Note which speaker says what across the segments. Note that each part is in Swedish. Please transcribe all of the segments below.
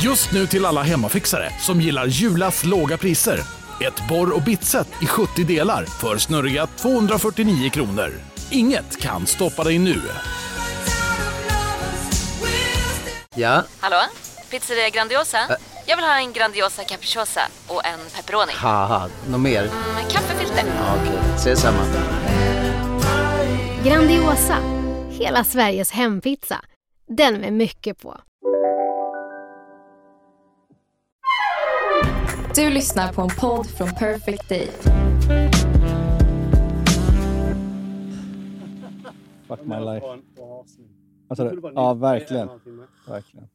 Speaker 1: Just nu till alla hemmafixare som gillar Julas låga priser. Ett borr och bitset i 70 delar för snurriga 249 kronor. Inget kan stoppa dig nu.
Speaker 2: Ja,
Speaker 3: Hallå? Pizzeria Grandiosa? Jag vill ha en Grandiosa capriciosa och en pepperoni.
Speaker 2: haha, något mer?
Speaker 3: Med kaffefilter.
Speaker 2: Ja, Okej, ses samma.
Speaker 4: Grandiosa, hela Sveriges hempizza. Den med mycket på.
Speaker 5: Du lyssnar på en podd från Perfect Day.
Speaker 6: Fuck my life. Vad sa du? Ja, verkligen. verkligen.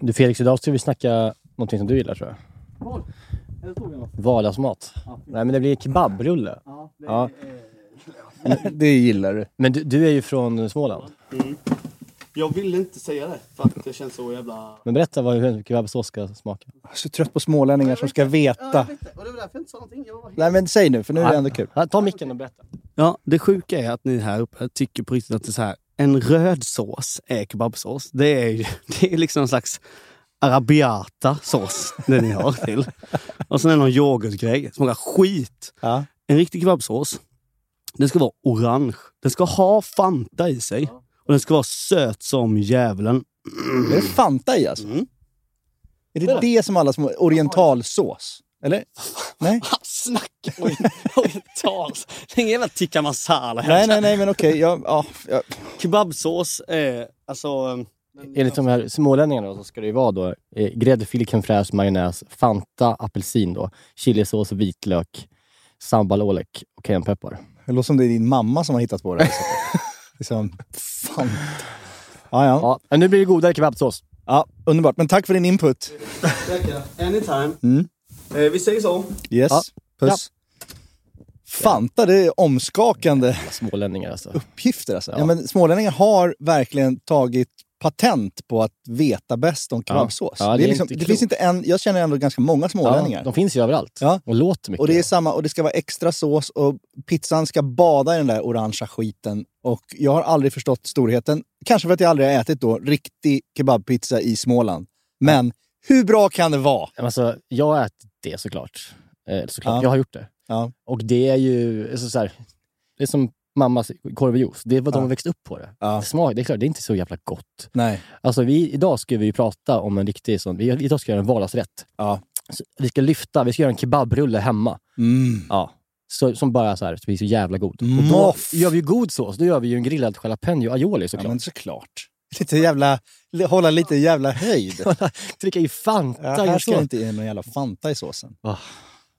Speaker 7: Du Felix, idag ska vi snacka någonting som du gillar tror jag. Vardagsmat. Nej men det blir kebabrulle. Ja.
Speaker 6: Det gillar du.
Speaker 7: Men du, du är ju från Småland.
Speaker 8: Jag ville inte säga det för att det känns så jävla...
Speaker 7: Men berätta vad, hur en kebabsås ska smaka.
Speaker 6: Jag är så trött på smålänningar som ska veta.
Speaker 8: Och det var därför jag inte sa någonting. Jag var helt...
Speaker 6: Nej men säg nu, för nu är det ändå kul.
Speaker 7: Ja, ta micken och berätta.
Speaker 9: Ja, det sjuka är att ni här uppe tycker på riktigt att det är så här, en röd sås är kebabsås. Det är, ju- det är liksom en slags arabiata sås, det ni har till. Och sen är det någon yoghurtgrej, smakar skit.
Speaker 6: Ja.
Speaker 9: En riktig kebabsås, den ska vara orange. Den ska ha Fanta i sig. Och den ska vara söt som djävulen.
Speaker 6: Är det Fanta i alltså?
Speaker 9: Mm.
Speaker 6: Är det det som alla små... Orientalsås? Eller? Nej?
Speaker 9: Snack! Oj, oj, tals. Det är ingen jävla tikka masala här.
Speaker 6: Nej, nej, nej, men okej. Jag, ja, jag,
Speaker 9: Kebabsås är alltså...
Speaker 7: eh, Enligt de här smålänningarna då, så ska det ju vara då eh, gräddfil, crème fraîche, majonnäs, Fanta, apelsin då, chilisås, vitlök, sambal, olek och cayennepeppar.
Speaker 6: det låter som det är din mamma som har hittat på det här. sättet. liksom, Fanta. Ja, ja.
Speaker 7: Ja, men nu blir det godare kebabsås.
Speaker 6: ja, underbart. Men tack för din input.
Speaker 8: Anytime.
Speaker 6: Mm.
Speaker 8: Eh, vi säger så.
Speaker 6: Yes.
Speaker 7: Ja.
Speaker 6: Puss. Fanta, det är omskakande.
Speaker 7: Smålänningar alltså.
Speaker 6: uppgifter. Alltså. Ja. men smålänningar har verkligen tagit patent på att veta bäst om kebabsås.
Speaker 7: Ja. Ja,
Speaker 6: det
Speaker 7: det
Speaker 6: är
Speaker 7: är
Speaker 6: liksom,
Speaker 7: inte
Speaker 6: det
Speaker 7: klokt.
Speaker 6: finns inte en, jag känner ändå ganska många smålänningar.
Speaker 7: Ja, de finns ju överallt
Speaker 6: Ja.
Speaker 7: och låter mycket.
Speaker 6: och, det är samma, och det ska vara extra sås och pizzan ska bada i den där orangea skiten. Och jag har aldrig förstått storheten. Kanske för att jag aldrig har ätit då riktig kebabpizza i Småland. Men hur bra kan det vara?
Speaker 7: Men Alltså, jag har ätit det såklart. Eh, såklart.
Speaker 6: Ja.
Speaker 7: Jag har gjort det.
Speaker 6: Ja.
Speaker 7: Och det är ju alltså, så här, det är som mammas korv och juice. Det är vad de
Speaker 6: Ja.
Speaker 7: har växt upp på det.
Speaker 6: Ja.
Speaker 7: Det, smak, det är klart, det är inte så jävla gott.
Speaker 6: Nej.
Speaker 7: Alltså, vi, idag ska vi ju prata om en riktig sån... Vi, idag ska vi göra en vardagsrätt.
Speaker 6: Ja.
Speaker 7: Så vi ska lyfta, vi ska göra en kebabrulle hemma.
Speaker 6: Mm.
Speaker 7: Ja. Så, som bara så här, så blir så jävla god. Och då
Speaker 6: Moff.
Speaker 7: gör vi ju god sås. Då gör vi ju en grillad jalapeno aioli
Speaker 6: Ja,
Speaker 7: såklart.
Speaker 6: men såklart. Lite jävla, hålla lite jävla höjd.
Speaker 7: Trycka i
Speaker 6: Ja,
Speaker 7: Fanta
Speaker 6: här
Speaker 7: i
Speaker 6: ska det
Speaker 7: sås.
Speaker 6: inte in någon jävla Fanta i såsen.
Speaker 7: Ah.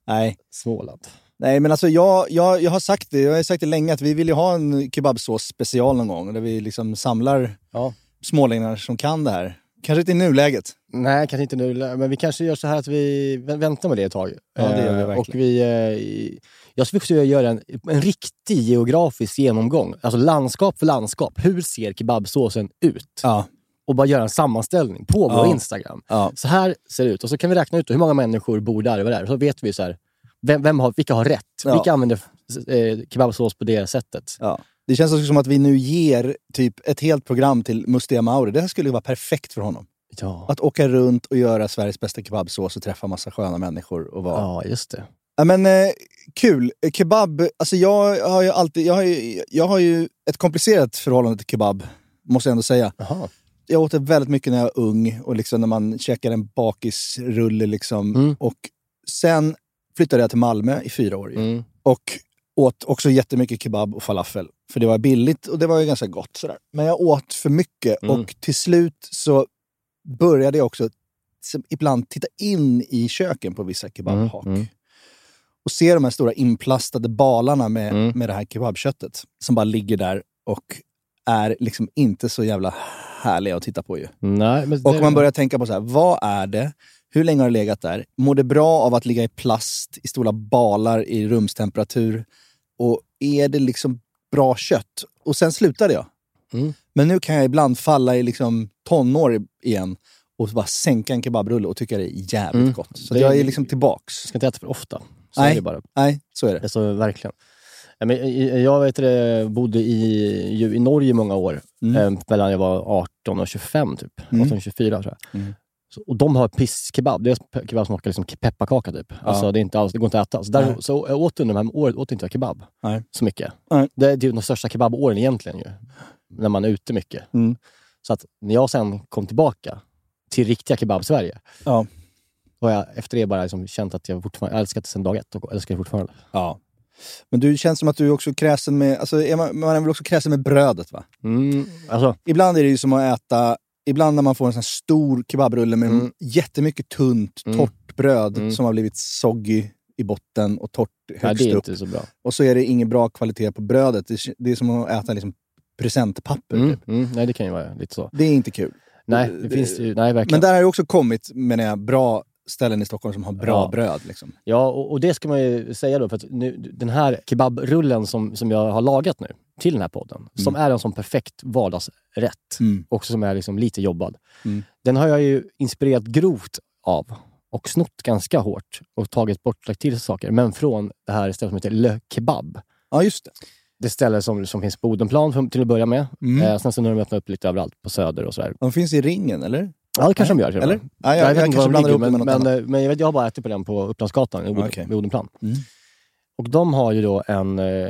Speaker 6: Nej.
Speaker 7: Småland.
Speaker 6: Nej, men alltså jag, jag, jag har sagt det jag har sagt det länge att vi vill ju ha en kebabsås special någon gång där vi liksom samlar
Speaker 7: Ja.
Speaker 6: smålänningar som kan det här. Kanske inte i nuläget.
Speaker 7: Nej, kanske inte nu. Men vi kanske gör så här att vi vä- väntar med det ett tag.
Speaker 6: Ja, det gör vi
Speaker 7: Eh,
Speaker 6: verkligen.
Speaker 7: Och vi, eh, i- jag skulle också vilja göra en, en riktig geografisk genomgång. Alltså landskap för landskap. Hur ser kebabsåsen ut?
Speaker 6: Ja.
Speaker 7: Och bara göra en sammanställning på vår
Speaker 6: Ja.
Speaker 7: Instagram.
Speaker 6: Ja.
Speaker 7: Så här ser det ut. Och så kan vi räkna ut hur många människor bor där och där. Så vet vi så här, vem, vem har, vilka har rätt.
Speaker 6: Ja.
Speaker 7: Vilka använder eh, kebabsås på det sättet.
Speaker 6: ja. Det känns också som att vi nu ger typ ett helt program till Mustiga Mauri. Det här skulle ju vara perfekt för honom.
Speaker 7: Ja,
Speaker 6: Att åka runt och göra Sveriges bästa kebabsås och träffa massa sköna människor. Och vara... ja.
Speaker 7: ja just det.
Speaker 6: men, eh, kul. Eh, Kebab, alltså jag har ju alltid, jag har ju, jag har ju ett komplicerat förhållande till kebab, måste jag ändå säga.
Speaker 7: Jaha.
Speaker 6: jag åt det väldigt mycket när jag var ung och liksom när man käkade en bakisrulle. Liksom.
Speaker 7: Mm.
Speaker 6: Och sen flyttade jag till Malmö i fyra år ju.
Speaker 7: Mm.
Speaker 6: och åt också jättemycket kebab och falafel. För det var billigt och det var ju ganska gott. Sådär. Men jag åt för mycket
Speaker 7: Mm.
Speaker 6: och till slut så började jag också som ibland titta in i köken på vissa kebabhak.
Speaker 7: Mm, mm.
Speaker 6: Och se de här stora inplastade balarna med,
Speaker 7: Mm.
Speaker 6: med det här kebabköttet som bara ligger där och är liksom inte så jävla härliga att titta på ju.
Speaker 7: Nej, men
Speaker 6: Och
Speaker 7: det-
Speaker 6: man börjar tänka på så här, vad är det? Hur länge har det legat där? Mår det bra av att ligga i plast i stora balar i rumstemperatur? Och är det liksom bra kött? Och sen slutade jag.
Speaker 7: Mm.
Speaker 6: Men nu kan jag ibland falla i liksom tonår i- igen och bara sänka en kebabrulle och tycka det är jävligt
Speaker 7: Mm.
Speaker 6: gott. Så
Speaker 7: Det-
Speaker 6: jag är liksom tillbaks.
Speaker 7: ska inte äta för ofta. Så
Speaker 6: Nej.
Speaker 7: är det bara.
Speaker 6: Nej, så är det.
Speaker 7: Alltså, verkligen. Ja, men, eh, Jag vet, det, bodde i, ju i Norge i många år,
Speaker 6: Mm.
Speaker 7: eh, mellan jag var 18 och 25, typ.
Speaker 6: Mm.
Speaker 7: 18 och 24 tror jag.
Speaker 6: Mm.
Speaker 7: Så- Och de har pisskebab. Deras pe- kebab smakar liksom pepparkaka typ. Alltså, det, är inte alls, det går inte att äta. Så, där,
Speaker 6: Nej.
Speaker 7: så jag åt under de här året åt inte jag kebab
Speaker 6: Nej.
Speaker 7: så mycket.
Speaker 6: Nej.
Speaker 7: Det är typ de största kebabåren egentligen ju. När man är ute mycket.
Speaker 6: Mm.
Speaker 7: Så att när jag sen kom tillbaka till riktiga kebab-Sverige.
Speaker 6: Ja.
Speaker 7: Har jag efter det bara liksom känt att jag fortfarande jag älskat det sedan dag ett och älskar det fortfarande.
Speaker 6: Ja. Men du känns som att du är också kräsen med, alltså är man, man är väl också kräsen med brödet va?
Speaker 7: Mm. Alltså,
Speaker 6: Ibland är det ju som att äta, ibland när man får en sån här stor kebabrulle med
Speaker 7: Mm.
Speaker 6: jättemycket tunt,
Speaker 7: Mm.
Speaker 6: torrt bröd
Speaker 7: Mm.
Speaker 6: som har blivit soggy i botten och torrt
Speaker 7: nej,
Speaker 6: högst
Speaker 7: det är
Speaker 6: upp.
Speaker 7: inte så bra.
Speaker 6: Och så är det ingen bra kvalitet på brödet. Det, det är som att äta liksom presentpapper.
Speaker 7: Mm.
Speaker 6: Typ.
Speaker 7: Mm. Nej, det kan ju vara lite så.
Speaker 6: Det är inte kul.
Speaker 7: Nej, det finns ju... Nej, verkligen.
Speaker 6: Men där har ju också kommit, menar jag, bra ställen i Stockholm som har bra
Speaker 7: Ja.
Speaker 6: bröd. Liksom.
Speaker 7: Ja, och, och det ska man ju säga då, för att nu, den här kebabrullen som, som jag har lagat nu till den här podden, som är en sån perfekt vardagsrätt,
Speaker 6: Mm.
Speaker 7: också som är liksom lite jobbad.
Speaker 6: Mm.
Speaker 7: Den har jag ju inspirerat grovt av och snott ganska hårt och tagit bort, lagt till saker, men från det här stället som heter Le Kebab.
Speaker 6: Ja, just det.
Speaker 7: Det ställe som, som finns på Odenplan för, till att börja med.
Speaker 6: Mm.
Speaker 7: Eh, sen så nu har de öppnat upp lite överallt på Söder och sådär.
Speaker 6: De finns i ringen, eller?
Speaker 7: Ja, det kanske de gör. till och med.
Speaker 6: Eller? Ja,
Speaker 7: jag,
Speaker 6: jag,
Speaker 7: vet
Speaker 6: jag,
Speaker 7: inte
Speaker 6: kanske
Speaker 7: var de ligger,
Speaker 6: blandar ihop det
Speaker 7: men,
Speaker 6: med något
Speaker 7: men,
Speaker 6: annat.
Speaker 7: eh, men jag, vet, jag har bara ätit på den på Upplandsgatan i Od-
Speaker 6: Okej.
Speaker 7: vid Odenplan.
Speaker 6: Mm.
Speaker 7: Och de har ju då en, eh,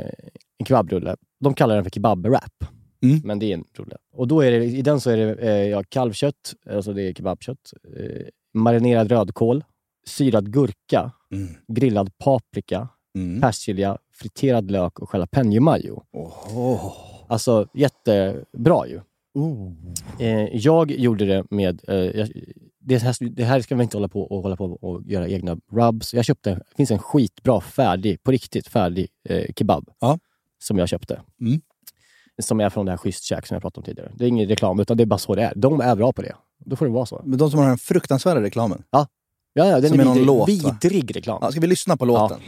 Speaker 7: en kebabrulle. De kallar den för kebabwrap.
Speaker 6: Mm.
Speaker 7: Men det är en rulle. Och då är det, i den så är det eh, ja, kalvkött, alltså det är kebabkött, eh, marinerad rödkål, syrad gurka,
Speaker 6: Mm.
Speaker 7: grillad paprika,
Speaker 6: Mm.
Speaker 7: persilja, friterad lök och jalapeno mayo.
Speaker 6: Åh.
Speaker 7: Alltså jättebra ju.
Speaker 6: Oh.
Speaker 7: Eh, jag gjorde det med... Eh, jag, det, här, det här ska vi inte hålla på och, hålla på och göra egna rubs. Jag köpte, det finns en skitbra färdig, på riktigt färdig eh, kebab
Speaker 6: Ja.
Speaker 7: som jag köpte.
Speaker 6: Mm.
Speaker 7: Som är från det här Schysst Käk som jag pratade om tidigare. Det är ingen reklam, utan det är bara så det är. De är bra på det. Då får det vara så.
Speaker 6: Men de som har den fruktansvärda reklamen.
Speaker 7: Ja, ja, den
Speaker 6: Som
Speaker 7: är
Speaker 6: är någon
Speaker 7: vidrig,
Speaker 6: låt, va?
Speaker 7: vidrig reklam.
Speaker 6: Ja, ska vi lyssna på låten?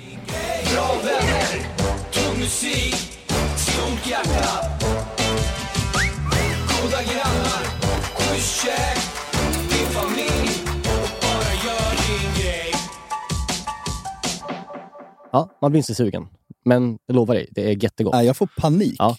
Speaker 7: Ja, man blir inte sugen. Men jag lovar dig, det är jättegott.
Speaker 6: Nej, jag får panik.
Speaker 7: Ja.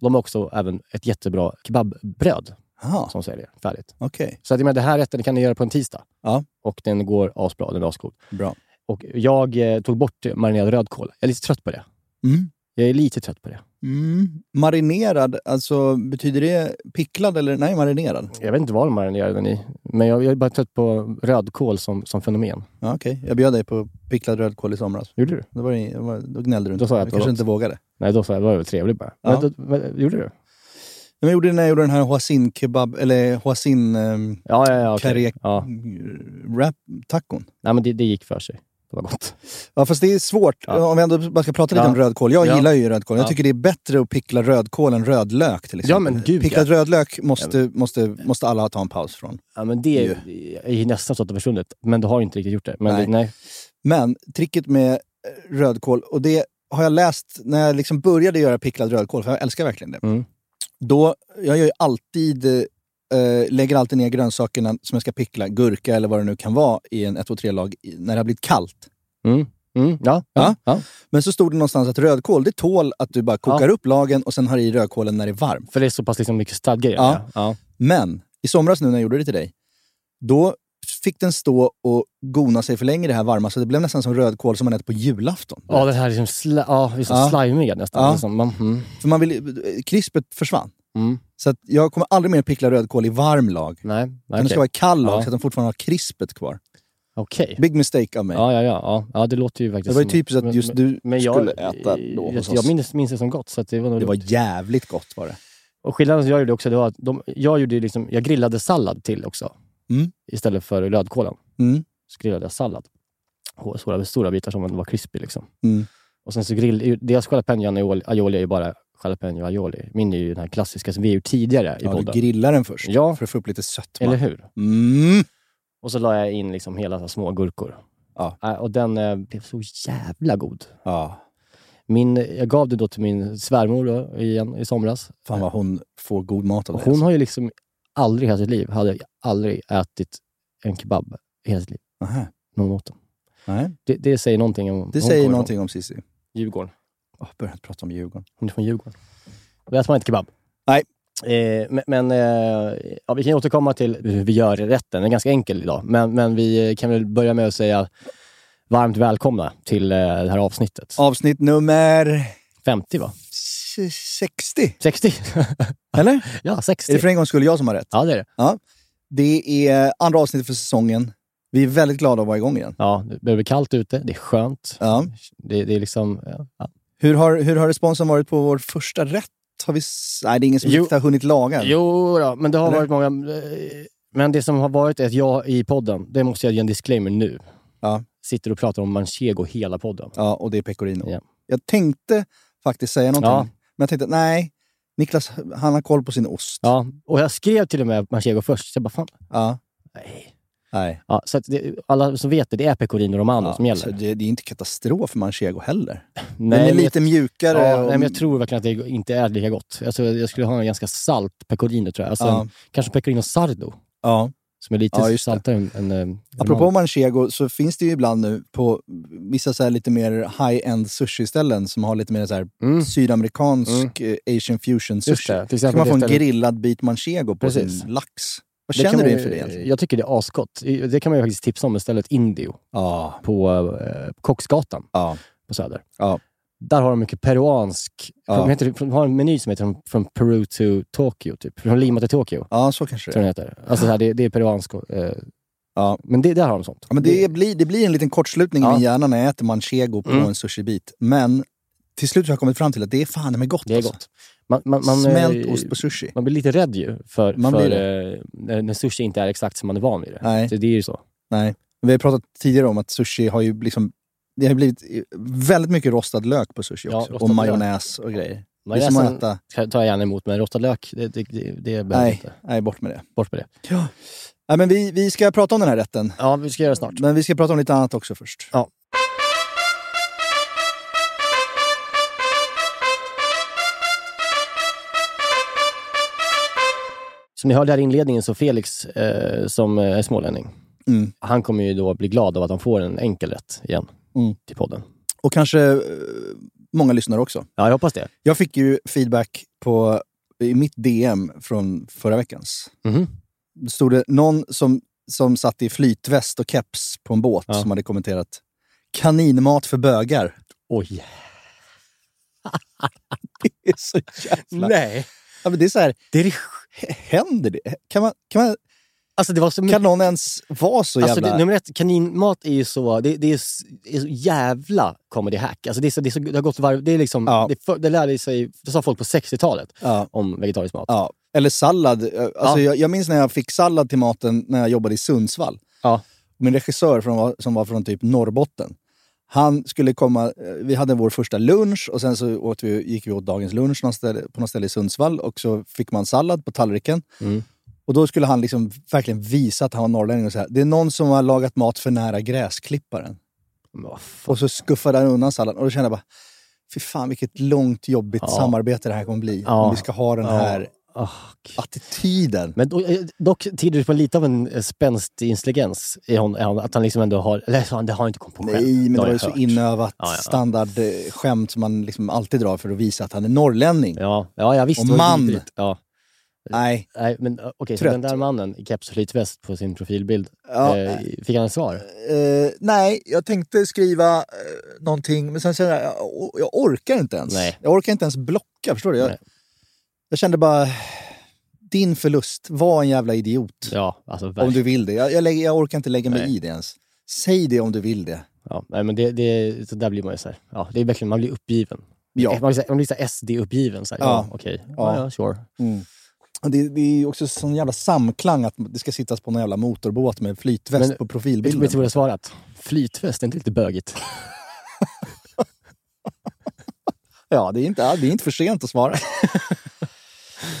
Speaker 7: De har också även ett jättebra kebabbröd
Speaker 6: Aha,
Speaker 7: som säljer färdigt.
Speaker 6: okej.
Speaker 7: Så att, jag menar, det här rätten kan ni göra på en tisdag.
Speaker 6: Ja.
Speaker 7: Och den går asbra, den är asgod.
Speaker 6: Bra.
Speaker 7: Och jag eh, tog bort marinerad rödkål. Jag är lite trött på det.
Speaker 6: Mm.
Speaker 7: Jag är lite trött på det.
Speaker 6: Mm. Marinerad, alltså betyder det picklad eller? Nej, marinerad.
Speaker 7: Jag vet inte vad de marinerar den i, men jag, jag är bara trött på rödkål som, som fenomen.
Speaker 6: Ja, okej. Jag bjöd dig på picklad rödkål i somras.
Speaker 7: Gjorde du?
Speaker 6: Då, var det, då var- då gnällde du inte.
Speaker 7: Då sa jag att det var
Speaker 6: kanske
Speaker 7: gott.
Speaker 6: inte vågade.
Speaker 7: Nej, då sa jag det var väl trevligt bara.
Speaker 6: Ja.
Speaker 7: Men, då- men, gjorde du?
Speaker 6: Men jag gjorde det när jag gjorde den här hoisin kebab, eller hoisin ehm,
Speaker 7: Ja, ja, ja. okej.
Speaker 6: Karek-
Speaker 7: ja.
Speaker 6: wrap tacon.
Speaker 7: Nej, men det, det gick för sig. Det var gott.
Speaker 6: Ja, fast det är svårt.
Speaker 7: Ja.
Speaker 6: Om vi ändå bara ska prata lite
Speaker 7: Ja.
Speaker 6: om rödkål. Jag
Speaker 7: Ja.
Speaker 6: gillar ju rödkål. Jag
Speaker 7: Ja.
Speaker 6: tycker det är bättre att pickla rödkål än rödlök till exempel.
Speaker 7: men gud,
Speaker 6: Picklad rödlök måste,
Speaker 7: Ja,
Speaker 6: måste, måste alla ta en paus från.
Speaker 7: Ja, men det är, är ju nästan så att det har försvunnit, men det har inte riktigt gjort det. Men
Speaker 6: Nej.
Speaker 7: Det, nej.
Speaker 6: Men tricket med eh, rödkål, och det har jag läst när jag liksom började göra picklad rödkål, för jag älskar verkligen det.
Speaker 7: Mm.
Speaker 6: Då, jag gör ju alltid, eh, lägger alltid ner grönsakerna som jag ska pickla, gurka eller vad det nu kan vara, i en 1-2-3-lag i- när det har blivit kallt.
Speaker 7: Mm. Mm. Ja,
Speaker 6: Ja.
Speaker 7: ja. ja.
Speaker 6: Men så stod det någonstans att rödkål, det tål att du bara kokar upp lagen och sen har i rödkålen när det är varmt.
Speaker 7: För det är så pass liksom mycket stadga i den.
Speaker 6: Ja.
Speaker 7: Ja.
Speaker 6: Men i somras nu när jag gjorde det till dig, då fick den stå och gona sig för länge i det här varma, så det blev nästan som rödkål som man äter på julafton.
Speaker 7: Ja. ja, den här liksom sla, ja, liksom
Speaker 6: Ja.
Speaker 7: slimiga nästan.
Speaker 6: Ja.
Speaker 7: Liksom, man, mm.
Speaker 6: För man vill, krispet försvann.
Speaker 7: Mm.
Speaker 6: Så att jag kommer aldrig mer pickla rödkål i varm lag. Okay.
Speaker 7: Nej,
Speaker 6: Den
Speaker 7: okej.
Speaker 6: ska vara i kall lag
Speaker 7: Ja.
Speaker 6: så att den fortfarande har krispet kvar.
Speaker 7: Okej.
Speaker 6: Big mistake av mig.
Speaker 7: Ja, ja, ja, ja. Ja, det låter ju faktiskt...
Speaker 6: det var ju
Speaker 7: som-
Speaker 6: typiskt
Speaker 7: men-
Speaker 6: att just
Speaker 7: men-
Speaker 6: du
Speaker 7: men jag,
Speaker 6: skulle äta då
Speaker 7: jag,
Speaker 6: hos oss.
Speaker 7: jag minns, minns det som gott. Så att det var nog
Speaker 6: Det var
Speaker 7: lugnt.
Speaker 6: jävligt gott var det.
Speaker 7: Och skillnaden som jag gjorde också, det var att de, jag, gjorde ju liksom, jag grillade sallad till också.
Speaker 6: Mm.
Speaker 7: Istället för rödkålen.
Speaker 6: Mm.
Speaker 7: Så grillade jag sallad. Och Stora, stora bitar som var krispig. Liksom.
Speaker 6: Mm.
Speaker 7: Och sen så grill, deras jalapeno aioli- aioli är ju bara jalapeno aioli. Min är ju den här klassiska som vi gjorde tidigare i
Speaker 6: Ja, du
Speaker 7: podden.
Speaker 6: grillar den först
Speaker 7: Ja.
Speaker 6: för att få upp lite sötma.
Speaker 7: Eller hur?
Speaker 6: Mm.
Speaker 7: Och så la jag in liksom hela så här små gurkor.
Speaker 6: Ja.
Speaker 7: Äh, Och den eh, blev så jävla god.
Speaker 6: Ja.
Speaker 7: Min, jag gav det då till min svärmor då, igen, i somras.
Speaker 6: Fan vad hon får god mat av
Speaker 7: Och
Speaker 6: det. alltså.
Speaker 7: hon har ju liksom aldrig i hela sitt liv, hade aldrig ätit en kebab i hela sitt liv.
Speaker 6: alltså. Nähä.
Speaker 7: Någon åt den.
Speaker 6: Nej.
Speaker 7: Det, det säger någonting om...
Speaker 6: Det
Speaker 7: hon
Speaker 6: säger
Speaker 7: kommer
Speaker 6: någonting om Cissi.
Speaker 7: Från Djurgården.
Speaker 6: Jag har börjat prata om Djurgården.
Speaker 7: Hon är från Djurgården. Då äter man inte kebab.
Speaker 6: Nej.
Speaker 7: Eh, men- men eh, ja, vi kan ju återkomma till hur vi gör rätten. Den är ganska enkel idag. Men, men vi kan väl börja med att säga varmt välkomna till eh, det här avsnittet.
Speaker 6: Avsnitt nummer
Speaker 7: 50 va?
Speaker 6: s- 60.
Speaker 7: 60?
Speaker 6: Eller?
Speaker 7: ja,
Speaker 6: Är
Speaker 7: 60.
Speaker 6: det för en gång skulle jag som har rätt?
Speaker 7: Ja, det är det.
Speaker 6: Det är andra avsnittet för säsongen. Vi är väldigt glada att vara igång igen.
Speaker 7: Ja, det börjar bli kallt ute. Det är skönt.
Speaker 6: Ja.
Speaker 7: Det, det är liksom... Ja.
Speaker 6: Hur, har, hur har responsen varit på vår första rätt? Har vi, s- nej, det är ingen som
Speaker 7: Jo.
Speaker 6: riktigt har hunnit laga. än.
Speaker 7: Jo, då, men det har
Speaker 6: Eller?
Speaker 7: varit många... eh, Men det som har varit är att jag i podden, det måste jag ge en disclaimer nu,
Speaker 6: Ja.
Speaker 7: sitter och pratar om manchego hela podden.
Speaker 6: Ja, och det är pecorino.
Speaker 7: Ja.
Speaker 6: Jag tänkte faktiskt säga någonting,
Speaker 7: Ja.
Speaker 6: men jag tänkte nej, Niklas han har koll på sin ost.
Speaker 7: Ja, och jag skrev till och med manchego först, så jag bara fan,
Speaker 6: Ja.
Speaker 7: nej.
Speaker 6: Nej.
Speaker 7: Ja, så att det, alla som vet det, det är pecorino romano som
Speaker 6: så
Speaker 7: gäller.
Speaker 6: det, det är inte katastrof för manchego heller.
Speaker 7: Nej,
Speaker 6: Den är
Speaker 7: men
Speaker 6: lite
Speaker 7: jag,
Speaker 6: mjukare.
Speaker 7: ja,
Speaker 6: och-
Speaker 7: nej, men jag tror verkligen att det inte är lika gott. Alltså, jag skulle ha en ganska salt pecorino tror jag. Alltså,
Speaker 6: ja,
Speaker 7: en, kanske pecorino sardo,
Speaker 6: ja.
Speaker 7: som är lite
Speaker 6: Ja, just det.
Speaker 7: saltare än, än eh,
Speaker 6: Apropå
Speaker 7: romano.
Speaker 6: manchego så finns det ju ibland nu på vissa så här lite mer high-end sushi-ställen som har lite mer så här
Speaker 7: Mm.
Speaker 6: sydamerikansk eh, asian fusion
Speaker 7: Just
Speaker 6: sushi.
Speaker 7: det, till
Speaker 6: Så kan
Speaker 7: exempel
Speaker 6: man få en
Speaker 7: det stället-
Speaker 6: grillad bit manchego på
Speaker 7: Precis.
Speaker 6: sin lax. Vad
Speaker 7: Det kan man
Speaker 6: känner du
Speaker 7: ju-
Speaker 6: inför det egentligen?
Speaker 7: Jag tycker det är asgott. Det kan man ju faktiskt tipsa om istället. Indio
Speaker 6: Ja.
Speaker 7: på eh, Kocksgatan
Speaker 6: ja.
Speaker 7: på Söder.
Speaker 6: Ja.
Speaker 7: Där har de mycket peruansk...
Speaker 6: Ja.
Speaker 7: De, heter, de har en meny som heter från, från Peru to Tokyo, typ. Från Lima till Tokyo,
Speaker 6: Ja, så kanske det
Speaker 7: tror
Speaker 6: är.
Speaker 7: jag den heter. Alltså, så här, det, det är peruansk... Eh,
Speaker 6: Ja.
Speaker 7: Men det, där har de sånt.
Speaker 6: Ja, men det, blir, det blir en liten kortslutning i
Speaker 7: Ja.
Speaker 6: min hjärna när jag äter manchego på
Speaker 7: Mm.
Speaker 6: en sushibit. Men till slut har jag kommit fram till att det är fan det är gott.
Speaker 7: Det är
Speaker 6: alltså.
Speaker 7: gott. Man, man, man, eh,
Speaker 6: Smält ost på sushi.
Speaker 7: Man blir lite rädd ju för,
Speaker 6: Man
Speaker 7: för
Speaker 6: blir
Speaker 7: eh, när när sushi inte är exakt som man är van vid det.
Speaker 6: Nej.
Speaker 7: Så det är ju så.
Speaker 6: Nej. Vi har pratat tidigare om att sushi har ju liksom... Det har blivit väldigt mycket rostad lök på sushi
Speaker 7: Ja,
Speaker 6: också.
Speaker 7: rostad
Speaker 6: och
Speaker 7: lök.
Speaker 6: majonnäs och grejer. Det är som att
Speaker 7: Majonnäsen
Speaker 6: äta...
Speaker 7: tar jag gärna emot, men rostad lök, det, det, det, det behöver
Speaker 6: Nej,
Speaker 7: inte.
Speaker 6: nej, bort med det.
Speaker 7: Bort med det.
Speaker 6: Ja. Nej, men vi, vi ska prata om den här rätten.
Speaker 7: Ja, vi ska göra det snart.
Speaker 6: Men vi ska prata om lite annat också först.
Speaker 7: Ja. Som ni hörde här i inledningen så Felix, eh, som eh, är smålänning,
Speaker 6: Mm.
Speaker 7: han kommer ju då bli glad av att han får en enkel rätt igen
Speaker 6: Mm.
Speaker 7: till podden.
Speaker 6: Och kanske eh, många lyssnare också.
Speaker 7: Ja, jag hoppas det.
Speaker 6: Jag fick ju feedback på, i mitt DM från förra veckans.
Speaker 7: Mhm.
Speaker 6: Då stod det någon som, som satt i flytväst och keps på en båt
Speaker 7: Ja.
Speaker 6: som hade kommenterat kaninmat för bögar.
Speaker 7: Oj.
Speaker 6: Det är så jävla...
Speaker 7: Nej.
Speaker 6: Ja, men det är så här,
Speaker 7: Det är,
Speaker 6: händer det? Kan, man, kan, man,
Speaker 7: alltså det var så mycket.
Speaker 6: kan någon ens vara så jävla...
Speaker 7: Alltså, det, nummer ett, kaninmat är ju så, det, det, är, s- det är så jävla comedy hack. Alltså, det, är så, det, är så, det har gått varv, det är liksom,
Speaker 6: Ja.
Speaker 7: det, för, det lärde sig, det sa folk på 60-talet
Speaker 6: ja,
Speaker 7: om vegetarisk mat.
Speaker 6: ja. Eller sallad. Alltså, jag, jag minns när jag fick sallad till maten när jag jobbade i Sundsvall.
Speaker 7: Ja.
Speaker 6: Min regissör från, som var från typ Norrbotten. Han skulle komma, eh, vi hade vår första lunch och sen så åt vi, gick vi åt dagens lunch någon ställe, på något ställe i Sundsvall och så fick man sallad på tallriken.
Speaker 7: Mm.
Speaker 6: Och då skulle han liksom verkligen visa att han var norrlänning och säga det är någon som har lagat mat för nära gräsklipparen.
Speaker 7: Men vad fan.
Speaker 6: Och så skuffade han undan salladen och då kände jag bara, fy fan vilket långt jobbigt
Speaker 7: Ja.
Speaker 6: samarbete det här kommer bli.
Speaker 7: Ja.
Speaker 6: Om vi ska ha den här
Speaker 7: Ja. Ah, gud.
Speaker 6: attityden.
Speaker 7: Men då, eh, dock tyder det på lite av en eh, spänstig intelligens. i hon- i hon- Att han liksom ändå har... Eller så han, det har han inte kommit på själv.
Speaker 6: Nej, men det
Speaker 7: har
Speaker 6: var ju
Speaker 7: jag
Speaker 6: så
Speaker 7: hört.
Speaker 6: inövat
Speaker 7: Ja, ja, ja.
Speaker 6: standardskämt som man liksom alltid drar för att visa att han är norrlänning.
Speaker 7: Ja, ja, ja visst.
Speaker 6: Och
Speaker 7: det var
Speaker 6: man.
Speaker 7: vidrigt. Ja.
Speaker 6: Nej,
Speaker 7: Nej, men eh, okej, så
Speaker 6: Trött.
Speaker 7: den där mannen i keps och flytväst på sin profilbild.
Speaker 6: ja,
Speaker 7: eh, fick han ett svar?
Speaker 6: eh, nej, jag tänkte skriva eh, någonting, men sen kände jag, jag, or- jag orkar inte ens.
Speaker 7: Nej.
Speaker 6: Jag orkar inte ens blocka, förstår du? Jag,
Speaker 7: Nej.
Speaker 6: jag kände bara, din förlust, var en jävla idiot.
Speaker 7: Ja, alltså
Speaker 6: om du
Speaker 7: verkligen.
Speaker 6: vill det. Jag, jag, lägger, jag orkar inte lägga mig
Speaker 7: Nej.
Speaker 6: i det ens. Säg det om du vill det.
Speaker 7: Ja, nej, men det, det, så där blir man ju så här. Ja, det är verkligen, man blir uppgiven.
Speaker 6: Ja.
Speaker 7: Man blir, så här- man blir så här SD-uppgiven. Så här,
Speaker 6: Ja.
Speaker 7: ja, okej.
Speaker 6: Ja.
Speaker 7: Ja, ja, sure.
Speaker 6: Och Det, det är ju också sån jävla samklang att det ska sittas på en jävla motorbåt med flytväst
Speaker 7: Men- Vet du
Speaker 6: på
Speaker 7: vet du
Speaker 6: profilbilden.
Speaker 7: vad jag svarat? Flytväst, är inte lite bögigt?
Speaker 6: Ja, det är, inte, det är inte för sent att svara.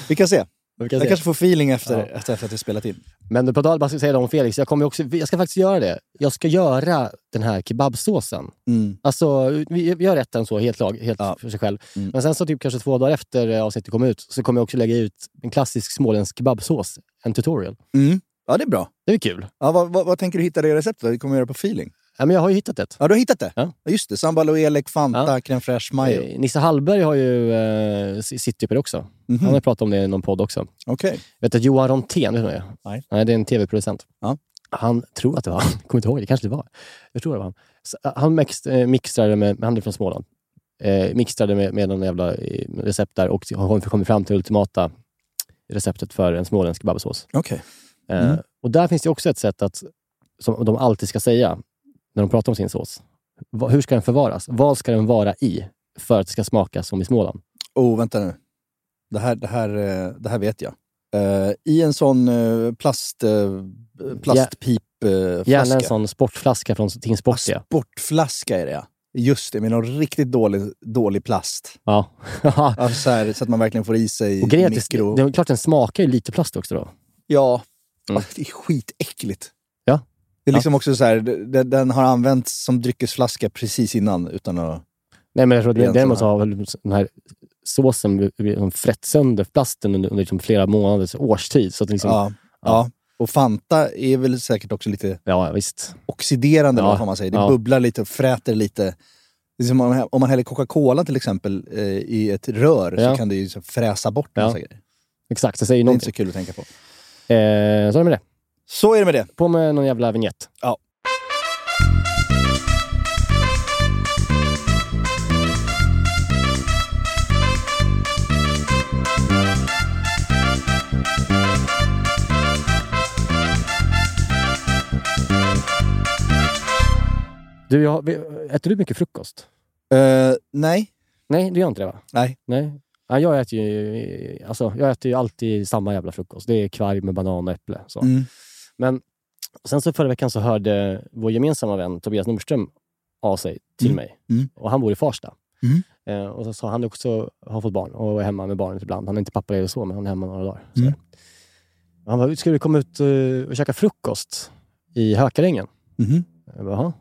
Speaker 6: Vi kan se.
Speaker 7: Vi kan
Speaker 6: Jag
Speaker 7: se.
Speaker 6: kanske får feeling efter,
Speaker 7: Ja.
Speaker 6: efter att vi spelat in.
Speaker 7: Men på tal om att säga det om Felix, jag, kommer också, jag ska faktiskt göra det. Jag ska göra den här kebabsåsen.
Speaker 6: Mm.
Speaker 7: Alltså, vi, vi har rätten så, helt, lag, helt
Speaker 6: Ja.
Speaker 7: för sig själv.
Speaker 6: Mm.
Speaker 7: Men sen så typ kanske två dagar efter eh, avsnittet kom ut så kommer jag också lägga ut en klassisk småländsk kebabsås, en tutorial.
Speaker 6: Mm. Ja, det är bra.
Speaker 7: Det är kul.
Speaker 6: Ja, vad, vad, vad tänker du hitta det receptet? Vi kommer göra på feeling.
Speaker 7: Ja, men jag har ju hittat ett.
Speaker 6: Ja, du har hittat det?
Speaker 7: Ja.
Speaker 6: Just det. Sambal och elek, Fanta,
Speaker 7: Ja.
Speaker 6: crème fraîche, majo.
Speaker 7: Eh, Nisse Hallberg har ju eh, si- Cityper också. Han har pratat om det i någon podd också.
Speaker 6: Okej.
Speaker 7: Vet du att Johan Rontén, vet du vem det är?
Speaker 6: Nej.
Speaker 7: det är en tv-producent.
Speaker 6: Ja.
Speaker 7: Han tror att det var han. Jag kommer inte ihåg, det kanske det var. Jag tror det var han. Så, eh, han mix, eh, mixtrade med, han är från Småland, eh, mixtrade med, med någon jävla eh, recept där och har kommit fram till ultimata receptet för en småländsk kebabsås.
Speaker 6: Okej.
Speaker 7: Eh,
Speaker 6: Mm.
Speaker 7: Och där finns det också ett sätt att, som de alltid ska säga när de pratar om sin sås. Va, hur ska den förvaras? Vad ska den vara i för att det ska smaka som i Småland?
Speaker 6: Oh, vänta nu. Det här, det här, eh, det här vet jag. Eh, I en sån eh, plast, eh, plastpipflaska.
Speaker 7: Gärna en sån sportflaska från Ting Sportia.
Speaker 6: Sportflaska är det, ja. Just det, med någon riktigt dålig, dålig plast.
Speaker 7: Ja.
Speaker 6: Alltså så, här, så att man verkligen får i sig
Speaker 7: Och grejen är att
Speaker 6: mikro...
Speaker 7: det, det är klart den smakar ju lite plast också då.
Speaker 6: Ja.
Speaker 7: Mm.
Speaker 6: Alltså, det är skitäckligt.
Speaker 7: Ja.
Speaker 6: Det är liksom också så här, den, den har använts som dryckesflaska precis innan utan att...
Speaker 7: Nej, men jag tror att det-
Speaker 6: Egentligen,
Speaker 7: däremot så har väl den här såsen bl- bl- liksom frätt sönder plasten under, under liksom flera månaders årstid. Så att liksom, ja.
Speaker 6: Ja. ja. Och Fanta är väl säkert också lite
Speaker 7: ja, visst.
Speaker 6: oxiderande,
Speaker 7: Ja.
Speaker 6: eller vad man säger. Det
Speaker 7: Ja.
Speaker 6: bubblar lite och fräter lite. Det är som om, man- om man häller Coca-Cola till exempel eh, i ett rör
Speaker 7: Ja.
Speaker 6: så kan det ju så fräsa bort
Speaker 7: Ja.
Speaker 6: massa grejer.
Speaker 7: Exakt, det säger ju
Speaker 6: Det är inte så
Speaker 7: någonting.
Speaker 6: kul att tänka på.
Speaker 7: Eh, så är det med det.
Speaker 6: Så är det med det.
Speaker 7: På med någon jävla vignett. Du, jag, har- vi- äter du mycket frukost?
Speaker 6: Eh, nej.
Speaker 7: Nej, du gör inte det va?
Speaker 6: Nej.
Speaker 7: Nej. Ja, jag, äter ju, alltså, jag äter ju alltid samma jävla frukost. Det är kvarg med banan och äpple. Så.
Speaker 6: Mm.
Speaker 7: Men sen så förra veckan så hörde vår gemensamma vän Tobias Nordström av sig till
Speaker 6: Mm.
Speaker 7: mig.
Speaker 6: Mm.
Speaker 7: Och han bor i Farsta. Eh, och så sa han också har fått barn och är hemma med barnet ibland. Han är inte pappaledig och så, men han är hemma några dagar. Så.
Speaker 6: Mm.
Speaker 7: Han bara, ska vi komma ut eh, och käka frukost i Hökarängen?
Speaker 6: Mhm.
Speaker 7: Jag bara, "Jaha."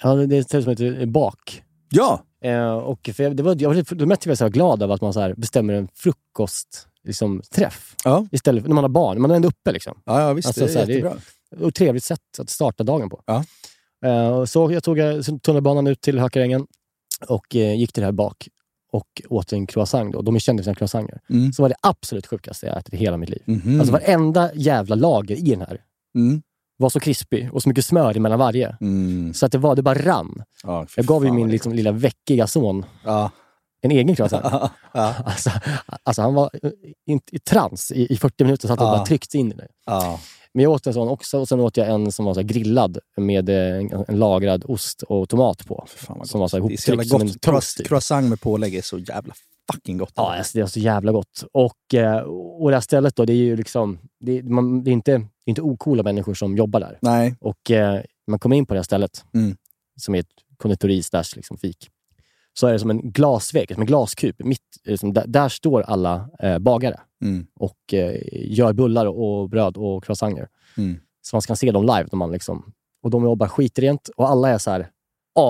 Speaker 7: ja, det är ett ställe som heter Bak.
Speaker 6: Ja!
Speaker 7: Eh, och för jag, det var, jag, var- då mest blev jag så här glad av att man så här bestämmer en frukost liksom, träff.
Speaker 6: Ja.
Speaker 7: Istället för när man har barn. Man är ändå uppe liksom.
Speaker 6: Ja, ja visst.
Speaker 7: Alltså,
Speaker 6: det är
Speaker 7: så här, det är-
Speaker 6: jättebra.
Speaker 7: Och trevligt sätt att starta dagen på.
Speaker 6: Ja.
Speaker 7: Eh, och så jag tog eh, tunnelbanan ut till Hökarängen och eh, gick till det här bak och åt en croissant. Då. De är kända för sina croissanter.
Speaker 6: Mm.
Speaker 7: Så var det absolut sjukaste jag ätit i hela mitt liv.
Speaker 6: Mhm.
Speaker 7: Alltså varenda jävla lager i den här
Speaker 6: Mm.
Speaker 7: var så krispig och så mycket smör mellan varje.
Speaker 6: Mm.
Speaker 7: Så att det, var, det bara rann.
Speaker 6: Ja, fy
Speaker 7: Jag gav ju
Speaker 6: fan,
Speaker 7: min
Speaker 6: vad
Speaker 7: liksom, lilla veckiga son
Speaker 6: Ja.
Speaker 7: en egen croissant.
Speaker 6: Ja.
Speaker 7: Alltså, alltså han var i, i trans i, i 40 minuter, så att han
Speaker 6: Ja.
Speaker 7: bara tryckts in i det.
Speaker 6: Ja.
Speaker 7: Men jag åt en sån också och sen åt jag en som var så här grillad med eh, en, en lagrad ost och tomat på.
Speaker 6: Fy fan vad
Speaker 7: som var så här
Speaker 6: Det är så jävla
Speaker 7: ihoptryckt som en
Speaker 6: gott.
Speaker 7: toast.
Speaker 6: Croiss-
Speaker 7: typ.
Speaker 6: Croissant med pålägg är så jävla fucking gott.
Speaker 7: Ja, alltså, det var så jävla gott. Och, eh, och det här stället då, det är ju liksom... Det, är- man, det, är inte, det är inte ocoola människor som jobbar där.
Speaker 6: Nej.
Speaker 7: Och eh, man kommer in på det här stället,
Speaker 6: Mm.
Speaker 7: som är ett konditori slash liksom fik. Så är det som en glasvägg, som en glaskub. Mitt, liksom, där, där står alla eh, bagare.
Speaker 6: Mm.
Speaker 7: och eh, gör bullar och bröd och croissanter.
Speaker 6: Mm.
Speaker 7: Så man ska se dem live. När man liksom, och de jobbar skitrent och alla är så här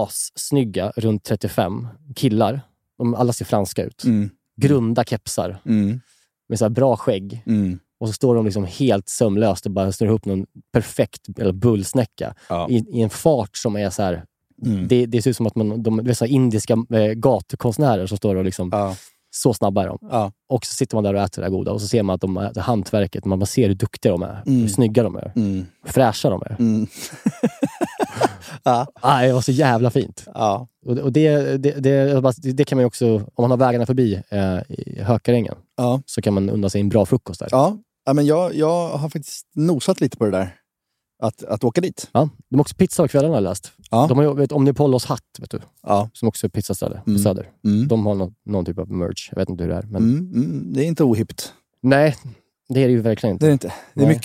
Speaker 7: assnygga, runt 35 killar. De, alla ser franska ut.
Speaker 6: Mm.
Speaker 7: Grunda kepsar
Speaker 6: Mm.
Speaker 7: med så här bra skägg.
Speaker 6: Mm.
Speaker 7: Och så står de liksom helt sömlöst och bara snurrar ihop någon perfekt eller bullsnäcka
Speaker 6: Ja.
Speaker 7: i, i en fart som är så här...
Speaker 6: Mm.
Speaker 7: Det, det ser ut som att man, de, det är så här indiska eh, gatukonstnärer som står och liksom...
Speaker 6: Ja.
Speaker 7: Så snabba är de.
Speaker 6: Ja.
Speaker 7: Och så sitter man där och äter det där goda och så ser man att de äter hantverket. Man bara ser hur duktiga de är, hur
Speaker 6: Mm.
Speaker 7: snygga de är,
Speaker 6: Mm.
Speaker 7: hur fräscha de är.
Speaker 6: Mm. ja.
Speaker 7: Aj, det var så jävla fint.
Speaker 6: Ja.
Speaker 7: Och, och det, det, det, jag bara- det kan man ju också, om man har vägarna förbi eh, i Hökarängen,
Speaker 6: Ja.
Speaker 7: så kan man unna sig en bra frukost där.
Speaker 6: ja. ja men jag, jag har faktiskt nosat lite på det där. Att, att åka dit.
Speaker 7: Ja. De har också pizza på kvällarna har jag läst.
Speaker 6: Ja.
Speaker 7: De har ju vet, Omnipollos hatt, vet du,
Speaker 6: Ja.
Speaker 7: som också är pizzaställe på
Speaker 6: Mm.
Speaker 7: Söder.
Speaker 6: Mm.
Speaker 7: De har någon, någon typ av merch. Jag vet inte hur det är. Men...
Speaker 6: Mm. Mm. Det är inte ohippt.
Speaker 7: Nej, det är det ju verkligen
Speaker 6: Det
Speaker 7: inte.
Speaker 6: är det inte. Det är,
Speaker 7: Nej.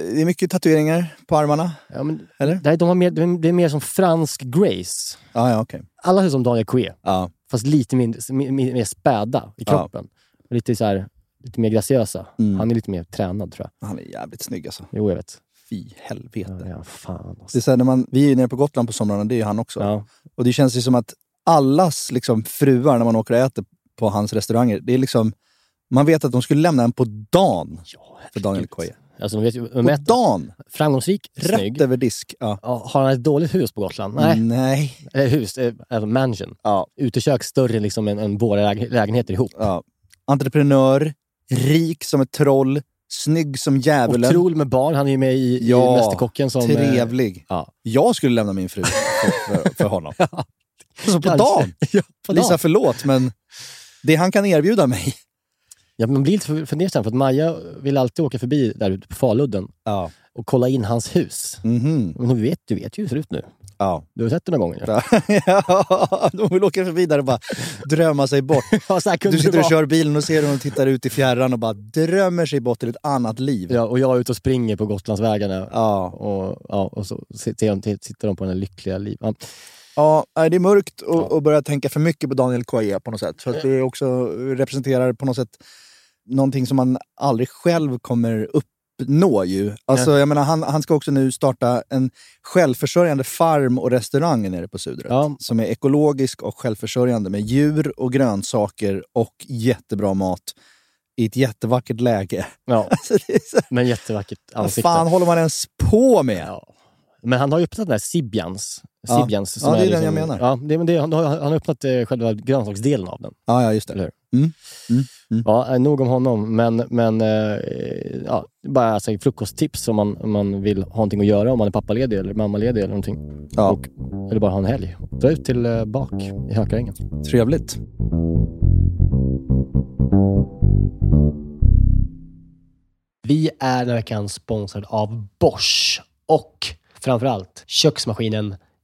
Speaker 6: mycket, det är mycket tatueringar på armarna.
Speaker 7: Ja, men,
Speaker 6: Eller?
Speaker 7: nej, de har mer, det är mer som fransk grace.
Speaker 6: Ja, ja okej.
Speaker 7: Alla ser ut som Daniel Coué.
Speaker 6: Ja.
Speaker 7: fast lite mindre, mi- mi- mer späda i
Speaker 6: Ja.
Speaker 7: kroppen. Lite, så här, lite mer graciösa.
Speaker 6: Mm.
Speaker 7: Han är lite mer tränad tror jag.
Speaker 6: Han är jävligt snygg alltså.
Speaker 7: Jo, jag vet.
Speaker 6: Fy helvete.
Speaker 7: Ja, fan
Speaker 6: Det är
Speaker 7: alltså.
Speaker 6: så här, när man, vi är ju nere på Gotland på somrarna, det är ju han också.
Speaker 7: Ja.
Speaker 6: Och det känns ju som att allas liksom, fruar när man åker och äter på hans restauranger, det är liksom, man vet att de skulle lämna en på dagen för Daniel Coye.
Speaker 10: Alltså, de vet ju, de
Speaker 11: På
Speaker 10: mäter-
Speaker 11: dagen,
Speaker 10: framgångsrik,
Speaker 11: rätt
Speaker 10: snygg.
Speaker 11: över disk. Ja.
Speaker 10: Ja, har han ett dåligt hus på Gotland? Nej.
Speaker 6: Mm.
Speaker 11: Nej.
Speaker 10: Eller hus, eh, alltså mansion.
Speaker 11: Ja.
Speaker 10: Utekök större liksom än, än våra läge- lägenheter ihop.
Speaker 11: Ja. Entreprenör, rik som ett troll, snygg som
Speaker 10: Och
Speaker 11: djävulen,
Speaker 10: Troll med barn, han är ju med i,
Speaker 11: Ja,
Speaker 10: i Mästerkocken som... eh,
Speaker 11: trevlig.
Speaker 10: ja.
Speaker 11: Jag skulle lämna min fru för, för, för honom. Så på
Speaker 10: Kanske.
Speaker 11: dagen.
Speaker 10: ja, på dagen.
Speaker 11: Lisa, förlåt, men det han kan erbjuda mig.
Speaker 10: Ja, man blir lite fundersam för att Maja vill alltid åka förbi där ute på Faludden
Speaker 11: Ja.
Speaker 10: och kolla in hans hus.
Speaker 11: Mhm.
Speaker 10: Men du vet, du vet ju hur det ser ut nu.
Speaker 11: Ja.
Speaker 10: Du har sett det några gånger. Ja.
Speaker 11: Ja, De vill åka förbi där och bara drömma sig bort.
Speaker 10: Ja, så här kunde
Speaker 11: Du
Speaker 10: det
Speaker 11: sitter och
Speaker 10: vara.
Speaker 11: kör bilen och ser hur de tittar ut i fjärran och bara drömmer sig bort till ett annat liv.
Speaker 10: Ja, och jag är ute och springer på Gotlandsvägarna.
Speaker 11: Ja.
Speaker 10: Och, ja, och så sitter de, sitter de på den lyckliga liv. Ja.
Speaker 11: ja, nej, det är mörkt att att börja tänka för mycket på Daniel Coye på något sätt. För att
Speaker 10: Eh.
Speaker 11: det också representerar på något sätt någonting som man aldrig själv kommer uppnå ju. Alltså, jag menar, han, han ska också nu starta en självförsörjande farm och restaurang nere på Sudret.
Speaker 10: Ja.
Speaker 11: Som är ekologisk och självförsörjande med djur och grönsaker och jättebra mat i ett jättevackert läge.
Speaker 10: Ja,
Speaker 11: Alltså, det är så
Speaker 10: men jättevackert
Speaker 11: Vad
Speaker 10: ansikte.
Speaker 11: fan håller man ens på med?
Speaker 10: Ja. Men han har ju öppnat den här Sibjans.
Speaker 11: Ja.
Speaker 10: Sibjans liksom-
Speaker 11: Ja, det är den jag menar.
Speaker 10: Ja, det, men det, han, har, han har öppnat eh, själva grönsaksdelen av den.
Speaker 11: Ja, ja just det.
Speaker 10: Eller hur?
Speaker 11: Mm. Mm. Mm.
Speaker 10: Ja, eh, nog om honom, men, men eh, ja, bara alltså, frukosttips om man, om man vill ha någonting att göra, om man är pappaledig eller mammaledig eller någonting.
Speaker 11: Ja.
Speaker 10: Och, eller bara ha en helg. Dra ut till eh, bak i Hökarängen.
Speaker 11: Trevligt.
Speaker 7: Vi är den här veckan sponsrad av Bosch och framförallt köksmaskinen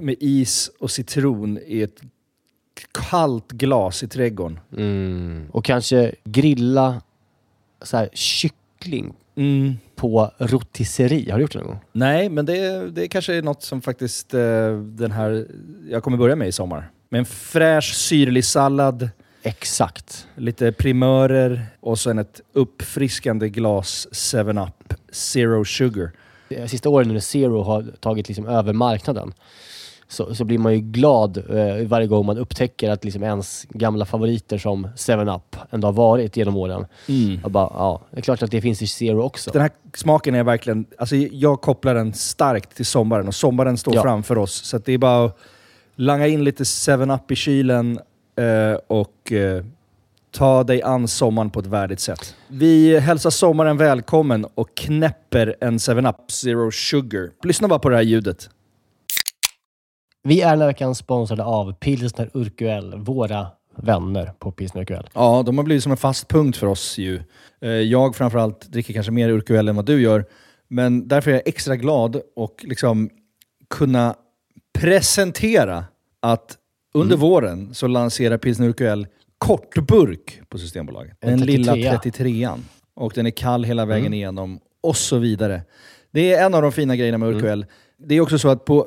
Speaker 6: med is och citron i ett kallt glas i trädgården.
Speaker 7: Och kanske grilla så här, kyckling
Speaker 6: Mm.
Speaker 7: på rotisseri. Har du gjort det någon gång?
Speaker 12: Nej, men det, det kanske är något som faktiskt eh, den här, jag kommer börja med i sommar. Med en fräsch syrlig sallad.
Speaker 7: Exakt.
Speaker 12: Lite primörer och sen ett uppfriskande glas 7-Up Zero Sugar.
Speaker 7: De sista åren när Zero har tagit liksom över marknaden så, så blir man ju glad eh, varje gång man upptäcker att liksom ens gamla favoriter som 7-Up ändå har varit genom åren.
Speaker 12: Mm.
Speaker 7: Jag bara, ja, det är klart att det finns i Zero också.
Speaker 12: Den här smaken är verkligen... Alltså jag kopplar den starkt till sommaren och sommaren står
Speaker 7: Ja.
Speaker 12: framför oss. Så att det är bara att langa in lite 7-Up i kylen eh, och eh, ta dig an sommaren på ett värdigt sätt. Vi hälsar sommaren välkommen och knäpper en 7-Up Zero Sugar. Lyssna bara på det här ljudet.
Speaker 7: Vi är den här veckan sponsrade av Pilsner Urquell, våra vänner på Pilsner Urquell.
Speaker 12: Ja, de har blivit som en fast punkt för oss ju. Eh, Jag framförallt dricker kanske mer Urquell än vad du gör, men därför är jag extra glad och liksom kunna presentera att under våren så lanserar Pilsner Urquell kortburk på Systembolaget.
Speaker 7: En
Speaker 12: Den lilla
Speaker 7: 33.
Speaker 12: 33an. Och den är kall hela vägen igenom och så vidare. Det är en av de fina grejerna med Urquell. Det är också så att på,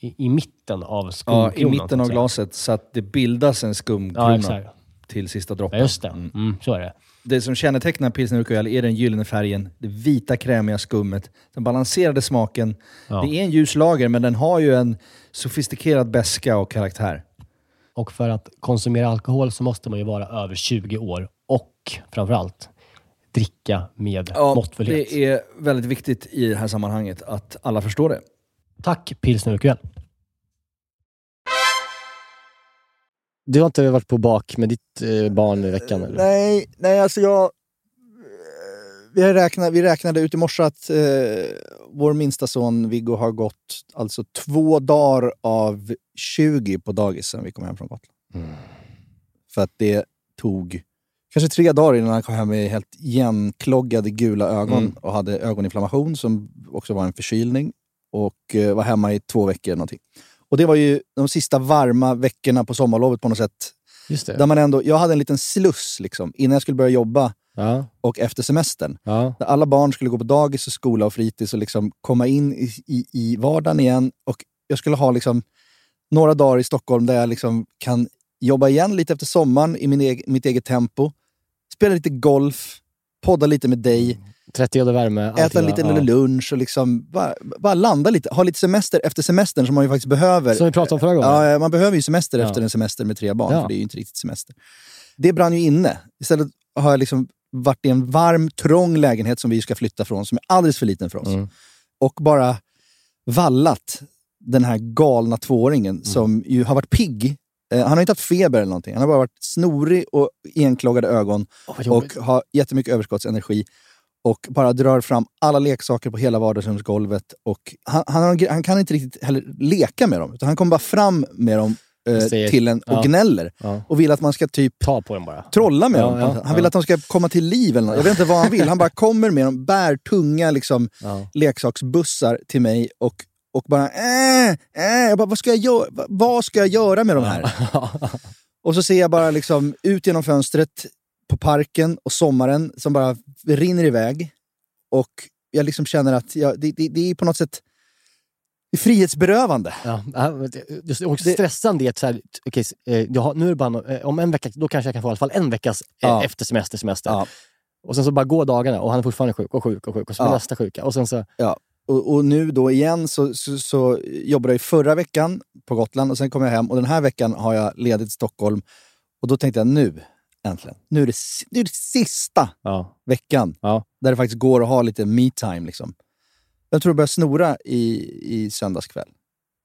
Speaker 7: i, i mitten av
Speaker 12: Ja,
Speaker 7: skumkronan.
Speaker 12: I mitten
Speaker 7: så att
Speaker 12: av
Speaker 7: säga.
Speaker 12: glaset så att det bildas en
Speaker 7: Ja,
Speaker 12: skumkrona
Speaker 7: exakt.
Speaker 12: till sista
Speaker 7: Ja,
Speaker 12: droppen.
Speaker 7: just det. Mm, så är det.
Speaker 12: Det som kännetecknar pilsner och UQL är den gyllene färgen, det vita krämiga skummet, den balanserade smaken.
Speaker 7: Ja.
Speaker 12: Det är en ljus lager men den har ju en sofistikerad beska och karaktär.
Speaker 7: Och för att konsumera alkohol så måste man ju vara över 20 år och framförallt dricka med måttfullhet.
Speaker 12: det är väldigt viktigt i det här sammanhanget att alla förstår det.
Speaker 7: Tack Pilsner Urquell.
Speaker 13: Du har inte varit på bak med ditt eh, barn i veckan? Eller?
Speaker 6: Nej, nej alltså jag... Vi, räknade, vi räknade ut i morse att eh, vår minsta son Viggo har gått alltså två dagar av 20 på dagis sen vi kom hem från Gotland.
Speaker 13: Mm.
Speaker 6: För att det tog kanske tre dagar innan han kom hem med helt igenkloggade gula ögon
Speaker 12: Mm.
Speaker 6: och hade ögoninflammation som också var en förkylning och eh, var hemma i två veckor eller någonting. Och det var ju de sista varma veckorna på sommarlovet på något sätt
Speaker 7: Just
Speaker 6: där man ändå, jag hade en liten sluss liksom, innan jag skulle börja jobba
Speaker 7: Ja,
Speaker 6: och efter semestern.
Speaker 7: ja.
Speaker 6: Där alla barn skulle gå på dagis och skola och fritids och liksom komma in i, i, i vardagen igen. Och jag skulle ha liksom, några dagar i Stockholm där jag liksom kan jobba igen lite efter sommaren i min eg- mitt eget tempo. Spela lite golf, podda lite med dig,
Speaker 7: 30 grader värme.
Speaker 6: äta en liten
Speaker 7: Mm, ja.
Speaker 6: lunch och liksom bara, bara landa lite. Ha lite semester efter semestern som man ju faktiskt behöver.
Speaker 7: Som vi pratade om förra gången.
Speaker 6: Ja, eh, man behöver ju semester
Speaker 7: Ja.
Speaker 6: efter en semester med tre barn,
Speaker 7: Ja.
Speaker 6: för det är ju inte riktigt semester. Det brann ju inne. Istället har jag liksom varit i en varm, trång lägenhet som vi ska flytta från, som är alldeles för liten för oss.
Speaker 7: Mm.
Speaker 6: Och bara vallat den här galna tvååringen
Speaker 7: Mm.
Speaker 6: som ju har varit pigg. Eh, Han har inte haft feber eller någonting. Han har bara varit snorig och enklagade ögon
Speaker 7: Åh, vad
Speaker 6: och
Speaker 7: jobbigt.
Speaker 6: har jättemycket överskottsenergi och bara drar fram alla leksaker på hela vardagsrumsgolvet. Och han, han, har en gre- han kan inte riktigt heller leka med dem, utan han kommer bara fram med dem eh,
Speaker 7: Säger-
Speaker 6: till en och
Speaker 7: ja.
Speaker 6: gnäller.
Speaker 7: Ja.
Speaker 6: Och vill att man ska typ
Speaker 7: Ta på den bara.
Speaker 6: trolla med
Speaker 7: Ja,
Speaker 6: dem.
Speaker 7: ja,
Speaker 6: han vill
Speaker 7: ja.
Speaker 6: att de ska komma till liv eller något. Jag vet inte vad han vill. Han bara kommer med dem, bär tunga liksom,
Speaker 7: Ja.
Speaker 6: leksaksbussar till mig och, och bara äh, äh. Jag bara, vad ska jag göra? Va- Vad ska jag göra med de här? Och så ser jag bara liksom ut genom fönstret på parken och sommaren som bara rinner iväg. Och jag liksom känner att jag, det, det, det är på något sätt det är frihetsberövande.
Speaker 7: Ja, ja, men det- det är också
Speaker 6: Det-
Speaker 7: stressande i att så här, okej, eh, jag har, nu är det bara, no- eh, om en vecka, då kanske jag kan få i alla fall en veckas eh,
Speaker 6: Ja.
Speaker 7: efter semester, semester.
Speaker 6: Ja.
Speaker 7: Och sen så bara går dagarna och han är fortfarande sjuk och sjuk och sjuk och så
Speaker 6: Ja.
Speaker 7: nästa sjuka. Och sen så,
Speaker 6: Och, och nu då igen så, så, så jobbade jag ju förra veckan på Gotland och sen kom jag hem och den här veckan har jag ledigt i Stockholm. Och då tänkte jag nu, äntligen. Nu är det, si- nu är det sista
Speaker 7: ja.
Speaker 6: veckan
Speaker 7: Ja.
Speaker 6: där det faktiskt går att ha lite me-time. Liksom. Jag tror det började snora i, i söndags kväll.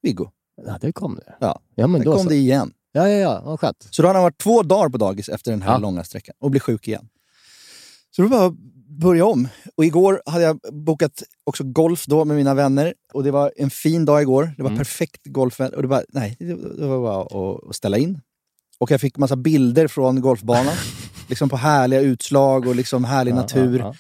Speaker 6: Viggo.
Speaker 7: ja, det kom det.
Speaker 6: Ja.
Speaker 7: ja men
Speaker 6: Sen
Speaker 7: då
Speaker 6: kom
Speaker 7: så.
Speaker 6: det igen.
Speaker 7: Ja, ja, ja, vad skönt.
Speaker 6: Så då har han varit två dagar på dagis efter den här
Speaker 7: Ja.
Speaker 6: långa sträckan och blir sjuk igen. Så då bara börja om. Och igår hade jag bokat också golf då med mina vänner. Och det var en fin dag igår. Det var
Speaker 12: Mm.
Speaker 6: perfekt golfväder. Och det var, nej, det det var bara att- att ställa in. Och jag fick massa bilder från golfbanan. liksom på härliga utslag och liksom härlig
Speaker 7: Ja,
Speaker 6: natur.
Speaker 7: ja, ja.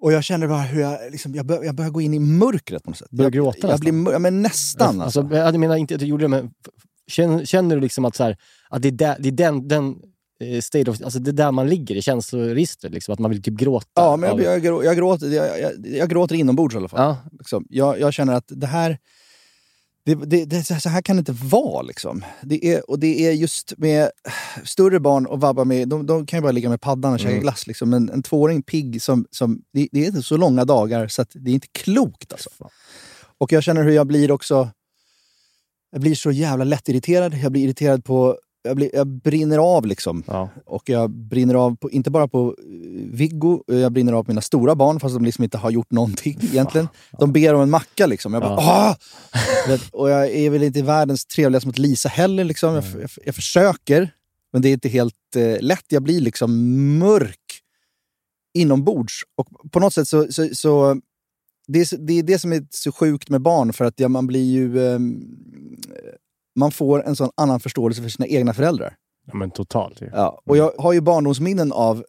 Speaker 6: Och jag känner bara hur jag, liksom, jag, bör, jag börjar gå in i mörkret på något sätt.
Speaker 7: Börjar
Speaker 6: jag,
Speaker 7: gråta
Speaker 6: jag
Speaker 7: nästan.
Speaker 6: blir mör- ja, men Nästan. Alltså.
Speaker 7: Alltså, jag menar inte att du gjorde det, men f- f- känner, känner du liksom att, så här, att det är, där, det är den, den eh, state of, alltså det är där man ligger i känsloregistret? Liksom, att man vill typ gråta?
Speaker 6: Ja, men jag,
Speaker 7: av-
Speaker 6: jag, grå- jag, gråter, jag, jag, jag gråter inombords i alla fall. Liksom, jag, jag känner att det här... Det, det, det, så här kan det inte vara. Liksom. Det, är, och det är just med större barn och vabba med... De, de kan ju bara ligga med paddan och käka
Speaker 7: Mm.
Speaker 6: glass. Liksom. Men en tvååring pigg, som, som, det, det är inte så långa dagar så att det är inte klokt. Alltså. Och jag känner hur jag blir också... Jag blir så jävla lättirriterad. Jag blir irriterad på... Jag, blir, jag brinner av liksom. Och jag brinner av, på, inte bara på eh, Viggo, eh, jag brinner av på mina stora barn fast de liksom inte har gjort någonting egentligen. De ber om en macka liksom. Jag bara, ah! Du vet, Och jag är väl inte världens trevligaste mot Lisa heller liksom. Jag, f- jag, f- jag försöker, men det är inte helt eh, lätt. Jag blir liksom mörk inombords. Och på något sätt så... så, så det, är, så- det är det som är så sjukt med barn, för att ja, man blir ju... ehm, man får en sån annan förståelse för sina egna föräldrar.
Speaker 7: Ja, men totalt. ju.
Speaker 6: Ja, och jag har ju barndomsminnen av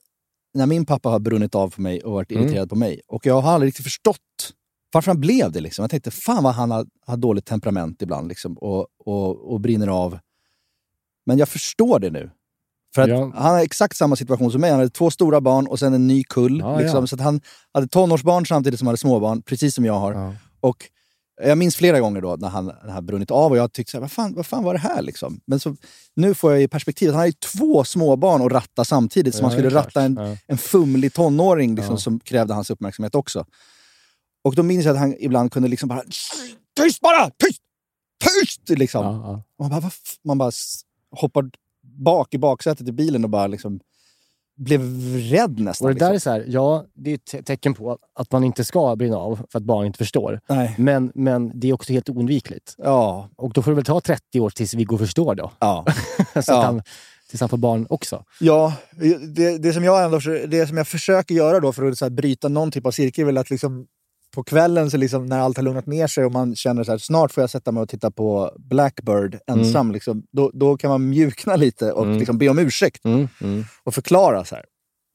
Speaker 6: när min pappa har brunnit av på mig och varit
Speaker 7: Mm.
Speaker 6: irriterad på mig. Och jag har aldrig riktigt förstått varför han blev det. Liksom. Jag tänkte, fan vad han har, har dåligt temperament ibland liksom, och, och, och brinner av. Men jag förstår det nu. För att
Speaker 7: Ja.
Speaker 6: han har exakt samma situation som mig. Han hade två stora barn och sen en ny kull.
Speaker 7: Ja,
Speaker 6: liksom.
Speaker 7: ja.
Speaker 6: Så att han hade tonårsbarn samtidigt som han hade småbarn, precis som jag har. Och jag minns flera gånger då när han, när han hade brunnit av och jag tyckte så här, vad fan, vad fan var det här liksom? Men så, nu får jag ju perspektivet. Han har ju två småbarn att ratta samtidigt. Så
Speaker 7: Ja,
Speaker 6: man
Speaker 7: det
Speaker 6: skulle
Speaker 7: är klart.
Speaker 6: ratta en,
Speaker 7: Ja.
Speaker 6: en fumlig tonåring liksom,
Speaker 7: Ja.
Speaker 6: som krävde hans uppmärksamhet också. Och då minns jag att han ibland kunde liksom bara... Tyst bara! Tyst! Tyst! Liksom. Man bara, vad f- man bara s- hoppar bak i baksätet i bilen och bara liksom blev rädd nästan.
Speaker 7: Och det där
Speaker 6: liksom.
Speaker 7: är så här, ja, det är ett te- tecken på att man inte ska brinna av för att barn inte förstår.
Speaker 6: Nej.
Speaker 7: Men, men det är också helt oundvikligt.
Speaker 6: Ja.
Speaker 7: Och då får det väl ta 30 år tills Viggo förstår då.
Speaker 6: Ja.
Speaker 7: så att
Speaker 6: Ja.
Speaker 7: han, tills han får barn också.
Speaker 6: Ja, det, det, som jag ändå, försö- det som jag försöker göra då för att så här bryta någon typ av cirkel är väl att liksom på kvällen så liksom när allt har lugnat ner sig och man känner så här, snart får jag sätta mig och titta på Blackbird ensam.
Speaker 7: Mm.
Speaker 6: Liksom, då, då kan man mjukna lite och
Speaker 7: Mm.
Speaker 6: liksom be om ursäkt
Speaker 7: Mm, mm.
Speaker 6: och förklara. Så här.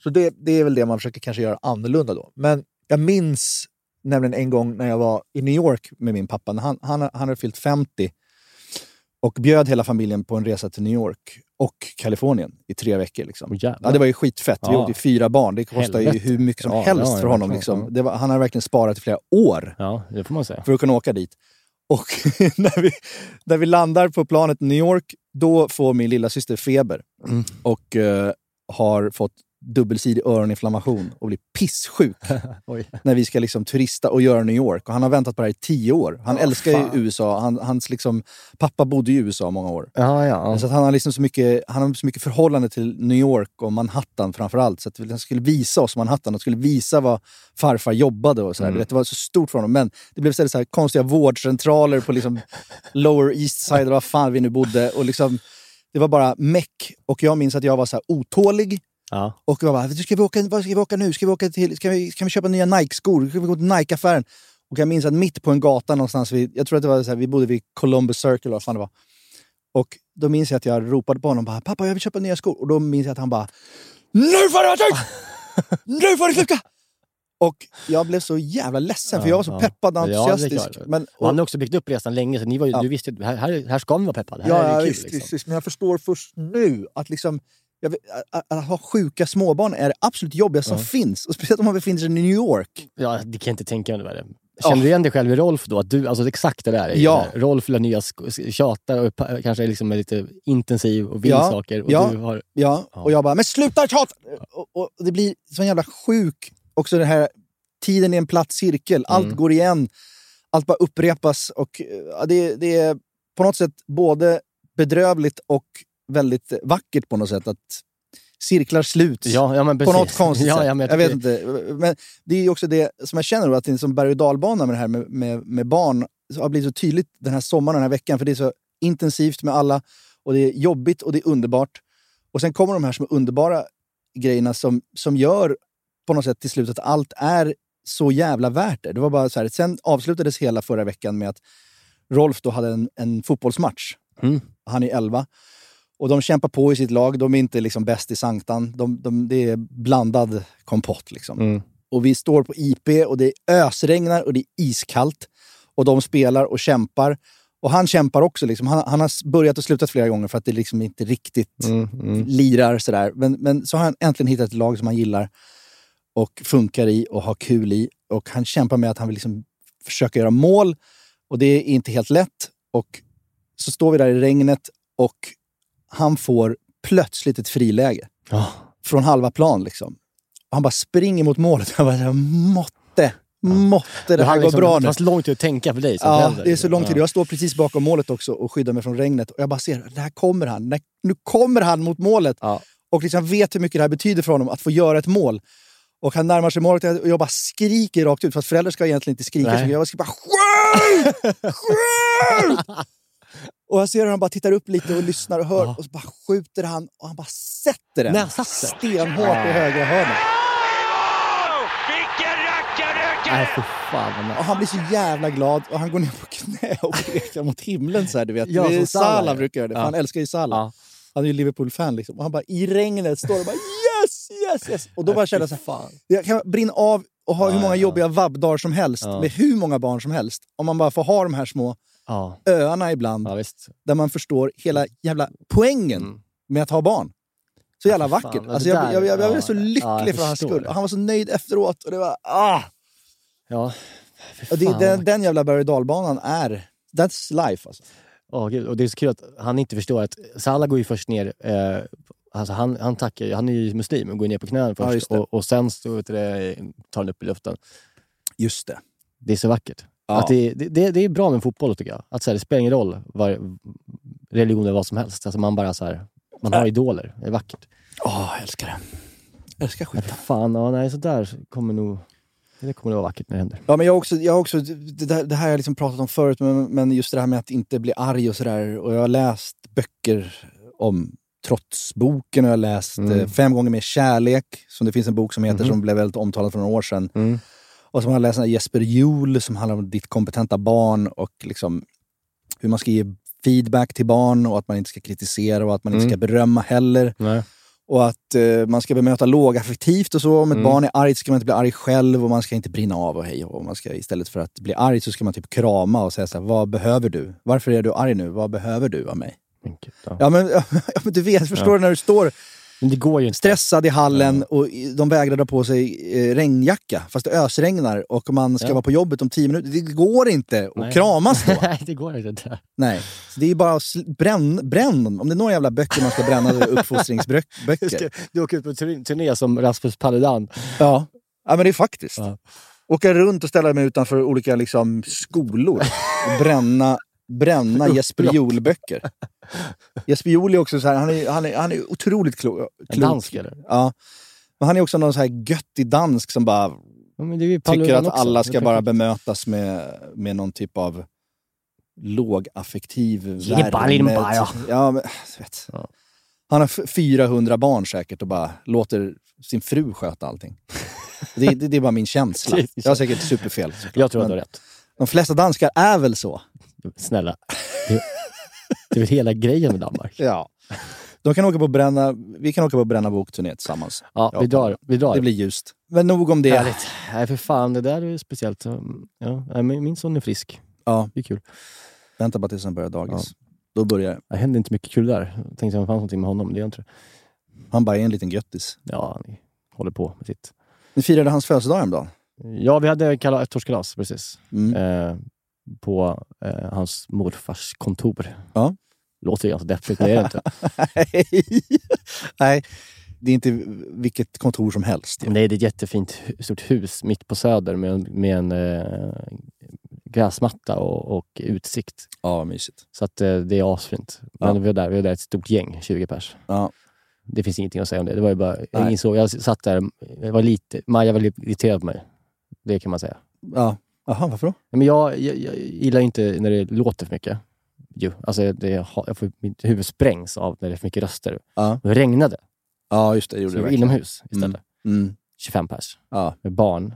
Speaker 6: Så det, det är väl det man försöker kanske göra annorlunda då. Men jag minns nämligen en gång när jag var i New York med min pappa. När han, han, han hade fyllt 50 och bjöd hela familjen på en resa till New York och Kalifornien i tre veckor. Liksom. ja, det var ju skitfett. Vi
Speaker 7: Ja.
Speaker 6: åkte i fyra barn. Det kostar ju
Speaker 7: Helvete.
Speaker 6: hur mycket som
Speaker 7: Ja,
Speaker 6: helst
Speaker 7: ja, ja,
Speaker 6: för honom.
Speaker 7: verkligen.
Speaker 6: Liksom.
Speaker 7: Ja.
Speaker 6: Det var, han har verkligen sparat i flera år
Speaker 7: Ja, det får man säga.
Speaker 6: för att kunna åka dit. Och när vi, när vi landar på planet i New York, då får min lilla syster feber
Speaker 7: Mm.
Speaker 6: och eh, har fått dubbelsidig öroninflammation och blir pissjuk
Speaker 7: Oj.
Speaker 6: när vi ska liksom turista och göra New York. Och han har väntat på det här i tio år. Han
Speaker 7: Åh,
Speaker 6: älskar ju
Speaker 7: fan.
Speaker 6: USA. Han, hans liksom, pappa bodde i USA många år.
Speaker 7: Ja, ja.
Speaker 6: Så att han, har liksom så mycket, han har så mycket förhållande till New York och Manhattan framför allt. Så att han skulle visa oss Manhattan och skulle visa vad farfar jobbade. och så här.
Speaker 7: Mm.
Speaker 6: Du vet, Det var så stort för honom. Men det blev istället så här konstiga vårdcentraler på liksom Lower East Side eller vad fan vi nu bodde. Och liksom, det var bara meck. Och jag minns att jag var så här otålig.
Speaker 7: Ja.
Speaker 6: Och jag bara, ska vi åka, vad ska vi åka nu? Ska vi, åka till, ska vi, ska vi köpa nya Nike-skor? Ska vi gå till Nike-affären? Och jag minns att mitt på en gata någonstans, vid, jag tror att det var så här, vi bodde vid Columbus Circle eller vad fan det var. Och då minns jag att jag ropade på honom, bara, pappa jag vill köpa nya skor. Och då minns jag att han bara, nu får du vara tyst! Nu får du sluta! Och jag blev så jävla ledsen, för jag var så peppad
Speaker 7: Ja,
Speaker 6: och entusiastisk.
Speaker 7: det är klart.
Speaker 6: men,
Speaker 7: och, han har också byggt upp resan länge, så ni var ju,
Speaker 6: Ja.
Speaker 7: du visste ju här, här, här ska man vara peppad. Här
Speaker 6: ja,
Speaker 7: är det kul.
Speaker 6: visst,
Speaker 7: liksom.
Speaker 6: visst, visst, men jag förstår först nu att liksom, jag, vet- att, att ha sjuka småbarn är det absolut jobbigaste
Speaker 7: Ja.
Speaker 6: som finns. Och speciellt om man befinner sig i New York.
Speaker 7: Ja, det kan jag inte tänka mig värre. Känner du igen dig själv i Rolf då? Att du, alltså exakt det där. är ju
Speaker 6: Ja.
Speaker 7: det där. Rolf vill ha nya sk- tjatar och pa- kanske är liksom lite intensiv och vill
Speaker 6: Ja,
Speaker 7: saker. Och
Speaker 6: ja,
Speaker 7: du har,
Speaker 6: Ja, och jag bara, men sluta tjata! Och, och det blir så jävla sjuk, också den här tiden är en platt cirkel. Allt
Speaker 7: Mm.
Speaker 6: går igen, allt bara upprepas. Och, eh, ja, det, det är på något sätt både bedrövligt och väldigt vackert på något sätt. att Cirklar sluts
Speaker 7: ja, ja, men
Speaker 6: på
Speaker 7: precis.
Speaker 6: något konstigt
Speaker 7: ja,
Speaker 6: sätt.
Speaker 7: ja, men
Speaker 6: jag
Speaker 7: jag
Speaker 6: vet
Speaker 7: tycker-
Speaker 6: inte. Men det är ju också det som jag känner, då, att det är en sån berg och dalbana med det här med, med, med barn. Det har blivit så tydligt den här sommaren, den här veckan, för det är så intensivt med alla. Och det är jobbigt och det är underbart. Och sen kommer de här som är underbara grejerna som, som gör på något sätt till slut att allt är så jävla värt det. det var bara så här. Sen avslutades hela förra veckan med att Rolf då hade en, en fotbollsmatch.
Speaker 7: Mm.
Speaker 6: Han är 11. Och de kämpar på i sitt lag. De är inte liksom bäst i sanktan. De, de, det är blandad kompott. Liksom.
Speaker 7: Mm.
Speaker 6: Och vi står på IP och det ösregnar och det är iskallt. Och de spelar och kämpar. Och han kämpar också. Liksom. Han, han har börjat och slutat flera gånger för att det liksom inte riktigt
Speaker 7: Mm, mm.
Speaker 6: lirar. Sådär. Men, men så har han äntligen hittat ett lag som han gillar och funkar i och har kul i. Och han kämpar med att han vill liksom försöka göra mål och det är inte helt lätt. Och så står vi där i regnet och han får plötsligt ett friläge
Speaker 7: Ja.
Speaker 6: från halva plan. Liksom. Och han bara springer mot målet. Jag bara, så här, måtte, måtte det här
Speaker 7: hann
Speaker 6: går
Speaker 7: liksom-
Speaker 6: bra
Speaker 7: Det
Speaker 6: nu.
Speaker 7: fanns lång tid att tänka för dig. som
Speaker 6: Ja,
Speaker 7: förälder.
Speaker 6: det är så lång tid.
Speaker 7: Ja.
Speaker 6: Jag står precis bakom målet också och skyddar mig från regnet. Och jag bara ser, där kommer han. När- Nu kommer han mot målet.
Speaker 7: Ja.
Speaker 6: Och liksom vet hur mycket det här betyder för honom att få göra ett mål. Och han närmar sig målet och jag bara skriker rakt ut. För att föräldrar ska egentligen inte skrika. Så
Speaker 7: Nej.
Speaker 6: mycket. jag bara skriker bara "Skjut! Skjut!" Och jag ser hur han bara tittar upp lite och lyssnar och hör. Och så bara skjuter han och han bara sätter den.
Speaker 7: När han satt den?
Speaker 6: Stenhårt i högra hörnet.
Speaker 7: Nej, för fan vad nice.
Speaker 6: Och han blir så jävla glad och han går ner på knä och pekar mot himlen. Så här, du vet.
Speaker 7: Ja,
Speaker 6: det är
Speaker 7: som Salah
Speaker 6: Salah
Speaker 7: gör.
Speaker 6: brukar göra det, för
Speaker 7: Ja.
Speaker 6: han älskar ju Salah.
Speaker 7: Ja.
Speaker 6: Han är ju Liverpool-fan. Liksom. Och han bara i regnet står och bara yes, yes, yes. Och då bara känner jag så här,
Speaker 7: Fan.
Speaker 6: jag kan brinna av och ha
Speaker 7: Ja,
Speaker 6: hur många
Speaker 7: ja.
Speaker 6: jobbiga vabbdagar som helst
Speaker 7: Ja.
Speaker 6: med hur många barn som helst. Om man bara får ha de här små
Speaker 7: Ja.
Speaker 6: öarna ibland
Speaker 7: ja, visst.
Speaker 6: där man förstår hela jävla poängen
Speaker 7: Mm.
Speaker 6: med att ha barn. Så jävla
Speaker 7: Ja, för fan.
Speaker 6: vackert.
Speaker 7: Ja,
Speaker 6: Alltså,
Speaker 7: det
Speaker 6: jag,
Speaker 7: där-
Speaker 6: jag, jag, jag blev
Speaker 7: ja,
Speaker 6: så
Speaker 7: ja,
Speaker 6: lycklig
Speaker 7: jag
Speaker 6: för hans
Speaker 7: förstår
Speaker 6: skull.
Speaker 7: det.
Speaker 6: Och han var så nöjd efteråt. Och det var, ah!
Speaker 7: Ja. Fy
Speaker 6: Och det,
Speaker 7: fan,
Speaker 6: den, den jävla berg och dalbanan är... That's life alltså.
Speaker 7: Åh, gud. Och det är så kul att han inte förstår att Salah går ju först ner, eh, alltså han, han, tackar, ju- han är ju muslim och går ner på knäna
Speaker 6: Ja, just
Speaker 7: först
Speaker 6: det.
Speaker 7: och, och sen så, vet du det, tar han upp i luften.
Speaker 6: Just det.
Speaker 7: Det är så vackert.
Speaker 6: Ja.
Speaker 7: Att det, det- det, det är bra med fotboll tycker jag. Att så här, det spelar ingen roll vad religion eller vad som helst. Alltså man bara så här, man har idoler. Det är vackert.
Speaker 6: Åh, jag älskar det. Jag älskar
Speaker 7: Men
Speaker 6: skit.
Speaker 7: för fan, ja, nej, så där kommer nog, det kommer nog vara vackert när det händer.
Speaker 6: Ja, men jag har också, jag har också, det, där, det här har jag liksom pratat om förut, men, men just det här med att inte bli arg och sådär. Och jag har läst böcker om Trotsboken och jag har läst
Speaker 7: Mm.
Speaker 6: eh, Fem gånger mer kärlek, som det finns en bok som heter,
Speaker 7: Mhm.
Speaker 6: som blev väldigt omtalad för några år sedan.
Speaker 7: Mm.
Speaker 6: Och som har jag läst den här Jesper Juhl som handlar om ditt kompetenta barn och liksom hur man ska ge feedback till barn och att man inte ska kritisera och att man inte
Speaker 7: Mm.
Speaker 6: ska berömma heller.
Speaker 7: Nej.
Speaker 6: Och att eh, man ska bemöta lågaffektivt och så. Om ett
Speaker 7: Mm.
Speaker 6: barn är argt ska man inte bli arg själv och man ska inte brinna av och hej och man ska Istället för att bli arg så ska man typ krama och säga så här, vad behöver du? Varför är du arg nu? Vad behöver du av mig?
Speaker 7: Enkelt, ja.
Speaker 6: Ja men, ja, men du vet, förstår
Speaker 7: Ja.
Speaker 6: du när du står
Speaker 7: Men det går ju inte.
Speaker 6: stressad i hallen och i- de vägrar dra på sig eh, regnjacka fast det ösregnar och man ska
Speaker 7: Ja.
Speaker 6: vara på jobbet om tio minuter. Det går inte att
Speaker 7: Nej.
Speaker 6: kramas då.
Speaker 7: Nej, det går inte.
Speaker 6: Nej. Så det är ju bara att sl- bränn, bränn dem. Om det är några jävla böcker man ska bränna, då är det
Speaker 7: Du,
Speaker 6: uppfostringsböcker.
Speaker 7: ska, du åker ut på turné, turné som Rasmus Paludan.
Speaker 6: Ja. ja, men det är faktiskt.
Speaker 7: Ja.
Speaker 6: Åka runt och ställa mig utanför olika liksom, skolor och bränna, bränna Jesper
Speaker 7: Upplopp.
Speaker 6: Juhl-böcker. Jesper Juhl är också så här, han är, han är, han är otroligt klo-
Speaker 7: En
Speaker 6: klok.
Speaker 7: dansk eller?
Speaker 6: Ja. Men han är också någon så här göttig dansk som bara
Speaker 7: Ja, men det är ju
Speaker 6: tycker
Speaker 7: Paludan
Speaker 6: att
Speaker 7: också.
Speaker 6: alla
Speaker 7: Det är
Speaker 6: ska bara
Speaker 7: perfekt.
Speaker 6: bemötas med, med någon typ av lågaffektiv typ.
Speaker 7: Ge det bara in bara, ja.
Speaker 6: Ja, men, du vet.
Speaker 7: Ja.
Speaker 6: Han har f- 400 barn säkert och bara låter sin fru sköta allting. Det, det, det är bara min känsla.
Speaker 7: Det är så.
Speaker 6: Jag har säkert superfel. såklart.
Speaker 7: Typ. Jag tror att du
Speaker 6: Men
Speaker 7: har rätt.
Speaker 6: De flesta danskar är väl så.
Speaker 7: Snälla. Det, det är väl hela grejen med Danmark.
Speaker 6: Ja. De kan åka på bränna, vi kan åka på bränna bokturné tillsammans.
Speaker 7: Ja, vi drar. Vi drar.
Speaker 6: Det blir ljust. Men nog om det.
Speaker 7: Härligt. Nej, för fan. Det där är ju speciellt. Mm, Ja, nej, men min son är frisk.
Speaker 6: Ja.
Speaker 7: Det är kul.
Speaker 6: Vänta bara tills han börjar dagis. Då börjar det.
Speaker 7: Det händer inte mycket kul där. Jag tänkte att det fanns någonting med honom, men det gör inte det.
Speaker 6: Han bara är en liten göttis.
Speaker 7: Ja, han håller på med sitt.
Speaker 6: Ni firade hans födelsedag häromdagen.
Speaker 7: Ja, vi hade kala- ett torskalas, precis.
Speaker 6: Mm.
Speaker 7: Eh, på eh, hans morfars kontor.
Speaker 6: Ja.
Speaker 7: Låter ju ganska deppigt, men det är det inte.
Speaker 6: Nej. Nej, det är inte vilket kontor som helst. ju.
Speaker 7: Nej, det är ett jättefint hu- stort hus mitt på Söder med en, med en eh, gräsmatta och, och utsikt.
Speaker 6: Ja, mysigt.
Speaker 7: Så att, eh, det är asfint. Men
Speaker 6: Ja.
Speaker 7: vi, var där, vi var där ett stort gäng, 20 pers.
Speaker 6: Ja.
Speaker 7: Det finns ingenting att säga om det. det var ju bara, jag
Speaker 6: Nej.
Speaker 7: insåg, jag satt där, jag var lite, Maja var lite irriterad på mig. Det kan man säga.
Speaker 6: Ja. Jaha, varför då?
Speaker 7: Men jag, jag, jag gillar ju inte när det låter för mycket. Jo, alltså det, jag har- jag får, mitt huvud sprängs av när det är för mycket röster.
Speaker 6: Ja,
Speaker 7: Och det regnade,
Speaker 6: ja just det.
Speaker 7: så
Speaker 6: Gjorde
Speaker 7: det
Speaker 6: det
Speaker 7: var
Speaker 6: verkligen.
Speaker 7: inomhus istället.
Speaker 6: Mm.
Speaker 7: 25 pers.
Speaker 6: Ja.
Speaker 7: Med barn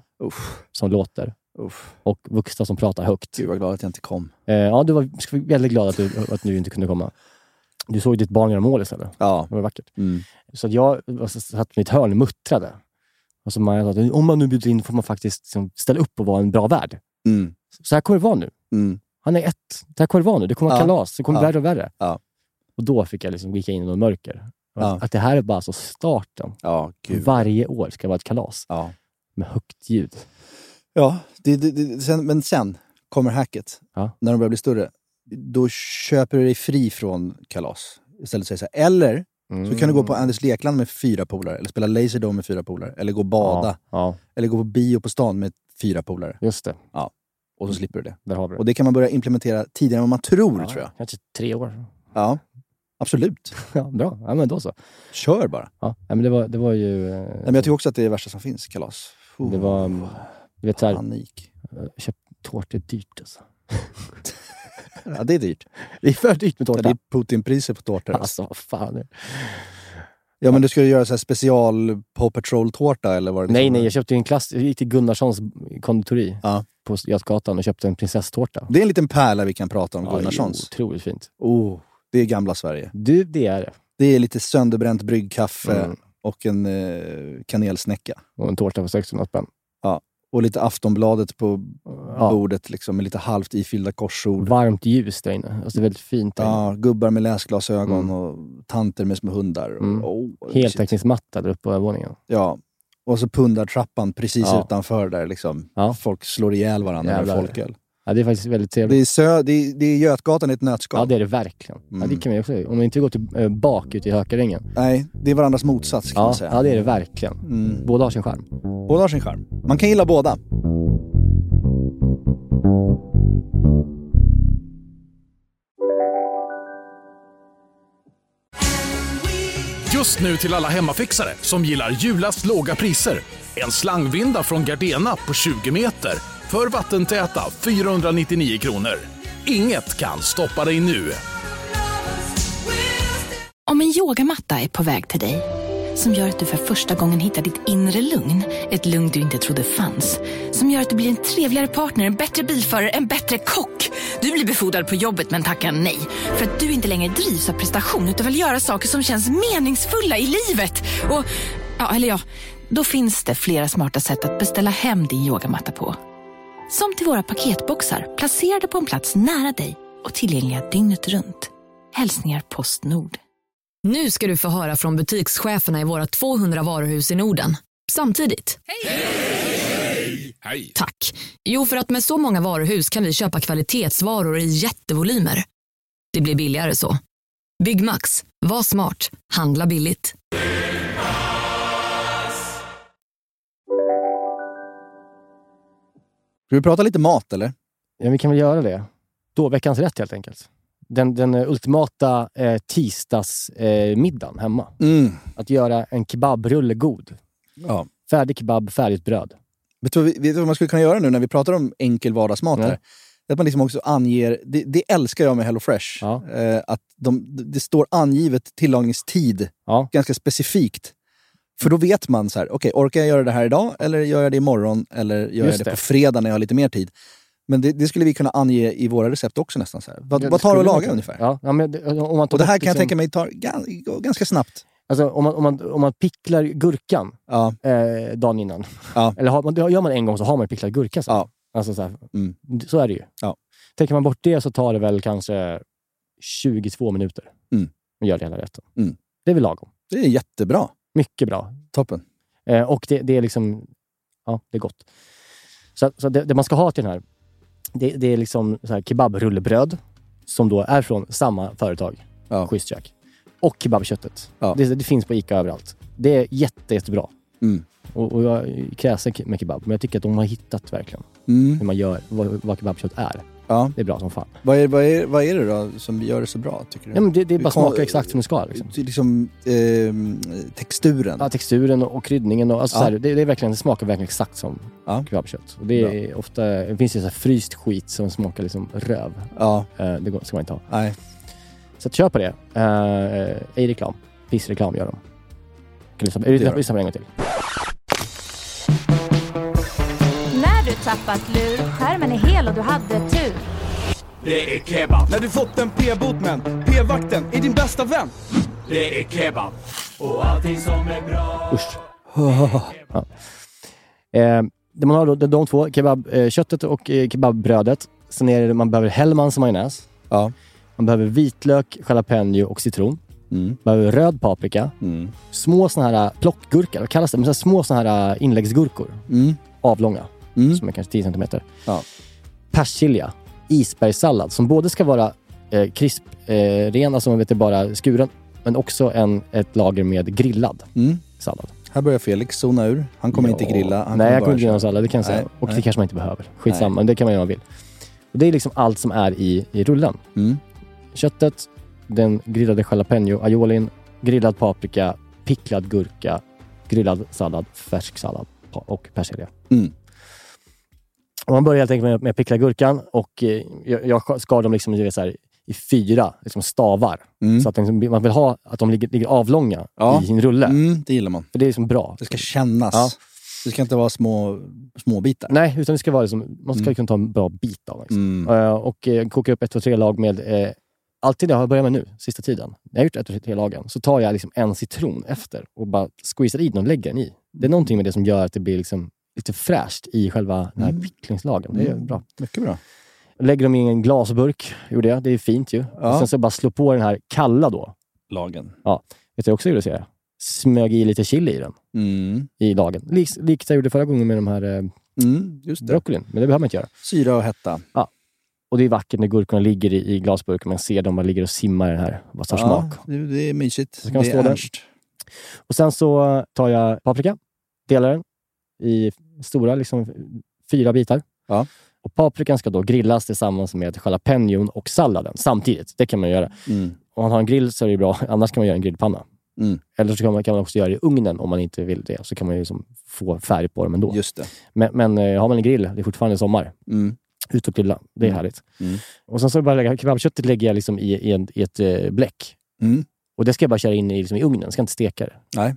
Speaker 7: som låter.
Speaker 6: Uff.
Speaker 7: Och vuxna som pratar högt.
Speaker 6: Gud vad glad att jag inte kom.
Speaker 7: Eh, ja, du var ska vara väldigt glad att du, att du inte kunde komma. Du såg ditt barn göra mål istället.
Speaker 6: Ja.
Speaker 7: Det var vackert.
Speaker 6: Mm.
Speaker 7: Så att jag var- satt i mitt hörn och muttrade. Och så Maja sa att om man nu bjuder in får man faktiskt liksom ställa upp och vara en bra värd.
Speaker 6: Mm.
Speaker 7: Så här kommer det vara nu.
Speaker 6: Mm.
Speaker 7: Han är ett. Det här kommer det vara nu. Det kommer vara
Speaker 6: Ja.
Speaker 7: kalas. Det kommer
Speaker 6: Ja.
Speaker 7: värre och värre.
Speaker 6: Ja.
Speaker 7: Och då fick jag liksom gick jag in i något mörker. Och
Speaker 6: Ja.
Speaker 7: Att, att det här är bara så starten.
Speaker 6: Ja, gud.
Speaker 7: Varje år ska det vara ett kalas. Med högt ljud.
Speaker 6: Ja, det, det, det, sen, men sen kommer hacket.
Speaker 7: Ja.
Speaker 6: När de börjar bli större. Då köper du dig fri från kalas. Istället säger så här. Eller så kan du
Speaker 7: Mm.
Speaker 6: gå på Anders Lekland med fyra polare. Eller spela Laserdome med fyra polare. Eller gå och bada.
Speaker 7: Ja, ja.
Speaker 6: Eller gå på bio på stan med fyra polare.
Speaker 7: Just det.
Speaker 6: Ja. Och så slipper du det.
Speaker 7: Där har vi det.
Speaker 6: Och det kan man börja implementera tidigare än vad man tror,
Speaker 7: Ja,
Speaker 6: tror jag.
Speaker 7: Kanske tre år.
Speaker 6: Ja, absolut.
Speaker 7: Ja, bra. Ja, men då så.
Speaker 6: Kör bara.
Speaker 7: Ja, nej, men det var, det var ju... eh,
Speaker 6: Nej, men jag tycker också att det är det värsta som finns, kalas. Oh,
Speaker 7: Det var... mm, Du vet såhär...
Speaker 6: Panik.
Speaker 7: Köp tårta är dyrt alltså.
Speaker 6: Ja, det är dyrt.
Speaker 7: Det är för dyrt med
Speaker 6: Det
Speaker 7: tårta.
Speaker 6: är Putinpriser på tårtor.
Speaker 7: Alltså,
Speaker 6: alltså.
Speaker 7: vad fan.
Speaker 6: Ja, men du skulle göra så här special Paw Patrol-tårta eller vad det
Speaker 7: Nej,
Speaker 6: liksom-
Speaker 7: nej, jag köpte ju en klass... Jag gick till Gunnarssons konditori
Speaker 6: Ja.
Speaker 7: på Götgatan och köpte en prinsesstårta.
Speaker 6: Det är en liten pärla vi kan prata om,
Speaker 7: Ja, det är
Speaker 6: Gunnarssons.
Speaker 7: Otroligt fint.
Speaker 6: Oh, det är gamla Sverige.
Speaker 7: Du, det är det.
Speaker 6: Det är lite sönderbränt bryggkaffe
Speaker 7: Mm.
Speaker 6: och en eh, kanelsnäcka.
Speaker 7: Och en tårta för 600 spänn.
Speaker 6: Och lite Aftonbladet på
Speaker 7: Ja.
Speaker 6: bordet liksom, med lite halvt ifyllda korsord.
Speaker 7: Varmt ljus där inne. Alltså, det är väldigt fint där inne.
Speaker 6: Ja, gubbar med läsglasögon
Speaker 7: Mm.
Speaker 6: och tanter med små hundar. Och,
Speaker 7: Mm.
Speaker 6: oh, shit.
Speaker 7: Heltäckningsmatta där uppe på övervåningen.
Speaker 6: Ja. Och så pundartrappan precis
Speaker 7: Ja.
Speaker 6: utanför där liksom.
Speaker 7: Ja.
Speaker 6: Folk slår ihjäl varandra
Speaker 7: Jävlar.
Speaker 6: med folköl.
Speaker 7: Ja, det är faktiskt väldigt
Speaker 6: Det
Speaker 7: trevligt.
Speaker 6: är, sö- det, är, det är Götgatan i ett nötskal.
Speaker 7: Ja, det är det verkligen. Ja, det
Speaker 6: Mm.
Speaker 7: kan man ju också, om man inte går till, eh, bak ute i Hökarängen.
Speaker 6: Nej, det är varandras motsats kan man
Speaker 7: Ja,
Speaker 6: säga.
Speaker 7: ja, det är det verkligen.
Speaker 6: Mm.
Speaker 7: Båda har sin charm.
Speaker 6: Båda har sin charm. Man kan gilla båda.
Speaker 1: Just nu till alla hemmafixare som gillar Julas låga priser. En slangvinda från Gardena på 20 meter för vattentäta 499 kronor. Inget kan stoppa dig nu.
Speaker 14: Om en yogamatta är på väg till dig, som gör att du för första gången hittar ditt inre lugn, ett lugn du inte trodde fanns, som gör att du blir en trevligare partner, en bättre bilförare, en bättre kock. Du blir befordrad på jobbet men tackar nej, för att du inte längre drivs av prestation utan vill göra saker som känns meningsfulla i livet. Och, ja, eller ja, då finns det flera smarta sätt att beställa hem din yogamatta på. Som till våra paketboxar placerade på en plats nära dig och tillgängliga dygnet runt. Hälsningar Postnord.
Speaker 15: Nu ska du få höra från butikscheferna i våra 200 varuhus i Norden. Samtidigt.
Speaker 1: Hej!
Speaker 15: Tack. Jo, för att med så många varuhus kan vi köpa kvalitetsvaror i jättevolymer. Det blir billigare så. Byggmax. Var smart. Handla billigt.
Speaker 6: Ska vi prata lite mat eller?
Speaker 7: Ja, vi kan väl göra det. Då, veckans rätt helt enkelt. Den, den eh, ultimata eh, tisdagsmiddagen eh, middagen hemma.
Speaker 6: Mm.
Speaker 7: Att göra en kebabrulle god.
Speaker 6: Ja.
Speaker 7: Färdig kebab, färdigt bröd.
Speaker 6: Vet du, vad vi- vet du vad man skulle kunna göra nu när vi pratar om enkel vardagsmat?
Speaker 7: Nej.
Speaker 6: Här? Att man liksom också anger, det, det älskar jag med HelloFresh.
Speaker 7: Ja.
Speaker 6: Eh, att de, det står angivet tillagningstid
Speaker 7: Ja.
Speaker 6: ganska specifikt. För då vet man, så här, okej, orkar jag göra det här idag eller gör jag det imorgon eller gör
Speaker 7: Just
Speaker 6: jag det,
Speaker 7: det.
Speaker 6: på fredag när jag har lite mer tid. Men det, det skulle vi kunna ange i våra recept också nästan. Så här. Vad,
Speaker 7: Ja,
Speaker 6: vad
Speaker 7: det
Speaker 6: tar det
Speaker 7: skulle man
Speaker 6: att laga
Speaker 7: kunna.
Speaker 6: ungefär?
Speaker 7: Ja, ja, men, det- om man tar
Speaker 6: Och det här
Speaker 7: bort
Speaker 6: kan jag
Speaker 7: liksom-
Speaker 6: tänka mig tar gan- går ganska snabbt.
Speaker 7: Alltså, om, man, om, man, om man picklar gurkan
Speaker 6: Ja,
Speaker 7: eh, dagen innan.
Speaker 6: Ja.
Speaker 7: Eller har man, det gör man en gång så har man picklad gurka sen.
Speaker 6: Ja.
Speaker 7: Alltså, så, här,
Speaker 6: Mm.
Speaker 7: så är det ju.
Speaker 6: Ja.
Speaker 7: Tänker man bort det så tar det väl kanske 22 minuter
Speaker 6: Mm.
Speaker 7: att göra hela rätten.
Speaker 6: Mm.
Speaker 7: Det är väl lagom.
Speaker 6: det är jättebra.
Speaker 7: Mycket bra.
Speaker 6: Toppen.
Speaker 7: Eh, och det, det är liksom... Ja, det är gott. Så, så det, det man ska ha till den här, det, det är liksom så här kebabrullebröd som då är från samma företag,
Speaker 6: Ja.
Speaker 7: Schysst Kök. Och kebabköttet.
Speaker 6: Ja.
Speaker 7: Det, det finns på Ica överallt. Det är jätte, jättebra.
Speaker 6: Mm.
Speaker 7: Och, och jag är kräsen med kebab, men jag tycker att de har hittat verkligen
Speaker 6: Mm.
Speaker 7: hur man gör, vad, vad kebabkött är.
Speaker 6: Ja.
Speaker 7: Det är bra som fan.
Speaker 6: Vad, är, vad, är, vad är det då som gör det så bra, tycker du?
Speaker 7: Ja, men det, det är bara
Speaker 6: Kon-
Speaker 7: smakar exakt som det ska. Liksom.
Speaker 6: Det är liksom eh, texturen.
Speaker 7: Ja, texturen och och kryddningen. Och, alltså,
Speaker 6: Ja.
Speaker 7: så här, det, det, är verkligen, det smakar verkligen exakt som
Speaker 6: Ja.
Speaker 7: kebabkött. Och det, är ofta, det finns ju så här fryst skit som smakar liksom röv.
Speaker 6: Ja,
Speaker 7: Eh, det går- ska man inte ha.
Speaker 6: nej.
Speaker 7: Så att köp på det. Eh, eh, ej reklam. Pissreklam gör de. Kan lyssna,
Speaker 6: gör
Speaker 7: lyssna,
Speaker 6: de.
Speaker 7: lyssna på det en gång till.
Speaker 16: tappat lur. Skärmen är hel och du hade tur.
Speaker 17: Det är kebab.
Speaker 18: När du fått en p-bot men p-vakten är din bästa vän.
Speaker 17: Det är kebab. Och allting som är bra.
Speaker 7: Usch. Ja. Eh, det man har då, det är de två, kebabköttet och eh, kebabbrödet. Sen är det, man behöver Hellmans majonnäs. Man behöver vitlök, jalapeno och citron. Man behöver röd paprika.
Speaker 6: mm,
Speaker 7: Små såna här plockgurkor, vad kallas det? Men så här små såna här eh, inläggsgurkor.
Speaker 6: mm,
Speaker 7: Avlånga, som är kanske 10 centimeter. Persilja, isbergssallad som både ska vara eh, krispren, eh, ren, alltså man vet det bara skuren, men också en, ett lager med grillad sallad.
Speaker 6: mm. Här börjar Felix zona ur. Han kommer
Speaker 7: Ja.
Speaker 6: inte grilla. Han
Speaker 7: nej, jag
Speaker 6: bara
Speaker 7: kommer inte grilla
Speaker 6: köra.
Speaker 7: någon sallad, det kan jag säga.
Speaker 6: Nej,
Speaker 7: och det
Speaker 6: nej.
Speaker 7: kanske man inte behöver. Skitsamma, men det kan man göra om man vill. Och det är liksom allt som är i, i rullen. Köttet, den grillade jalapeno aiolin, grillad paprika, picklad gurka, grillad sallad, färsk sallad pa- och persilja.
Speaker 6: Mm.
Speaker 7: Och man börjar helt enkelt med, med att pickla gurkan och eh, jag, jag skar dem liksom, du vet, så här, i fyra liksom stavar. Så att den liksom, man vill ha att de ligger, ligger avlånga
Speaker 6: Mm. Ja.
Speaker 7: i sin rulle.
Speaker 6: Mm, det gillar man.
Speaker 7: För det är liksom bra.
Speaker 6: Det ska kännas.
Speaker 7: Ja.
Speaker 6: Det ska inte vara små, små bitar.
Speaker 7: Nej, utan det ska vara liksom, man ska
Speaker 6: Mm.
Speaker 7: kunna ta en bra bit av. Liksom. Eh, och eh, kokar upp ett, två, tre lag med... Eh, alltid det har jag börjat med nu, sista tiden. När jag har gjort ett, två, tre lagen, så tar jag liksom en citron efter och bara squeezar i den och lägger den i. Det är någonting med det som gör att det blir liksom lite fräscht i själva den här picklingslagen. Det är
Speaker 6: Mm.
Speaker 7: bra.
Speaker 6: Mycket bra.
Speaker 7: Lägger dem i en glasburk, gjorde jag. Det är fint ju.
Speaker 6: Ja.
Speaker 7: Och sen så bara slå på den här kalla då.
Speaker 6: Lagen.
Speaker 7: Ja. Vet du vad jag också gjorde, ser jag? Smög i lite chili i den.
Speaker 6: Mm,
Speaker 7: I lagen. Liks, likt jag gjorde förra gången med de här eh, broccolin. Men det behöver man inte göra.
Speaker 6: mm, Syra och hetta.
Speaker 7: Ja. Och det är vackert när gurkorna ligger i, i glasburken. Man ser dem bara ligger och simmar i den här. Vad
Speaker 6: Ah.
Speaker 7: tar smak.
Speaker 6: Det, det är mysigt.
Speaker 7: Så kan man
Speaker 6: det
Speaker 7: stå
Speaker 6: är
Speaker 7: där.
Speaker 6: ernst.
Speaker 7: Och sen så eh, tar jag paprika, delar den i stora, liksom fyra bitar. Och paprikan ska då grillas tillsammans med jalapenon och salladen samtidigt. Det kan man göra. Om man har en grill så är det bra, annars kan man göra en grillpanna.
Speaker 6: Mm.
Speaker 7: Eller så kan man, kan man också göra det i ugnen om man inte vill det. Så kan man ju liksom få färg på dem ändå.
Speaker 6: Just det.
Speaker 7: Men, men eh, har man en grill, det är fortfarande sommar.
Speaker 6: Mm.
Speaker 7: Ut och grilla. Det är
Speaker 6: Mm.
Speaker 7: härligt.
Speaker 6: Mm.
Speaker 7: Och sen så bara lägga, kebabköttet lägger jag liksom i, i, en, i ett eh, bläck.
Speaker 6: Mm.
Speaker 7: Och det ska jag bara köra in i, liksom, i ugnen, jag ska inte steka det
Speaker 6: Nej.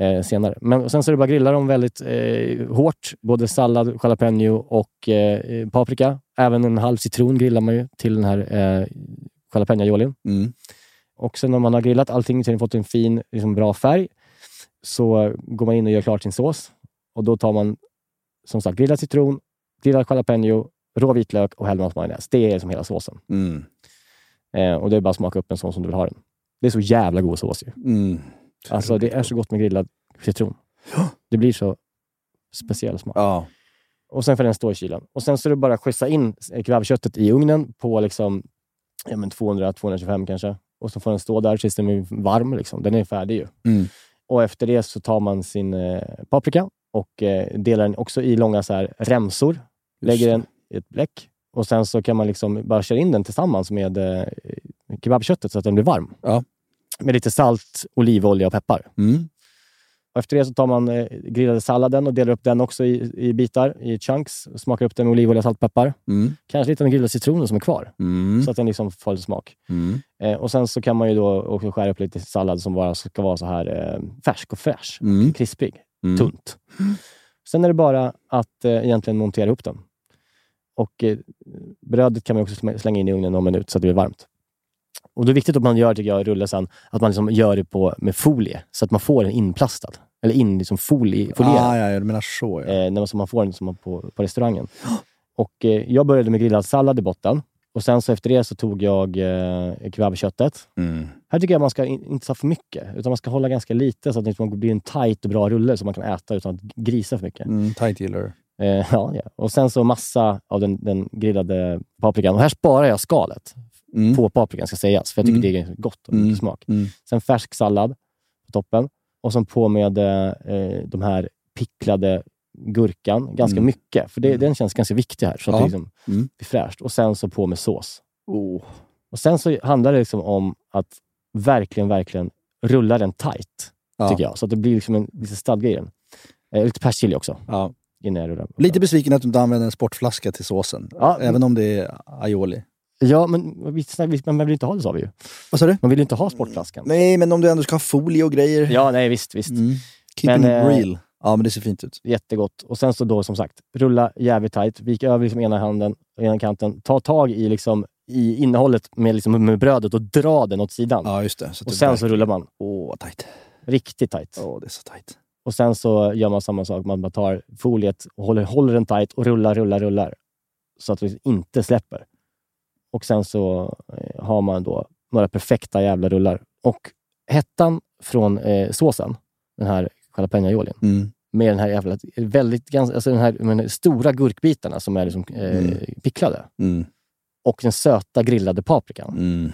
Speaker 7: eh, senare. Men och sen så är det bara att grilla dem väldigt eh, hårt. Både sallad, jalapeno och eh, paprika. Även en halv citron grillar man ju till den här eh, jalapeno aiolin.
Speaker 6: Mm,
Speaker 7: Och sen när man har grillat allting till den fått en fin, liksom, bra färg, så går man in och gör klart sin sås. Och då tar man som sagt grillad citron, grillad jalapeno, rå vitlök och Hellmans majonnäs. Det är som hela såsen.
Speaker 6: Mm.
Speaker 7: Eh, och det är bara att smaka upp en sån som du vill ha den. Det är så jävla god sås ju.
Speaker 6: Mm.
Speaker 7: Alltså det är så gott med grillad citron. Det blir så speciell smak. Och sen får den stå i kylen. Och sen så är det bara att skjutsa in eh, kebabköttet i ugnen på liksom, ja, men 200-225 kanske. Och så får den stå där tills den är varm. Liksom. Den är färdig ju.
Speaker 6: Mm.
Speaker 7: Och efter det så tar man sin eh, paprika och eh, delar den också i långa så här, remsor. lägger den i ett bläck. Och sen så kan man liksom bara köra in den tillsammans med eh, kebabköttet så att den blir varm. Med lite salt, olivolja och peppar.
Speaker 6: Mm,
Speaker 7: Och efter det så tar man eh, grillade salladen och delar upp den också i, i bitar, i chunks. Smakar upp den med olivolja och saltpeppar.
Speaker 6: Mm.
Speaker 7: Kanske lite av den grillade citronen som är kvar.
Speaker 6: Mm.
Speaker 7: Så att den liksom får lite smak.
Speaker 6: Mm.
Speaker 7: Eh, och sen så kan man ju då också skära upp lite sallad som bara ska vara så här eh, färsk och fräsch.
Speaker 6: Mm.
Speaker 7: Krispig.
Speaker 6: Mm.
Speaker 7: Tunt. Sen är det bara att eh, egentligen montera ihop den. Och eh, brödet kan man också sm- slänga in i ugnen någon minut så att det blir varmt. Och det är viktigt att man gör, tycker jag, i rulle sen, att man liksom gör det på, med folie, så att man får den inplastad. Eller in, liksom folie, folierad.
Speaker 6: Ah, ja, ja, du menar så. Ja.
Speaker 7: Eh, när man, som man får den som man på, på restaurangen. Och eh, jag började med grillad sallad i botten. Och sen så efter det så tog jag eh, kebabköttet.
Speaker 6: Mm,
Speaker 7: Här tycker jag man ska in, inte ta för mycket, utan man ska hålla ganska lite så att det inte blir en tight och bra rulle som man kan äta utan att grisa för mycket.
Speaker 6: Mm, tight gillar du.
Speaker 7: Eh, ja, ja. Och sen så massa av den, den grillade paprikan. Och här sparar jag skalet
Speaker 6: Mm,
Speaker 7: på paprikan, ska sägas. För jag tycker det är gott och mycket smak. Sen färsk sallad på toppen. Och sen på med eh, de här picklade gurkan, ganska
Speaker 6: Mm.
Speaker 7: mycket. För det, den känns ganska viktig här, så att
Speaker 6: Ja.
Speaker 7: det liksom
Speaker 6: Mm. Oh.
Speaker 7: blir fräscht. Och sen så på med sås. Och sen så handlar det liksom om att verkligen, verkligen rulla den tight,
Speaker 6: Ja.
Speaker 7: tycker jag. Så att det blir liksom en, lite stadga i den. Eh, lite persilja också, innan jag rullar.
Speaker 6: Lite besviken att du inte använder en sportflaska till såsen.
Speaker 7: Ja.
Speaker 6: Även om det är aioli.
Speaker 7: Ja, men vi, vi- man vill ju inte ha det, sa vi ju.
Speaker 6: Vad sa du?
Speaker 7: Man vill ju inte ha sportflaskan.
Speaker 6: Nej, men om du ändå ska ha folie och grejer. Mm.
Speaker 7: Ja, nej, visst, visst.
Speaker 6: Keeping
Speaker 7: Men, eh,
Speaker 6: real. Ja, men det ser fint ut.
Speaker 7: Jättegott. Och sen så då som sagt, rulla jävligt tajt. Vik över liksom ena handen, ena kanten. Ta tag i, liksom, i innehållet med, liksom, med brödet och dra den åt sidan.
Speaker 6: Ja, just det. Så att
Speaker 7: och
Speaker 6: det
Speaker 7: sen så
Speaker 6: verkligen-
Speaker 7: rullar man.
Speaker 6: Åh, vad tajt.
Speaker 7: Riktigt tajt.
Speaker 6: Åh, det är så tajt.
Speaker 7: Och sen så gör man samma sak. Man bara tar foliet, och håller, håller den tajt och rullar, rullar, rullar. Så att det inte släpper. Och sen så eh, har man då några perfekta jävla rullar. Och hettan från eh, såsen, den här jalapeño-aiolin,
Speaker 6: Mm,
Speaker 7: med den här jävla, väldigt, ganska, alltså den här, med de här stora gurkbitarna som är liksom, eh, picklade.
Speaker 6: mm,
Speaker 7: Och den söta grillade paprikan.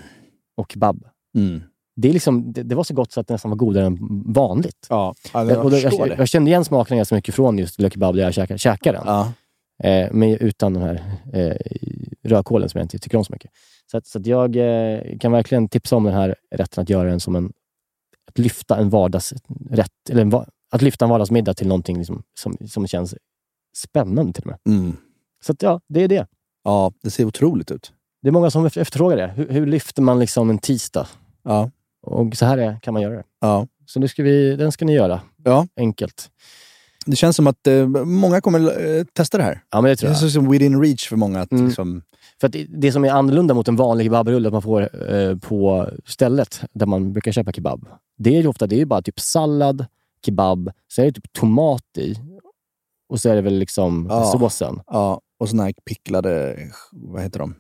Speaker 7: Och kebab.
Speaker 6: mm.
Speaker 7: Det, är liksom, det, det var så gott så att det nästan var godare än vanligt.
Speaker 6: Ja,
Speaker 7: jag, och då, jag, jag kände igen smakerna ganska mycket från just lökkebab där jag käkade, käkade den. Eh, men utan den här eh, rödkålen som jag inte tycker om så mycket. Så, att, så att jag eh, kan verkligen tipsa om den här rätten att göra den som en... Att lyfta en vardagsrätt, eller en, va- att lyfta en vardagsmiddag till någonting liksom, som, som känns spännande till och med. Så att, ja, det är det.
Speaker 6: mm. Ja, det ser otroligt ut.
Speaker 7: Det är många som efter- efterfrågar det. Hur, hur lyfter man liksom en tisdag?
Speaker 6: Ja.
Speaker 7: Och så här är, kan man göra det.
Speaker 6: Ja.
Speaker 7: Så nu ska vi, den ska ni göra.
Speaker 6: Ja.
Speaker 7: Enkelt.
Speaker 6: Det känns som att eh, många kommer eh, testa det här.
Speaker 7: Ja, Mm. men det tror
Speaker 6: det
Speaker 7: jag.
Speaker 6: känns som within reach för många. Att, liksom,
Speaker 7: För att det- det som är annorlunda mot en vanlig kebabrulle att man får eh, på stället där man brukar köpa kebab, det är ju ofta det är ju bara typ sallad, kebab, sen är det typ tomat i och så är det väl liksom
Speaker 6: Ja.
Speaker 7: såsen.
Speaker 6: ja, och såna här picklade, vad heter de?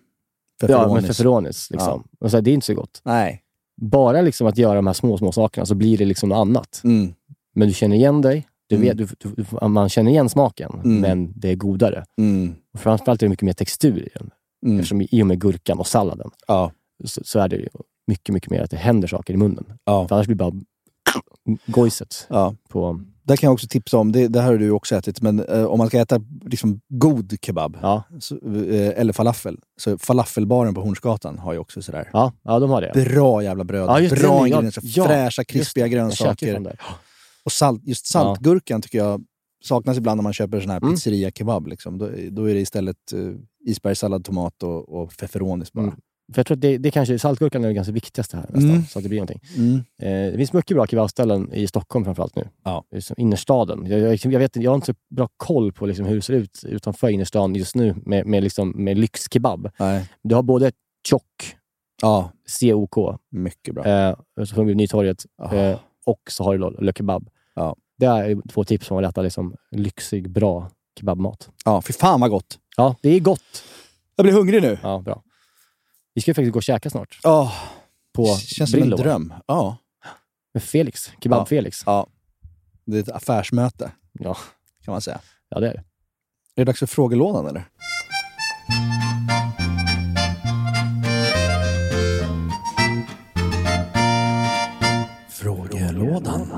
Speaker 7: Ja, med feferonis. Liksom. Och så här, det är inte så gott.
Speaker 6: Nej.
Speaker 7: Bara liksom att göra de här små, små sakerna så blir det liksom något annat.
Speaker 6: Mm.
Speaker 7: Men du känner igen dig. Du vet, du, du, du- man känner igen smaken,
Speaker 6: Mm.
Speaker 7: men det är godare.
Speaker 6: Mm.
Speaker 7: Och framförallt är det mycket mer textur i den.
Speaker 6: Mm.
Speaker 7: Eftersom i och med gurkan och salladen så, så är det ju mycket, mycket mer att det händer saker i munnen. För annars blir det bara gojset. På,
Speaker 6: Där kan jag också tipsa om, det, det här har du ju också ätit, men eh, om man ska äta liksom, god kebab så, eh, eller falafel, så falafelbaren på Hornsgatan har ju också sådär.
Speaker 7: Ja, ja de har det.
Speaker 6: Bra jävla bröd,
Speaker 7: Ja, just det,
Speaker 6: bra
Speaker 7: ja,
Speaker 6: ingredienser,
Speaker 7: ja,
Speaker 6: fräscha,
Speaker 7: just
Speaker 6: krispiga
Speaker 7: det. Jag käkade från
Speaker 6: grönsaker.
Speaker 7: där.
Speaker 6: Och salt, just saltgurkan tycker jag saknas ibland när man köper sån här pizzeria-kebab. Liksom. Då, då är det istället uh, isbergssallad, tomat och, och feferonis bara.
Speaker 7: För jag tror att det, det kanske, saltgurkan är det ganska viktigaste här nästan,
Speaker 6: Mm.
Speaker 7: så att det blir någonting.
Speaker 6: Mm.
Speaker 7: Eh, det finns mycket bra kebabställen i Stockholm framförallt nu.
Speaker 6: Ja.
Speaker 7: Som innerstaden. Jag, liksom, jag, jag, vet, inte- jag har inte så bra koll på liksom hur det ser ut utanför innerstan just nu med, med, liksom, med lyxkebab.
Speaker 6: Nej.
Speaker 7: Du har både tjock,
Speaker 6: ja.
Speaker 7: COK,
Speaker 6: Mycket bra. Ah.
Speaker 7: eh, som fungerar Nytorget, eh, och så har du då Le Kebab. Det är två tips om att äta liksom, lyxig, bra kebabmat.
Speaker 6: Ja, fy fan vad gott.
Speaker 7: Ja, det är gott.
Speaker 6: Jag blir hungrig nu.
Speaker 7: Ja, bra. Vi ska ju faktiskt gå och käka snart.
Speaker 6: Ja.
Speaker 7: På
Speaker 6: Känns som en
Speaker 7: Brillo.
Speaker 6: dröm. Ja.
Speaker 7: Med Felix. Kebab-Felix.
Speaker 6: Ja. Det är ett affärsmöte.
Speaker 7: Ja.
Speaker 6: Kan man säga.
Speaker 7: Ja, det är det.
Speaker 6: Är det dags för frågelådan eller? Frågelådan.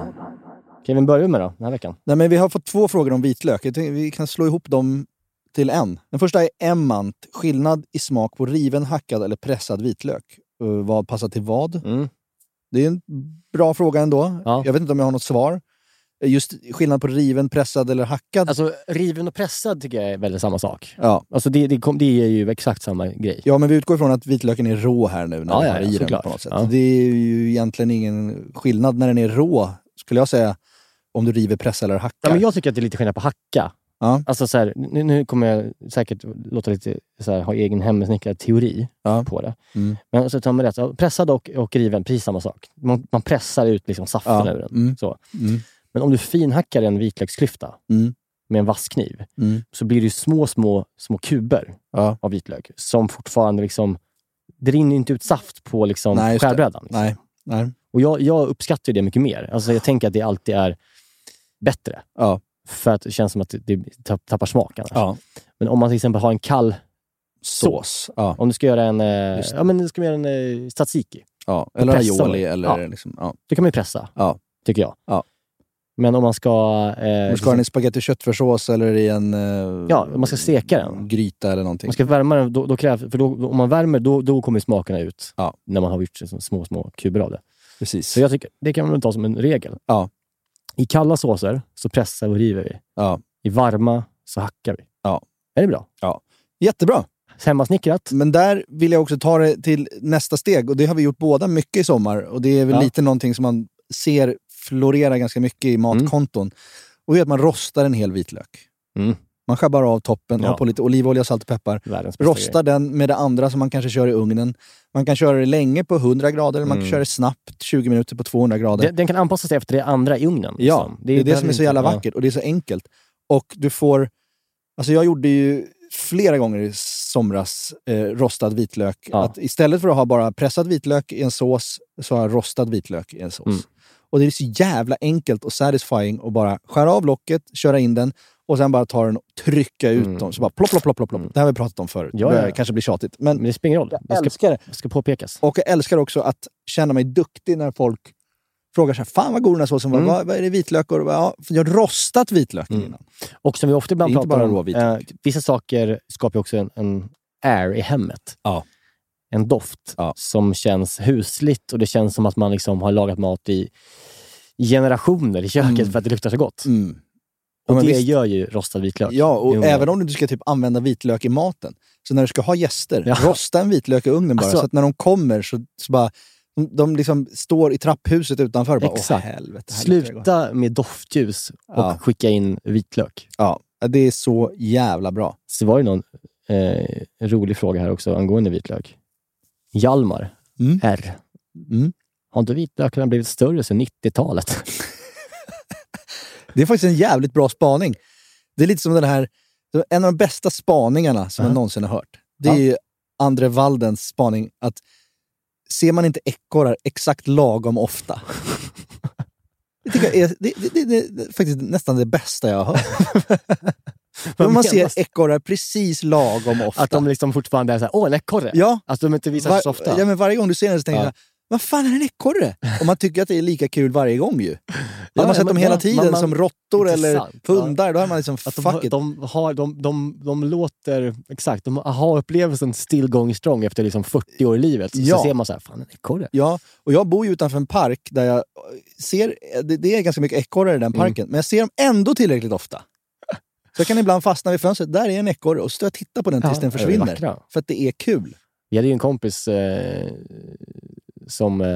Speaker 7: Kevin, börjar vi med då, den här veckan?
Speaker 6: Nej, men vi har fått två frågor om vitlök. Jag tänkte, Vi kan slå ihop dem till en. Den första är emmant. Skillnad i smak på riven, hackad eller pressad vitlök. Eh, vad passar till vad?
Speaker 7: Mm.
Speaker 6: Det är en bra fråga ändå. Jag vet inte om jag har något svar. Eh, Just skillnad på riven, pressad eller hackad.
Speaker 7: Alltså, riven och pressad tycker jag är väl samma sak.
Speaker 6: Ja.
Speaker 7: Alltså, det, det, kom, det är ju exakt samma grej.
Speaker 6: Ja, men vi utgår från att vitlöken är rå här nu när
Speaker 7: Ja,
Speaker 6: vi
Speaker 7: ja,
Speaker 6: har
Speaker 7: ja,
Speaker 6: i den
Speaker 7: såklart.
Speaker 6: på något sätt.
Speaker 7: Ja.
Speaker 6: Det är ju egentligen ingen skillnad när den är rå, skulle jag säga, om du river, pressar eller hackar.
Speaker 7: Ja, men jag tycker att det är lite skillnad på hacka.
Speaker 6: Ja.
Speaker 7: Alltså så här, nu, nu kommer jag säkert låta lite så här, ha egen hemsnickrad teori på det.
Speaker 6: Mm.
Speaker 7: Men så tar man rätt. Ja, Pressad och, och riven, precis samma sak. Man, man pressar ut liksom saften
Speaker 6: Ja.
Speaker 7: ur den.
Speaker 6: Mm.
Speaker 7: Så.
Speaker 6: Mm.
Speaker 7: Men om du finhackar en vitlöksklyfta
Speaker 6: Mm.
Speaker 7: med en vass kniv,
Speaker 6: Mm.
Speaker 7: så blir det ju små, små, små kuber
Speaker 6: Ja.
Speaker 7: av vitlök som fortfarande liksom... Det rinner inte ut saft på liksom
Speaker 6: Nej, just det.
Speaker 7: skärbrädan. Liksom.
Speaker 6: Nej, nej.
Speaker 7: Och jag, jag uppskattar ju det mycket mer. Alltså jag tänker att det alltid är bättre.
Speaker 6: Ja.
Speaker 7: För att det känns som att det, det tapp- tappar smak annars.
Speaker 6: Ja.
Speaker 7: Men om man till exempel har en kall sås.
Speaker 6: Ja.
Speaker 7: Om du ska göra en, eh,
Speaker 6: Just det.
Speaker 7: ja, men du ska göra en eh, tzatziki.
Speaker 6: Ja,
Speaker 7: Då
Speaker 6: eller
Speaker 7: pressar man.
Speaker 6: aioli eller
Speaker 7: Ja.
Speaker 6: liksom, ja.
Speaker 7: Då kan man ju pressa,
Speaker 6: Ja.
Speaker 7: tycker jag.
Speaker 6: Ja.
Speaker 7: Men om man ska... Eh,
Speaker 6: Du ska ha den i spagetti och köttfärssås eller i en... Eh,
Speaker 7: ja, om man ska steka den.
Speaker 6: Gryta eller någonting.
Speaker 7: Man ska värma den, då, då krävs, för då, om man värmer då, då kommer smakerna ut.
Speaker 6: Ja.
Speaker 7: När man har gjort liksom små, små kuber av det.
Speaker 6: Precis.
Speaker 7: Så jag tycker, det kan man väl ta som en regel.
Speaker 6: Ja.
Speaker 7: I kalla såser så pressar och river vi.
Speaker 6: Ja.
Speaker 7: I varma så hackar vi.
Speaker 6: Ja.
Speaker 7: Är det bra?
Speaker 6: Ja. Jättebra!
Speaker 7: Hemmasnickrat.
Speaker 6: Men där vill jag också ta det till nästa steg och det har vi gjort båda mycket i sommar och det är väl
Speaker 7: Ja.
Speaker 6: lite någonting som man ser florera ganska mycket i matkonton. Och det är att man rostar en hel vitlök.
Speaker 7: Mm.
Speaker 6: Man skär av toppen,
Speaker 7: Ja.
Speaker 6: har på lite olivolja, salt och peppar.
Speaker 7: Världens bästa
Speaker 6: Rosta den med det andra som man kanske kör i ugnen. Man kan köra det länge på 100 grader, man kan
Speaker 7: Mm.
Speaker 6: köra det snabbt 20 minuter på 200 grader.
Speaker 7: Den, den kan anpassa sig efter det andra i ugnen.
Speaker 6: Ja,
Speaker 7: liksom.
Speaker 6: det är det,
Speaker 7: där
Speaker 6: som är
Speaker 7: vi
Speaker 6: så
Speaker 7: inte-
Speaker 6: jävla
Speaker 7: ja.
Speaker 6: vackert och det är så enkelt. Och du får... Alltså jag gjorde ju flera gånger i somras eh, rostad vitlök. Att istället för att ha bara pressad vitlök i en sås så har jag rostad vitlök i en sås.
Speaker 7: Mm.
Speaker 6: Och det är så jävla enkelt och satisfying att bara skära av locket, köra in den och sen bara ta den och trycka ut dem. Så bara plopp, plopp, plopp, plopp. plopp. Det här har vi pratat om förut.
Speaker 7: Mm. Ja,
Speaker 6: det
Speaker 7: ja, ja.
Speaker 6: kanske blir tjatigt. Men,
Speaker 7: det spelar ingen roll.
Speaker 6: Jag älskar det.
Speaker 7: Det ska påpekas.
Speaker 6: Och jag älskar också att känna mig duktig när folk frågar så här, fan vad god den här såsen var.
Speaker 7: Mm.
Speaker 6: Vad, vad är det vitlök? Och, då bara, ja, för jag har rostat vitlöken innan.
Speaker 7: Och som vi ofta ibland
Speaker 6: Det är inte
Speaker 7: pratar
Speaker 6: bara
Speaker 7: om,
Speaker 6: råvit.
Speaker 7: eh, vissa saker skapar ju också en, en air i hemmet. En doft som känns husligt och det känns som att man liksom har lagat mat i generationer i köket för att det luktar så gott.
Speaker 6: Mm. Ja,
Speaker 7: Och
Speaker 6: men
Speaker 7: det
Speaker 6: visst.
Speaker 7: gör ju rostad vitlök.
Speaker 6: Mm. Ja, och
Speaker 7: Mm. Jo, men-
Speaker 6: även om du inte ska typ använda vitlök i maten. Så när du ska ha gäster,
Speaker 7: Ja.
Speaker 6: rosta en vitlök i ugnen bara.
Speaker 7: Alltså-
Speaker 6: så att när de kommer så, så bara, de- de liksom står i trapphuset utanför och bara, åh
Speaker 7: Exakt.
Speaker 6: helvete. här luktar det gott."
Speaker 7: Sluta med doftljus och
Speaker 6: Ja.
Speaker 7: skicka in vitlök.
Speaker 6: Ja, det är så jävla bra.
Speaker 7: Så var det någon eh, rolig fråga här också angående vitlök. Hjalmar
Speaker 6: Mm.
Speaker 7: R. Har inte vitlökarna blivit större sedan 90-talet?
Speaker 6: Det är faktiskt en jävligt bra spaning. Det är lite som den här, en av de bästa spaningarna som jag någonsin har hört. Det är ju Andre Waldens spaning att ser man inte ekorrar exakt lagom ofta? Det, tycker jag är, det, det, det, det, det är faktiskt nästan det bästa jag har hört. Om man
Speaker 7: menas?
Speaker 6: ser ekorrar precis lagom ofta.
Speaker 7: Att de liksom fortfarande är såhär, åh en ekorre!
Speaker 6: Ja.
Speaker 7: Att de inte visar sig
Speaker 6: Var-
Speaker 7: så ofta.
Speaker 6: Ja, men varje gång du ser den så tänker
Speaker 7: Ja.
Speaker 6: jag, vad fan är en ekorre? Och man tycker att det är lika kul varje gång ju.
Speaker 7: Ja,
Speaker 6: Hade man sett
Speaker 7: men
Speaker 6: dem
Speaker 7: det-
Speaker 6: hela
Speaker 7: man-
Speaker 6: tiden
Speaker 7: man-
Speaker 6: som råttor eller
Speaker 7: Intressant, ja.
Speaker 6: hundar, då hade man liksom,
Speaker 7: Att de,
Speaker 6: fuck
Speaker 7: har-
Speaker 6: it.
Speaker 7: de, har, de, de, de låter, exakt, de har upplevelsen still going strong efter liksom 40 år i livet. Så,
Speaker 6: Ja.
Speaker 7: så ser man såhär, fan en ekorre.
Speaker 6: Ja, och jag bor ju utanför en park där jag ser, det, det är ganska mycket ekorrar i
Speaker 7: Mm.
Speaker 6: den parken, men jag ser dem ändå tillräckligt ofta. Så jag kan ibland fastna vid fönstret, där är en ekorre, och så står jag och tittar på den tills
Speaker 7: Ja,
Speaker 6: den
Speaker 7: det är
Speaker 6: försvinner.
Speaker 7: vackra.
Speaker 6: För att det är kul.
Speaker 7: Vi hade ju en kompis eh, som eh,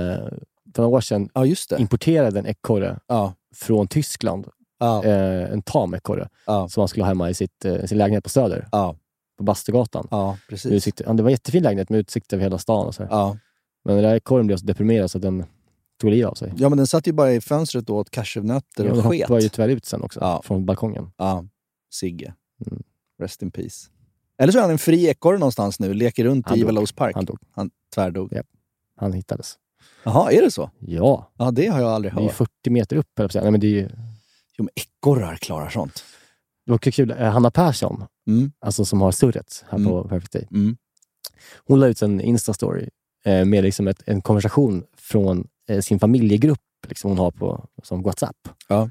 Speaker 7: för några år sedan importerade en ekorre från Tyskland. Eh, en tam ekorre som han skulle ha hemma i sitt, eh, sin lägenhet på Söder. På Bastugatan.
Speaker 6: precis.
Speaker 7: Med utsikt- ja, det var en jättefin lägenhet med utsikt över hela stan. Och så här. Men den där ekorren blev så deprimerad så att den tog livet av sig.
Speaker 6: Ja, men den satt ju bara i fönstret och åt cashewnötter
Speaker 7: Ja,
Speaker 6: och
Speaker 7: den
Speaker 6: sket.
Speaker 7: hoppade ju tyvärr ut sen också, från balkongen.
Speaker 6: Ja, Sigge.
Speaker 7: Mm.
Speaker 6: Rest in peace. Eller så är han en fri ekorre någonstans nu, leker runt
Speaker 7: Han
Speaker 6: i
Speaker 7: dog.
Speaker 6: Ivalos park.
Speaker 7: Han dog.
Speaker 6: Han tvärdog.
Speaker 7: Han hittades.
Speaker 6: Jaha, är det så?
Speaker 7: Ja.
Speaker 6: Ja, det har jag aldrig
Speaker 7: Det är ju
Speaker 6: hört.
Speaker 7: 40 meter upp, höll jag på att säga. Nej, men det är ju...
Speaker 6: Jo, men ekorrar klarar sånt.
Speaker 7: Det var kul, eh, Hanna Persson,
Speaker 6: Mm.
Speaker 7: alltså som har surret här
Speaker 6: Mm.
Speaker 7: på Perfect Day.
Speaker 6: Mm.
Speaker 7: Hon la ut en Insta-story eh, med liksom ett, en konversation från eh, sin familjegrupp liksom hon har på som WhatsApp.
Speaker 6: Ja.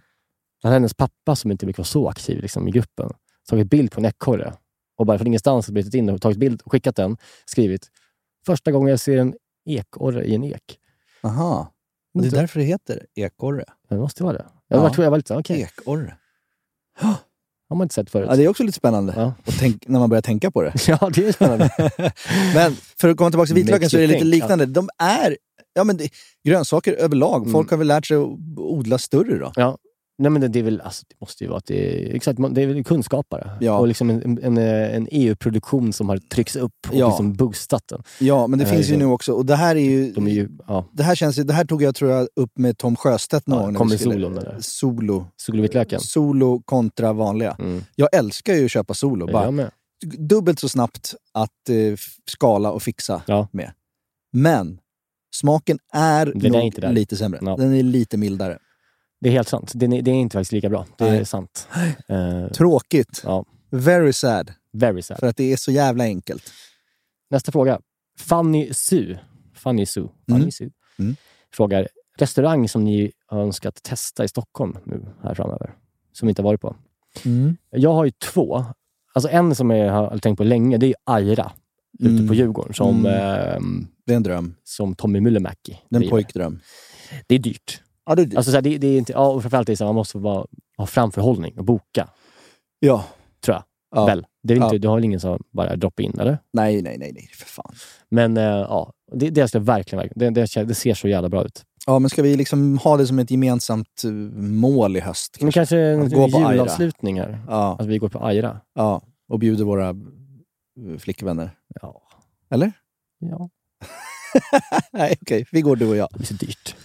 Speaker 7: Där hennes pappa, som inte brukar vara så aktiv liksom, i gruppen, tagit bild på en ekorre och bara från ingenstans brutit in och tagit bild och skickat den. Skrivit “Första gången jag ser en ekorre i en ek”.
Speaker 6: Aha. Och det är därför det heter ekorre.
Speaker 7: Det måste vara det. Jag var, tror jag var lite så här, okej.
Speaker 6: Ekorre.
Speaker 7: har man inte sett förut.
Speaker 6: Ja, det är också lite spännande och tänk, när man börjar tänka på det.
Speaker 7: Ja, det är spännande.
Speaker 6: men för att komma tillbaka till vitlöken
Speaker 7: Makes
Speaker 6: så är det
Speaker 7: you
Speaker 6: lite
Speaker 7: think,
Speaker 6: liknande. De är ja, men det, grönsaker överlag.
Speaker 7: Mm.
Speaker 6: Folk har väl lärt sig att odla större då.
Speaker 7: Ja. Nej, men det, det, är väl, alltså, det måste ju vara att det är, exakt, man- det är väl kunskapare.
Speaker 6: Ja.
Speaker 7: Och liksom en, en- en, eh, en EU-produktion som har tryckts upp och
Speaker 6: Ja.
Speaker 7: liksom boostat den.
Speaker 6: Ja, men det
Speaker 7: Eh,
Speaker 6: finns ju
Speaker 7: så-
Speaker 6: nu också. Och det här är ju...
Speaker 7: De är ju ja,
Speaker 6: Det här, känns, ju- det här tog jag tror jag upp med Tom Sjöstedt någon
Speaker 7: Ja,
Speaker 6: gång. när
Speaker 7: kommer
Speaker 6: vi skulle-
Speaker 7: solon där.
Speaker 6: Solo.
Speaker 7: Solovitlöken.
Speaker 6: Solo kontra vanliga.
Speaker 7: Eh,
Speaker 6: Jag älskar ju att köpa solo.
Speaker 7: Jag
Speaker 6: Mm. Bara
Speaker 7: med.
Speaker 6: dubbelt så snabbt att eh, f- skala och fixa med. Men smaken är
Speaker 7: Den är
Speaker 6: nog
Speaker 7: inte där.
Speaker 6: lite sämre.
Speaker 7: Ja.
Speaker 6: Den är lite mildare.
Speaker 7: Det är helt sant. Det, är- det är inte faktiskt lika bra. Det är
Speaker 6: Nej.
Speaker 7: sant. Eh,
Speaker 6: Tråkigt.
Speaker 7: Ja.
Speaker 6: Very sad.
Speaker 7: Very sad.
Speaker 6: För att det är så jävla enkelt.
Speaker 7: Nästa fråga. Fanny Su. Fanny Su. Fanny
Speaker 6: Mm.
Speaker 7: Su.
Speaker 6: Mm.
Speaker 7: Frågar, restaurang som ni har önskat testa i Stockholm nu här framöver, som vi inte har varit på.
Speaker 6: Mm.
Speaker 7: Jag har ju två. Alltså en som jag har tänkt på länge, det är ju Aira ute
Speaker 6: Mm.
Speaker 7: på Djurgården. Som,
Speaker 6: Mm.
Speaker 7: ehm,
Speaker 6: det är en dröm.
Speaker 7: Som Tommy Myllymäki.
Speaker 6: Det är en
Speaker 7: driver.
Speaker 6: pojkdröm.
Speaker 7: Det är dyrt.
Speaker 6: Ja, det är dyrt.
Speaker 7: Alltså, så här, det, det är inte, ja, och framförallt är det så här, man måste bara ha framförhållning och boka,
Speaker 6: Ja.
Speaker 7: tror jag.
Speaker 6: Ja.
Speaker 7: Väl? Det är väl inte,
Speaker 6: Ja.
Speaker 7: Du har väl ingen som bara droppar in, eller?
Speaker 6: Nej, nej, nej, nej. För fan.
Speaker 7: Men eh, ja, det, det ska jag verkligen, verkligen det, det, kän- det ser så jävla bra ut.
Speaker 6: Ja, men ska vi liksom ha det som ett gemensamt eh, mål i höst?
Speaker 7: Men kanske en
Speaker 6: Att gå på Aira.
Speaker 7: julavslutning här.
Speaker 6: Ja.
Speaker 7: Att vi går på Aira.
Speaker 6: Ja, och bjuder våra eh, flickvänner.
Speaker 7: Ja.
Speaker 6: Eller?
Speaker 7: Ja.
Speaker 6: Nej, okej. Vi går du och jag. Det
Speaker 7: blir så dyrt.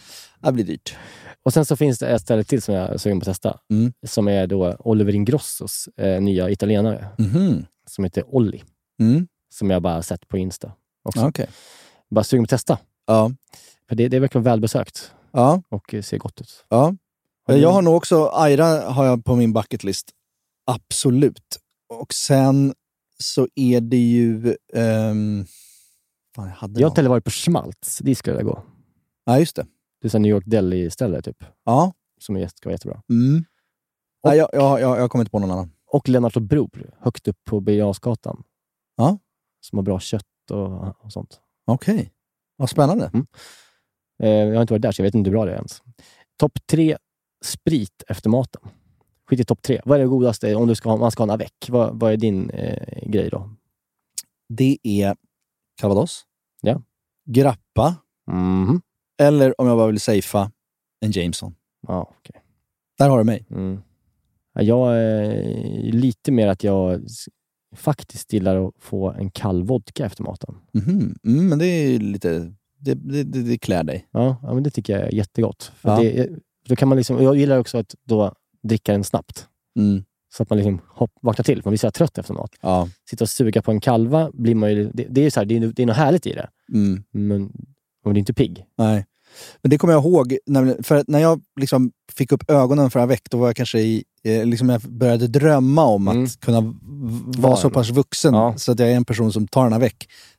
Speaker 6: Det blir dyrt.
Speaker 7: Och sen så finns det ett ställe till som jag är sugen på att testa. Som är då Oliver Ingrossos eh, nya italienare.
Speaker 6: Mhm.
Speaker 7: Som heter Olli.
Speaker 6: Mm.
Speaker 7: Som jag bara sett på Insta. Också.
Speaker 6: Okej.
Speaker 7: Bara sugen på att testa.
Speaker 6: Ja.
Speaker 7: För det, det verkar vara välbesökt.
Speaker 6: Ja.
Speaker 7: Och eh, ser gott ut.
Speaker 6: Ja.
Speaker 7: Har du-
Speaker 6: Jag har nog också, Aira har jag på min bucket list. Absolut. Och sen så är det ju... ehm, fan, jag hade
Speaker 7: Jag har
Speaker 6: någon.
Speaker 7: inte heller varit på Schmaltz. Dit skulle jag gå.
Speaker 6: Ja, just det.
Speaker 7: Det är så här New York Deli-ställe typ.
Speaker 6: Ja.
Speaker 7: Som är- ska vara jättebra.
Speaker 6: Mm. Nej, jag, jag, jag, jag kommer inte på någon annan.
Speaker 7: Och Lennart och Bror, högt upp på Birger Jarlsgatan.
Speaker 6: Ja.
Speaker 7: Som har bra kött och, och sånt.
Speaker 6: Okej. Vad spännande.
Speaker 7: Mm. Eh, jag har inte varit där, så jag vet inte hur bra det är ens. Topp tre sprit efter maten. Skit i topp tre. Vad är det godaste om du ska, ha- man ska ha en avec? Vad, vad är din eh, grej då?
Speaker 6: Det är calvados,
Speaker 7: Ja.
Speaker 6: grappa
Speaker 7: Mhm.
Speaker 6: eller om jag bara vill safea, en Jameson.
Speaker 7: Ja, okej.
Speaker 6: Där har du mig.
Speaker 7: Mm. Ja, Jag är lite mer att jag s- faktiskt gillar att få en kall vodka efter maten.
Speaker 6: Mhm. Mm, men det är lite... Det, det, det, det klär dig.
Speaker 7: Ja, ja men det tycker jag är jättegott. För
Speaker 6: Ja.
Speaker 7: det, då kan man liksom, jag gillar också att då dricka den snabbt.
Speaker 6: Mm.
Speaker 7: Så att man liksom hopp, vaknar till, för man blir så här trött efter mat.
Speaker 6: Ja.
Speaker 7: Sitta och suga på en kalva, blir man ju, det, det, är så här, det, är, det är något härligt i det.
Speaker 6: Mm.
Speaker 7: Men man blir inte pigg.
Speaker 6: Nej. Men det kommer jag ihåg, när, för att när jag liksom fick upp ögonen för Avec, då var jag kanske i, eh, liksom jag började drömma om att kunna v- vara
Speaker 7: Vara
Speaker 6: så
Speaker 7: en.
Speaker 6: pass vuxen så att jag är en person som tar en Avec.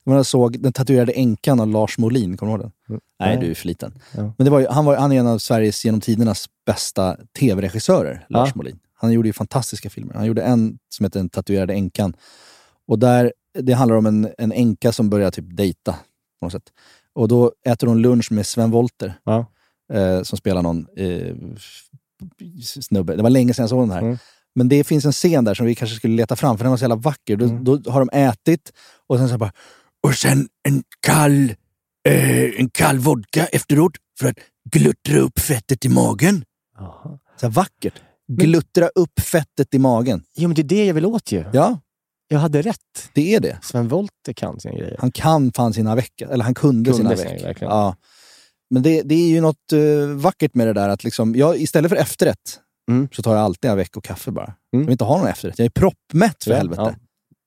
Speaker 6: Men jag såg den tatuerade änkan av Lars Molin, kommer du ihåg den? Nej, du är för liten.
Speaker 7: Ja.
Speaker 6: Men det var ju, han, var, han är en av Sveriges genom tidernas bästa tv-regissörer, Lars
Speaker 7: Ja.
Speaker 6: Molin. Han gjorde ju fantastiska filmer. Han gjorde en som heter Den tatuerade änkan. Och där, det handlar om en, en änka som börjar typ dejta på något sätt. Och då äter hon lunch med Sven Wollter eh, som spelar någon eh, snubbe. Det var länge sedan jag såg den
Speaker 7: Mm.
Speaker 6: här. Men det finns en scen där som vi kanske skulle leta fram, för den var så jävla vacker. Då,
Speaker 7: Mm.
Speaker 6: då har de ätit och sen så bara, och sen en kall, eh, en kall vodka efteråt för att gluttra upp fettet i magen. Så här vackert. Gluttra upp fettet i magen.
Speaker 7: Jo, men det är det jag vill åt ju.
Speaker 6: Ja.
Speaker 7: Jag hade rätt.
Speaker 6: Det är det.
Speaker 7: Sven Wollter kan sina grejer.
Speaker 6: Han kan fan sina veckor, eller han kunde,
Speaker 7: Kunde
Speaker 6: sina
Speaker 7: sina,
Speaker 6: veckor.
Speaker 7: verkligen.
Speaker 6: Ja. Men det, det är ju något eh, vackert med det där att liksom, jag, istället för efterrätt
Speaker 7: Mm.
Speaker 6: så tar jag alltid en veck och kaffe bara. Jag vill inte ha någon efterrätt. Jag är proppmätt för
Speaker 7: Ja,
Speaker 6: helvete.
Speaker 7: ja.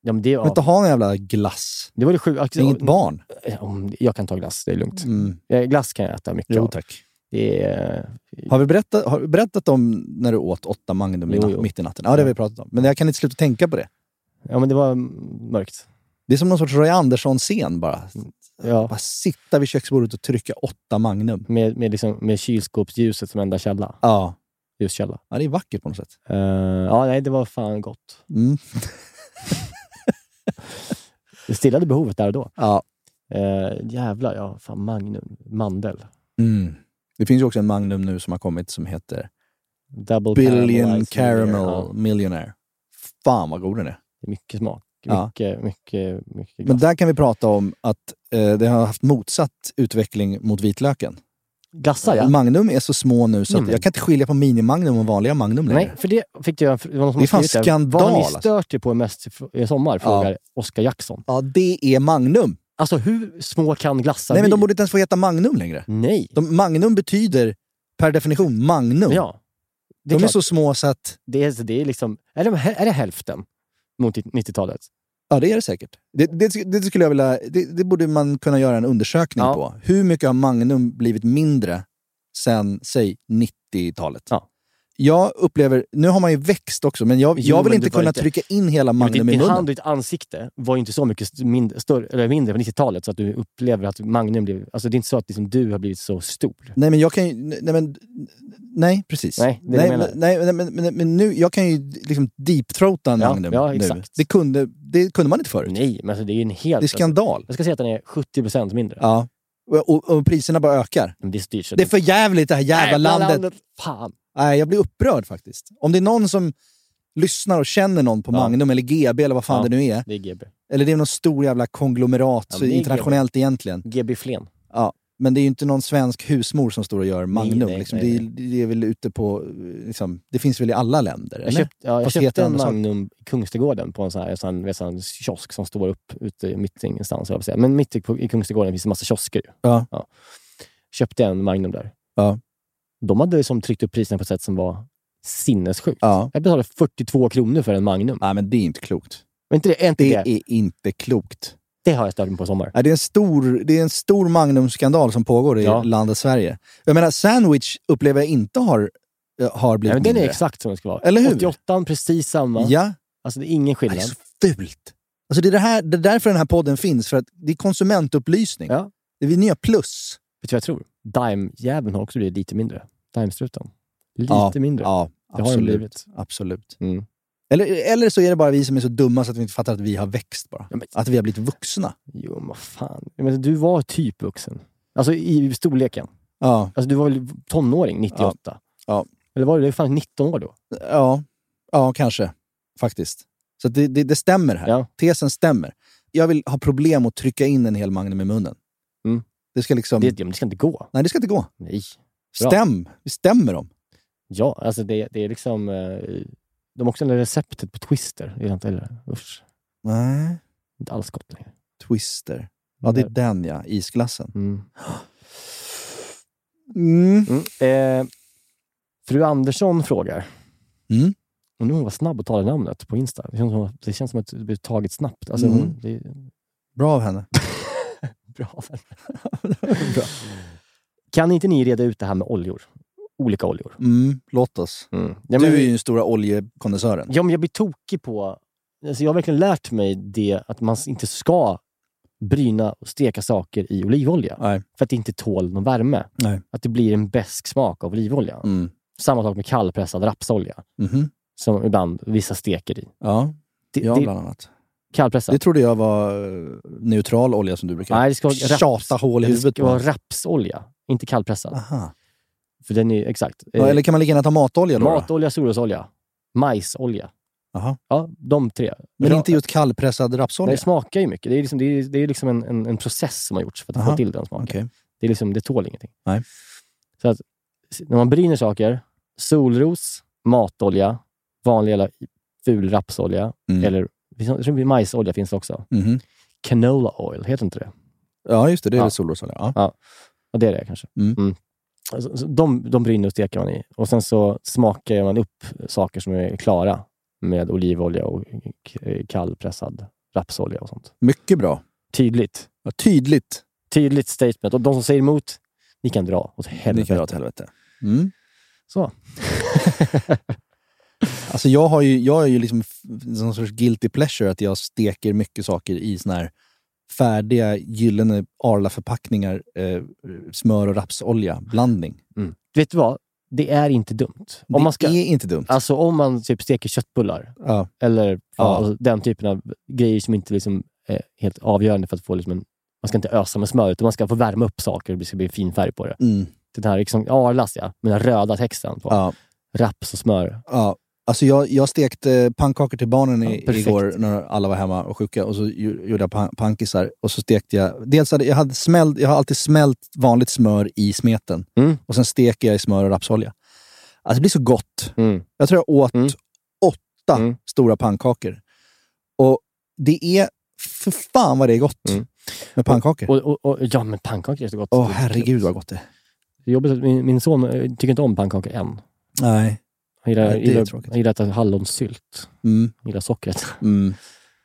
Speaker 7: Ja, men det,
Speaker 6: Jag vill inte
Speaker 7: ja.
Speaker 6: ha någon jävla glass.
Speaker 7: det var det sjuka.
Speaker 6: Det är inget barn.
Speaker 7: Ja, om- Jag kan ta glass, det är lugnt.
Speaker 6: Mm.
Speaker 7: Ja, Glass kan jag äta mycket
Speaker 6: Jo,
Speaker 7: av.
Speaker 6: tack.
Speaker 7: Det är,
Speaker 6: Har vi berättat, har vi berättat om när du åt åtta Magnum i
Speaker 7: Jo,
Speaker 6: nat-
Speaker 7: jo.
Speaker 6: mitt i natten? Ja, det har vi pratat om. Men jag kan inte sluta tänka på det.
Speaker 7: ja, men det var mörkt.
Speaker 6: Det är som någon sorts Roy Andersson-scen bara.
Speaker 7: Mm. Ja.
Speaker 6: Bara sitta vid köksbordet och trycka åtta Magnum.
Speaker 7: Med, med, liksom, med kylskåpsljuset som enda källa.
Speaker 6: Ja.
Speaker 7: Ljuskälla.
Speaker 6: ja, det är vackert på något sätt.
Speaker 7: Eh, ja, nej, det var fan gott.
Speaker 6: Mm.
Speaker 7: Det stillade behovet där och då.
Speaker 6: Ja.
Speaker 7: Eh, jävlar, ja. Fan, Magnum. Mandel.
Speaker 6: Mm. Det finns ju också en Magnum nu som har kommit som heter
Speaker 7: Double
Speaker 6: Billion
Speaker 7: Caramelized
Speaker 6: Caramel
Speaker 7: Millionaire. Ja,
Speaker 6: Millionaire. Fan vad god den är.
Speaker 7: det är mycket smak.
Speaker 6: Ja.
Speaker 7: Mycket, mycket, mycket
Speaker 6: Men
Speaker 7: glass.
Speaker 6: där kan vi prata om att eh, det har haft motsatt utveckling mot vitlöken.
Speaker 7: Glassar, ja.
Speaker 6: Magnum är så små nu så
Speaker 7: Nej,
Speaker 6: att
Speaker 7: men-
Speaker 6: jag kan inte skilja på mini-Magnum och vanliga Magnum längre.
Speaker 7: Nej, för det fick jag... Det, var någon som
Speaker 6: Det är fan
Speaker 7: har skrivit Vad
Speaker 6: skandal,
Speaker 7: har ni
Speaker 6: alltså.
Speaker 7: stört er på mest i sommar? Frågar Oscar Jackson.
Speaker 6: Ja, det är Magnum.
Speaker 7: Alltså, hur små kan glassar
Speaker 6: Nej, men
Speaker 7: bli?
Speaker 6: de borde inte ens få heta Magnum längre.
Speaker 7: Nej.
Speaker 6: De, magnum betyder per definition Magnum.
Speaker 7: Ja.
Speaker 6: de är
Speaker 7: klart.
Speaker 6: så små så att...
Speaker 7: Det är, det är liksom... Är det, är det hälften mot 90-talet?
Speaker 6: Ja, det är det säkert. Det, det, det skulle jag vilja... Det, det borde man kunna göra en undersökning
Speaker 7: Ja.
Speaker 6: på. Hur mycket har Magnum blivit mindre sen, säg, 90-talet? Jag upplever... Nu har man ju växt också, men jag,
Speaker 7: Jo,
Speaker 6: jag vill
Speaker 7: men
Speaker 6: inte
Speaker 7: det var
Speaker 6: kunna
Speaker 7: inte-
Speaker 6: trycka in hela
Speaker 7: Jo, men
Speaker 6: Magnum
Speaker 7: din,
Speaker 6: i
Speaker 7: din
Speaker 6: munnen.
Speaker 7: hand och ditt ansikte var ju inte så mycket st- mindre, större, eller mindre på 90-talet så att du upplever att Magnum blev... Alltså det är inte så att liksom, du har blivit så stor.
Speaker 6: Nej, men jag kan ju... Nej, men, nej precis.
Speaker 7: Nej, det är det
Speaker 6: nej,
Speaker 7: jag menar.
Speaker 6: men- nej, men, men, men, men nu, jag kan ju liksom deep-throata en
Speaker 7: Ja,
Speaker 6: Magnum
Speaker 7: ja,
Speaker 6: nu.
Speaker 7: exakt.
Speaker 6: Det kunde, det kunde man inte förut.
Speaker 7: Nej, men alltså, det är ju en helt...
Speaker 6: Mm. Det är skandal.
Speaker 7: Alltså, jag ska säga att den är 70 procent mindre.
Speaker 6: Ja. Och, och, och priserna bara ökar.
Speaker 7: Men det styrs ju-
Speaker 6: Det är för jävligt det här jävla
Speaker 7: Jävla
Speaker 6: landet.
Speaker 7: Fan.
Speaker 6: Nej, jag blir upprörd faktiskt. Om det är någon som lyssnar och känner någon på Magnum eller GB eller vad fan
Speaker 7: Ja,
Speaker 6: det nu är.
Speaker 7: Det är GB.
Speaker 6: Eller det är någon stor jävla konglomerat
Speaker 7: Ja,
Speaker 6: så
Speaker 7: men det är
Speaker 6: internationellt egentligen.
Speaker 7: GB Flen.
Speaker 6: Ja. Men det är ju inte någon svensk husmor som står och gör Magnum.
Speaker 7: nej,
Speaker 6: liksom.
Speaker 7: nej,
Speaker 6: Det, är, det är väl ute på... Liksom, det finns väl i alla länder?
Speaker 7: Jag
Speaker 6: eller?
Speaker 7: köpte, ja, jag
Speaker 6: Fast det
Speaker 7: köpte
Speaker 6: heter
Speaker 7: en
Speaker 6: andra saker.
Speaker 7: Magnum i Kungsträdgården på en sån här, en sån här, en sån här kiosk som står upp ute i mitt ingenstans. höll jag på att säga. Men mitt i, på- i Kungsträdgården finns det en massa kiosker. ju.
Speaker 6: Ja.
Speaker 7: Köpte en Magnum där.
Speaker 6: Ja.
Speaker 7: De hade liksom tryckt upp priserna på ett sätt som var sinnessjukt.
Speaker 6: Ja.
Speaker 7: Jag betalade 42 kronor för en Magnum.
Speaker 6: Nej, men det är inte klokt.
Speaker 7: Men inte det, är inte
Speaker 6: Det
Speaker 7: det,
Speaker 6: är inte klokt.
Speaker 7: det har jag stört mig på i sommar.
Speaker 6: Ja, det, är en stor, det är en stor Magnum-skandal som pågår i
Speaker 7: Ja.
Speaker 6: landet Sverige. Jag menar, Sandwich upplever jag inte har, eh, har blivit
Speaker 7: Nej, men den är
Speaker 6: mindre.
Speaker 7: exakt som den ska vara.
Speaker 6: Eller hur?
Speaker 7: 88 precis samma.
Speaker 6: Ja.
Speaker 7: Alltså det är ingen skillnad.
Speaker 6: Det är så fult. Alltså det, är det, här, det är därför den här podden finns, för att det är konsumentupplysning. Det är nya plus.
Speaker 7: Vet du vad jag tror? Dime-jäveln har också blivit lite mindre. Dime-struten. Lite
Speaker 6: Ja,
Speaker 7: mindre.
Speaker 6: Ja,
Speaker 7: det har den
Speaker 6: absolut.
Speaker 7: blivit.
Speaker 6: Absolut.
Speaker 7: Mm.
Speaker 6: Eller, eller så är det bara vi som är så dumma så att vi inte fattar att vi har växt bara. Att vi har blivit vuxna.
Speaker 7: Jo, men vad fan. Jag menar, du var typ vuxen. Alltså i storleken.
Speaker 6: Ja.
Speaker 7: Alltså, du var väl tonåring 98?
Speaker 6: Ja.
Speaker 7: Eller var du det? Fan, 19 år då?
Speaker 6: Ja, ja kanske. Faktiskt. Så att det, det, det stämmer här. Tesen stämmer. Jag vill ha problem att trycka in en hel Magnum i munnen. Det ska liksom...
Speaker 7: Mm. Det, ja, men det ska inte gå.
Speaker 6: Nej, det ska inte gå.
Speaker 7: Nej. Bra.
Speaker 6: Stäm! Vi stämmer dem.
Speaker 7: Ja, alltså det, det är liksom... eh, De har också det där receptet på Twister. Är det inte, eller? Usch.
Speaker 6: Nej.
Speaker 7: Inte alls gott längre.
Speaker 6: Twister. Ja, det är den ja. Isglassen.
Speaker 7: Mm. Eh, fru Andersson frågar.
Speaker 6: Mm.
Speaker 7: Och nu hon var snabb att ta det namnet på Insta. Det känns som, att- det känns som att det blir taget snabbt. Alltså,
Speaker 6: Mm.
Speaker 7: hon, det,
Speaker 6: Bra av henne.
Speaker 7: Bra. Kan inte ni reda ut det här med oljor? Olika oljor.
Speaker 6: Mm, låt oss.
Speaker 7: Ja, men-
Speaker 6: du är ju den stora oljekonnässören.
Speaker 7: Ja, men jag blir tokig på... Alltså jag har verkligen lärt mig det att man inte ska bryna och steka saker i olivolja. För att det inte tål någon värme.
Speaker 6: Nej.
Speaker 7: Att det blir en besk smak av olivolja.
Speaker 6: Mm.
Speaker 7: Samma sak med kallpressad rapsolja.
Speaker 6: Mhm.
Speaker 7: Som ibland vissa steker i.
Speaker 6: Ja,
Speaker 7: Det-
Speaker 6: jag
Speaker 7: det-
Speaker 6: bland annat.
Speaker 7: Kallpressad.
Speaker 6: Det trodde jag var eh, neutral olja som du brukar
Speaker 7: Nej, det ska vara raps-
Speaker 6: tjata hål i
Speaker 7: Det
Speaker 6: huvudet
Speaker 7: ska vara
Speaker 6: på.
Speaker 7: rapsolja, inte kallpressad.
Speaker 6: Aha.
Speaker 7: För den är, exakt.
Speaker 6: Ja, eller kan man lika gärna ta matolja då? då?
Speaker 7: Eh, Matolja, solrosolja, majsolja.
Speaker 6: Aha.
Speaker 7: Ja, de tre.
Speaker 6: Men
Speaker 7: Ra-
Speaker 6: inte just kallpressad
Speaker 7: Men
Speaker 6: rapsolja?
Speaker 7: det smakar ju mycket. Det är liksom, det är, det är liksom en, en, en process som har gjorts för att
Speaker 6: Aha.
Speaker 7: få till den smaken.
Speaker 6: Okej.
Speaker 7: Det, är liksom, det tål ingenting.
Speaker 6: Nej.
Speaker 7: Så att, s- när man bryner saker, solros, matolja, vanlig jävla ful rapsolja,
Speaker 6: Mm.
Speaker 7: eller jag tror det är majsolja finns det också.
Speaker 6: Mhm.
Speaker 7: Canola oil, heter inte det?
Speaker 6: Ja, just det. Det är
Speaker 7: Ja.
Speaker 6: väl solrosolja. Ja.
Speaker 7: Ja. ja, det är det kanske.
Speaker 6: Mm.
Speaker 7: Alltså, så de, de bryner och steker man i och sen så smakar man upp saker som är klara med olivolja och k- kallpressad rapsolja och sånt.
Speaker 6: Mycket bra.
Speaker 7: Tydligt.
Speaker 6: Ja, tydligt.
Speaker 7: Tydligt statement. Och de som säger emot, ni kan dra åt helvete.
Speaker 6: Ni kan dra åt helvete. Mm.
Speaker 7: Så.
Speaker 6: Alltså jag, har ju, jag är ju liksom f- någon sorts guilty pleasure att jag steker mycket saker i såna här färdiga gyllene Arla-förpackningar, eh, smör och rapsolja-blandning.
Speaker 7: Mm. Vet du vad? Det är inte dumt.
Speaker 6: Det är inte dumt.
Speaker 7: Alltså om man typ steker köttbullar
Speaker 6: Ja.
Speaker 7: eller ja.
Speaker 6: Ja.
Speaker 7: alltså, den typen av grejer som inte liksom är helt avgörande för att få liksom en... Man ska inte ösa med smör, utan man ska få värma upp saker och det ska bli fin färg på det.
Speaker 6: Mm.
Speaker 7: Den här liksom, Arlas, ja. Med den här röda texten på.
Speaker 6: Ja.
Speaker 7: Raps och smör.
Speaker 6: Ja. Alltså jag, jag stekte pannkakor till barnen i,
Speaker 7: Ja, perfekt.
Speaker 6: igår när alla var hemma och sjuka. Och så ju- gjorde jag pan- pankisar. Och så stekte jag... Dels hade, jag, hade smält, jag har alltid smält vanligt smör i smeten.
Speaker 7: Mm.
Speaker 6: Och sen steker jag i smör och rapsolja. Alltså det blir så gott.
Speaker 7: Mm.
Speaker 6: Jag tror jag åt åtta stora pannkakor. Och det är... För fan vad det är gott med pannkakor.
Speaker 7: Mm. Och, och, och, ja, men pannkakor är så gott.
Speaker 6: Åh herregud vad gott det är.
Speaker 7: Det är jobbigt att min, min son eh, tycker inte om pannkakor än.
Speaker 6: Nej.
Speaker 7: Han gillar,
Speaker 6: Nej, det är
Speaker 7: gillar,
Speaker 6: tråkigt.
Speaker 7: han gillar att äta hallonsylt.
Speaker 6: Mm.
Speaker 7: Han gillar sockret.
Speaker 6: Mm.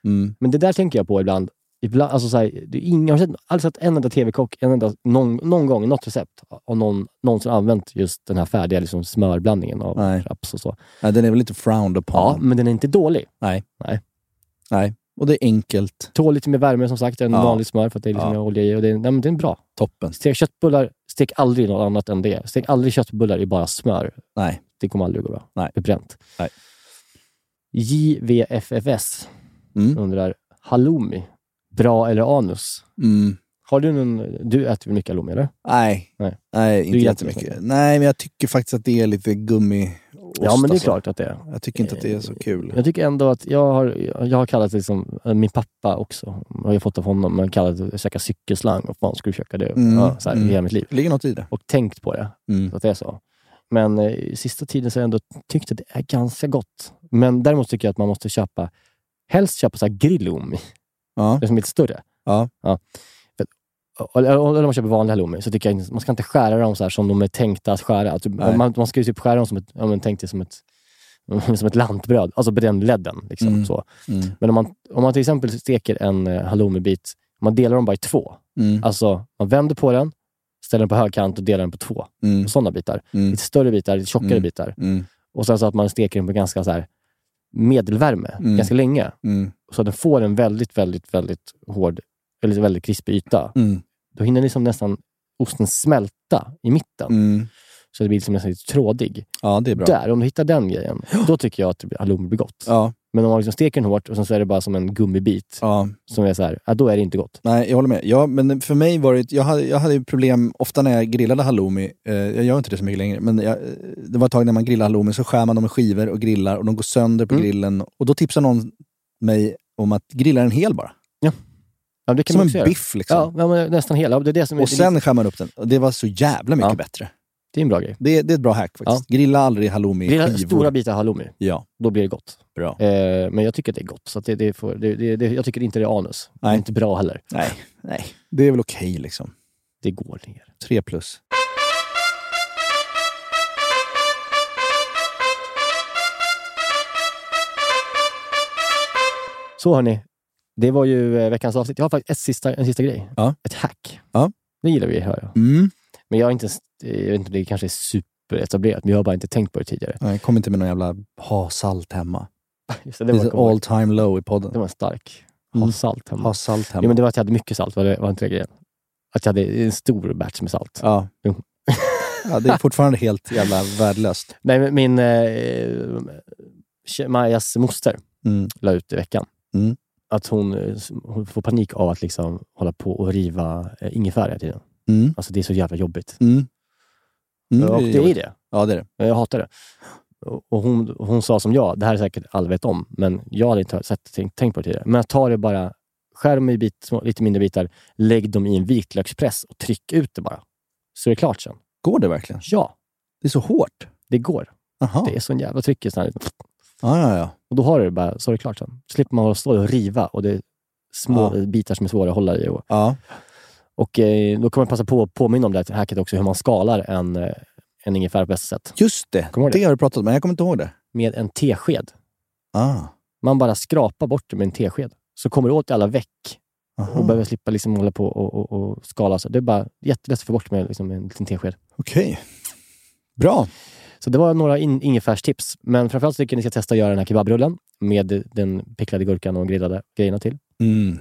Speaker 6: Mm.
Speaker 7: Men det där tänker jag på ibland. ibland alltså så här, det är ingen, jag har sett- aldrig sett en enda tv-kock en enda, någon, någon gång, i något recept, av någon, någon som använt just den här färdiga liksom, smörblandningen av raps och så.
Speaker 6: Nej, den är väl lite frowned upon.
Speaker 7: Ja, mm. men den är inte dålig.
Speaker 6: Nej.
Speaker 7: Nej.
Speaker 6: Nej. Och det är enkelt.
Speaker 7: Tål lite mer värme som sagt än
Speaker 6: Ja.
Speaker 7: vanligt smör för att det är liksom
Speaker 6: Ja.
Speaker 7: olja i. Och det, är- nej, men det är bra.
Speaker 6: Toppen.
Speaker 7: Stek köttbullar, stek aldrig något annat än det. Stek aldrig köttbullar i bara smör.
Speaker 6: Nej.
Speaker 7: Det kommer aldrig gå bra.
Speaker 6: Nej.
Speaker 7: Det är bränt.
Speaker 6: Nej.
Speaker 7: JVFFS undrar, halloumi, bra eller anus?
Speaker 6: Mm.
Speaker 7: Har du någon... Du äter väl mycket halloumi, eller?
Speaker 6: Nej.
Speaker 7: Nej.
Speaker 6: Nej,
Speaker 7: Du
Speaker 6: inte
Speaker 7: gillar
Speaker 6: jättemycket. Nej, men jag tycker faktiskt att det är lite gummi alltså.
Speaker 7: Ja, men det är klart att det är.
Speaker 6: Jag tycker inte att det är så kul.
Speaker 7: alltså. Jag tycker ändå att jag har, jag har kallat det liksom, eh, min pappa också, har jag fått av honom, men kallat det att käka cykelslang. Vad fan ska du käka det?
Speaker 6: Mm,
Speaker 7: Ja, så här,
Speaker 6: mm.
Speaker 7: Hela mitt liv.
Speaker 6: ligger något i det.
Speaker 7: Och tänkt på det,
Speaker 6: Mm.
Speaker 7: så att det är så. Men eh, sista tiden så har jag ändå tyckt att det är ganska gott. Men däremot tycker jag att man måste köpa, helst köpa så här grillom. Det som är lite större.
Speaker 6: Ja.
Speaker 7: För- Eller eller om man köper vanliga halloumi så tycker jag inte- man ska inte skära dem så här som de är tänkta att skära. Alltså,
Speaker 6: Nej.
Speaker 7: man, man ska ju typ skära dem som ett, ja, men tänk dig som ett, som ett lantbröd, alltså på den ledden. Liksom,
Speaker 6: Mm.
Speaker 7: så.
Speaker 6: Mm.
Speaker 7: Men om man, om man till exempel steker en eh, halloumibit, man delar dem bara i två.
Speaker 6: Mm.
Speaker 7: Alltså, man vänder på den, ställer den på högkant och delar den på två.
Speaker 6: Mm.
Speaker 7: Sådana bitar.
Speaker 6: Mm.
Speaker 7: Lite större bitar, lite tjockare
Speaker 6: Mm.
Speaker 7: bitar.
Speaker 6: Mm.
Speaker 7: Och sen så att man steker den på ganska så här medelvärme,
Speaker 6: Mm.
Speaker 7: ganska länge.
Speaker 6: Mm.
Speaker 7: Så att den får en väldigt, väldigt, väldigt hård, eller väldigt krispig yta.
Speaker 6: Mm.
Speaker 7: Då hinner liksom nästan osten smälta i mitten.
Speaker 6: Mm.
Speaker 7: Så det blir liksom nästan lite trådig.
Speaker 6: Ja, det är bra.
Speaker 7: Där, om du hittar den grejen, då tycker jag att halloumi blir gott.
Speaker 6: Ja.
Speaker 7: Men om man liksom steker den hårt och sen så är det bara som en gummibit som är så här, ja, då är det inte gott.
Speaker 6: Nej, jag håller med. Ja, men för mig var det, jag hade, jag hade ju problem ofta när jag grillade halloumi. Eh, jag gör inte det så mycket längre, men jag, eh, det var ett tag när man grillade halloumi så skär man dem i skivor och grillar och de går sönder
Speaker 7: Mm.
Speaker 6: på grillen. Och då tipsar någon mig om att grilla den hel bara.
Speaker 7: Ja. det kan
Speaker 6: som
Speaker 7: man också
Speaker 6: en
Speaker 7: göra.
Speaker 6: biff liksom.
Speaker 7: Ja, ja, men nästan hela. Det är det som är
Speaker 6: och sen skär man upp den. Och Det var så jävla mycket
Speaker 7: Ja.
Speaker 6: bättre.
Speaker 7: Det är en bra grej.
Speaker 6: Det, det är ett bra hack faktiskt. Grilla aldrig halloumi i
Speaker 7: Grilla
Speaker 6: skivor.
Speaker 7: stora bitar halloumi.
Speaker 6: Ja.
Speaker 7: Då blir det gott.
Speaker 6: Bra.
Speaker 7: Eh, men jag tycker att det är gott. Så att det, det får, det, det, det, jag tycker inte det är anus. Det är
Speaker 6: Nej.
Speaker 7: inte bra heller.
Speaker 6: Nej, nej. Det är väl okej liksom.
Speaker 7: Det går ner.
Speaker 6: Tre plus.
Speaker 7: Så hörni, det var ju eh, veckans avsnitt. Jag har faktiskt ett sista, en sista grej.
Speaker 6: Ja.
Speaker 7: Ett hack.
Speaker 6: Ja.
Speaker 7: Det gillar vi, hör jag.
Speaker 6: Mm.
Speaker 7: Men jag har inte, ens- eh, jag vet inte om det kanske är superetablerat, men jag har bara inte tänkt på det tidigare.
Speaker 6: Nej, kom inte med någon jävla ha-salt hemma.
Speaker 7: Just
Speaker 6: Det är
Speaker 7: kommer jag
Speaker 6: all time low i podden. Det
Speaker 7: var stark. ihåg. ha salt hemma.
Speaker 6: Ha salt hemma.
Speaker 7: Jo, men det var att jag hade mycket salt, var, det, var inte det grejen? Att jag hade en stor batch med salt.
Speaker 6: Ja. Ja, det är fortfarande helt jävla värdelöst.
Speaker 7: Nej, men min eh, tje- Majas moster
Speaker 6: Mm.
Speaker 7: la ut i veckan
Speaker 6: Mm.
Speaker 7: att hon, eh, s- hon får panik av att liksom hålla på och riva eh, ingefära hela tiden.
Speaker 6: Mm.
Speaker 7: Alltså det är så jävla jobbigt.
Speaker 6: Mm. Mm,
Speaker 7: och det är
Speaker 6: jobbigt.
Speaker 7: det.
Speaker 6: Ja, det är det.
Speaker 7: Jag hatar det. Och och hon, hon sa som jag, det här är säkert alla vet om, men jag hade inte sett, tänkt, tänkt på det tidigare. Men jag tar det bara, skär dem i bit, små, lite mindre bitar, lägg dem i en vitlökspress och tryck ut det bara. Så är det klart sen.
Speaker 6: Går det verkligen?
Speaker 7: Ja.
Speaker 6: Det är så hårt?
Speaker 7: Det går.
Speaker 6: Aha.
Speaker 7: Det är sån jävla tryck i sån här.
Speaker 6: Ja, ja, ja.
Speaker 7: Och då har du det bara, så är det klart sen. slipper man hålla och stå och riva och det är små
Speaker 6: Ja.
Speaker 7: bitar som är svåra att hålla i. Och,
Speaker 6: Ja.
Speaker 7: och eh, då kan man passa på att påminna om det här hacket också, hur man skalar en, eh, en ingefära på bästa sätt.
Speaker 6: Just det,
Speaker 7: Kommer du ihåg
Speaker 6: det har du pratat om, men jag kommer inte ihåg det.
Speaker 7: Med en tesked.
Speaker 6: Ah.
Speaker 7: Man bara skrapar bort det med en tesked, så kommer du åt alla veck
Speaker 6: Mm.
Speaker 7: och behöver slippa liksom hålla på och, och, och skala. Så det är bara jättelätt att få bort med liksom en liten tesked.
Speaker 6: Okej. Bra.
Speaker 7: Så det var några in, ingefärstips. Men framförallt så tycker jag ni ska testa att göra den här kebabrullen med den picklade gurkan och grillade grejerna till.
Speaker 6: Mm.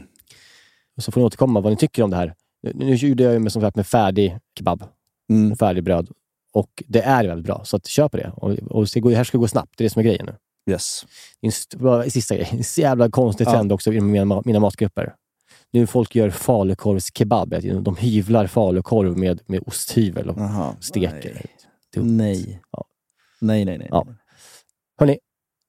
Speaker 7: Och så får ni återkomma vad ni tycker om det här. Nu, nu gjorde jag ju med, som sagt med färdig kebab
Speaker 6: Mm.
Speaker 7: och färdig bröd. Och det är väldigt bra, så att köp det. Och, och så går, det här ska gå snabbt, det är det som är grejen nu.
Speaker 6: Yes.
Speaker 7: Det är en st- bara sista grej. En så jävla konstig trend också inom mina, mina matgrupper. Nu folk gör falukorvskebab. att De hyvlar falukorv med, med osthyvel och steker.
Speaker 6: Nej. Nej, nej, nej.
Speaker 7: Ja. Hörni,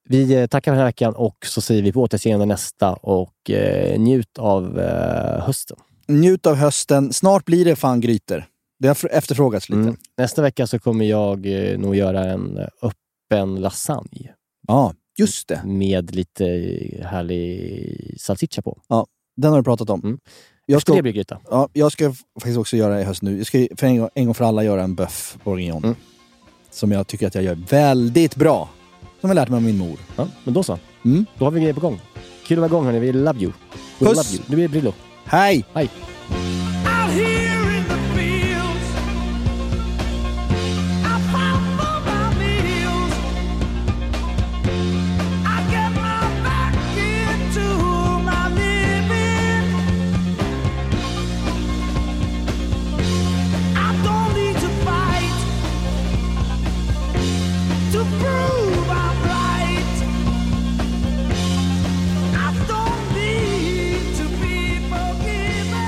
Speaker 7: vi eh, tackar för den här veckan och så säger vi på återseende nästa och eh, njut av eh, hösten.
Speaker 6: Njut av hösten. Snart blir det fan grytor. Det har fr- efterfrågats
Speaker 7: Mm.
Speaker 6: lite.
Speaker 7: Nästa vecka så kommer jag eh, nog göra en eh, öppen lasagne.
Speaker 6: Ja, just det.
Speaker 7: Med lite eh, härlig salsiccia på.
Speaker 6: Ja, den har du pratat om.
Speaker 7: Mm. Efter det blir gryta.
Speaker 6: Ja, jag ska f- faktiskt också göra i höst nu. Jag ska för en, gång, en gång för alla göra en bœuf bourguignon.
Speaker 7: Mm.
Speaker 6: Som jag tycker att jag gör väldigt bra. Som jag lärt mig av min mor.
Speaker 7: Ja, men då så.
Speaker 6: Mm.
Speaker 7: Då har vi grejer på gång. Kul att vara igång hörni. Vi love you. We
Speaker 6: Puss.
Speaker 7: love you. Nu blir det Brillo.
Speaker 6: Hej!
Speaker 7: Hej!
Speaker 17: Out here in the fields, I pop for my meals. I get my back into my living. I don't need to fight to prove I'm right. I don't need to be forgiven.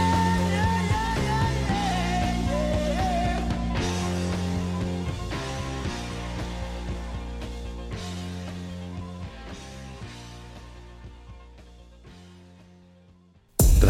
Speaker 1: Den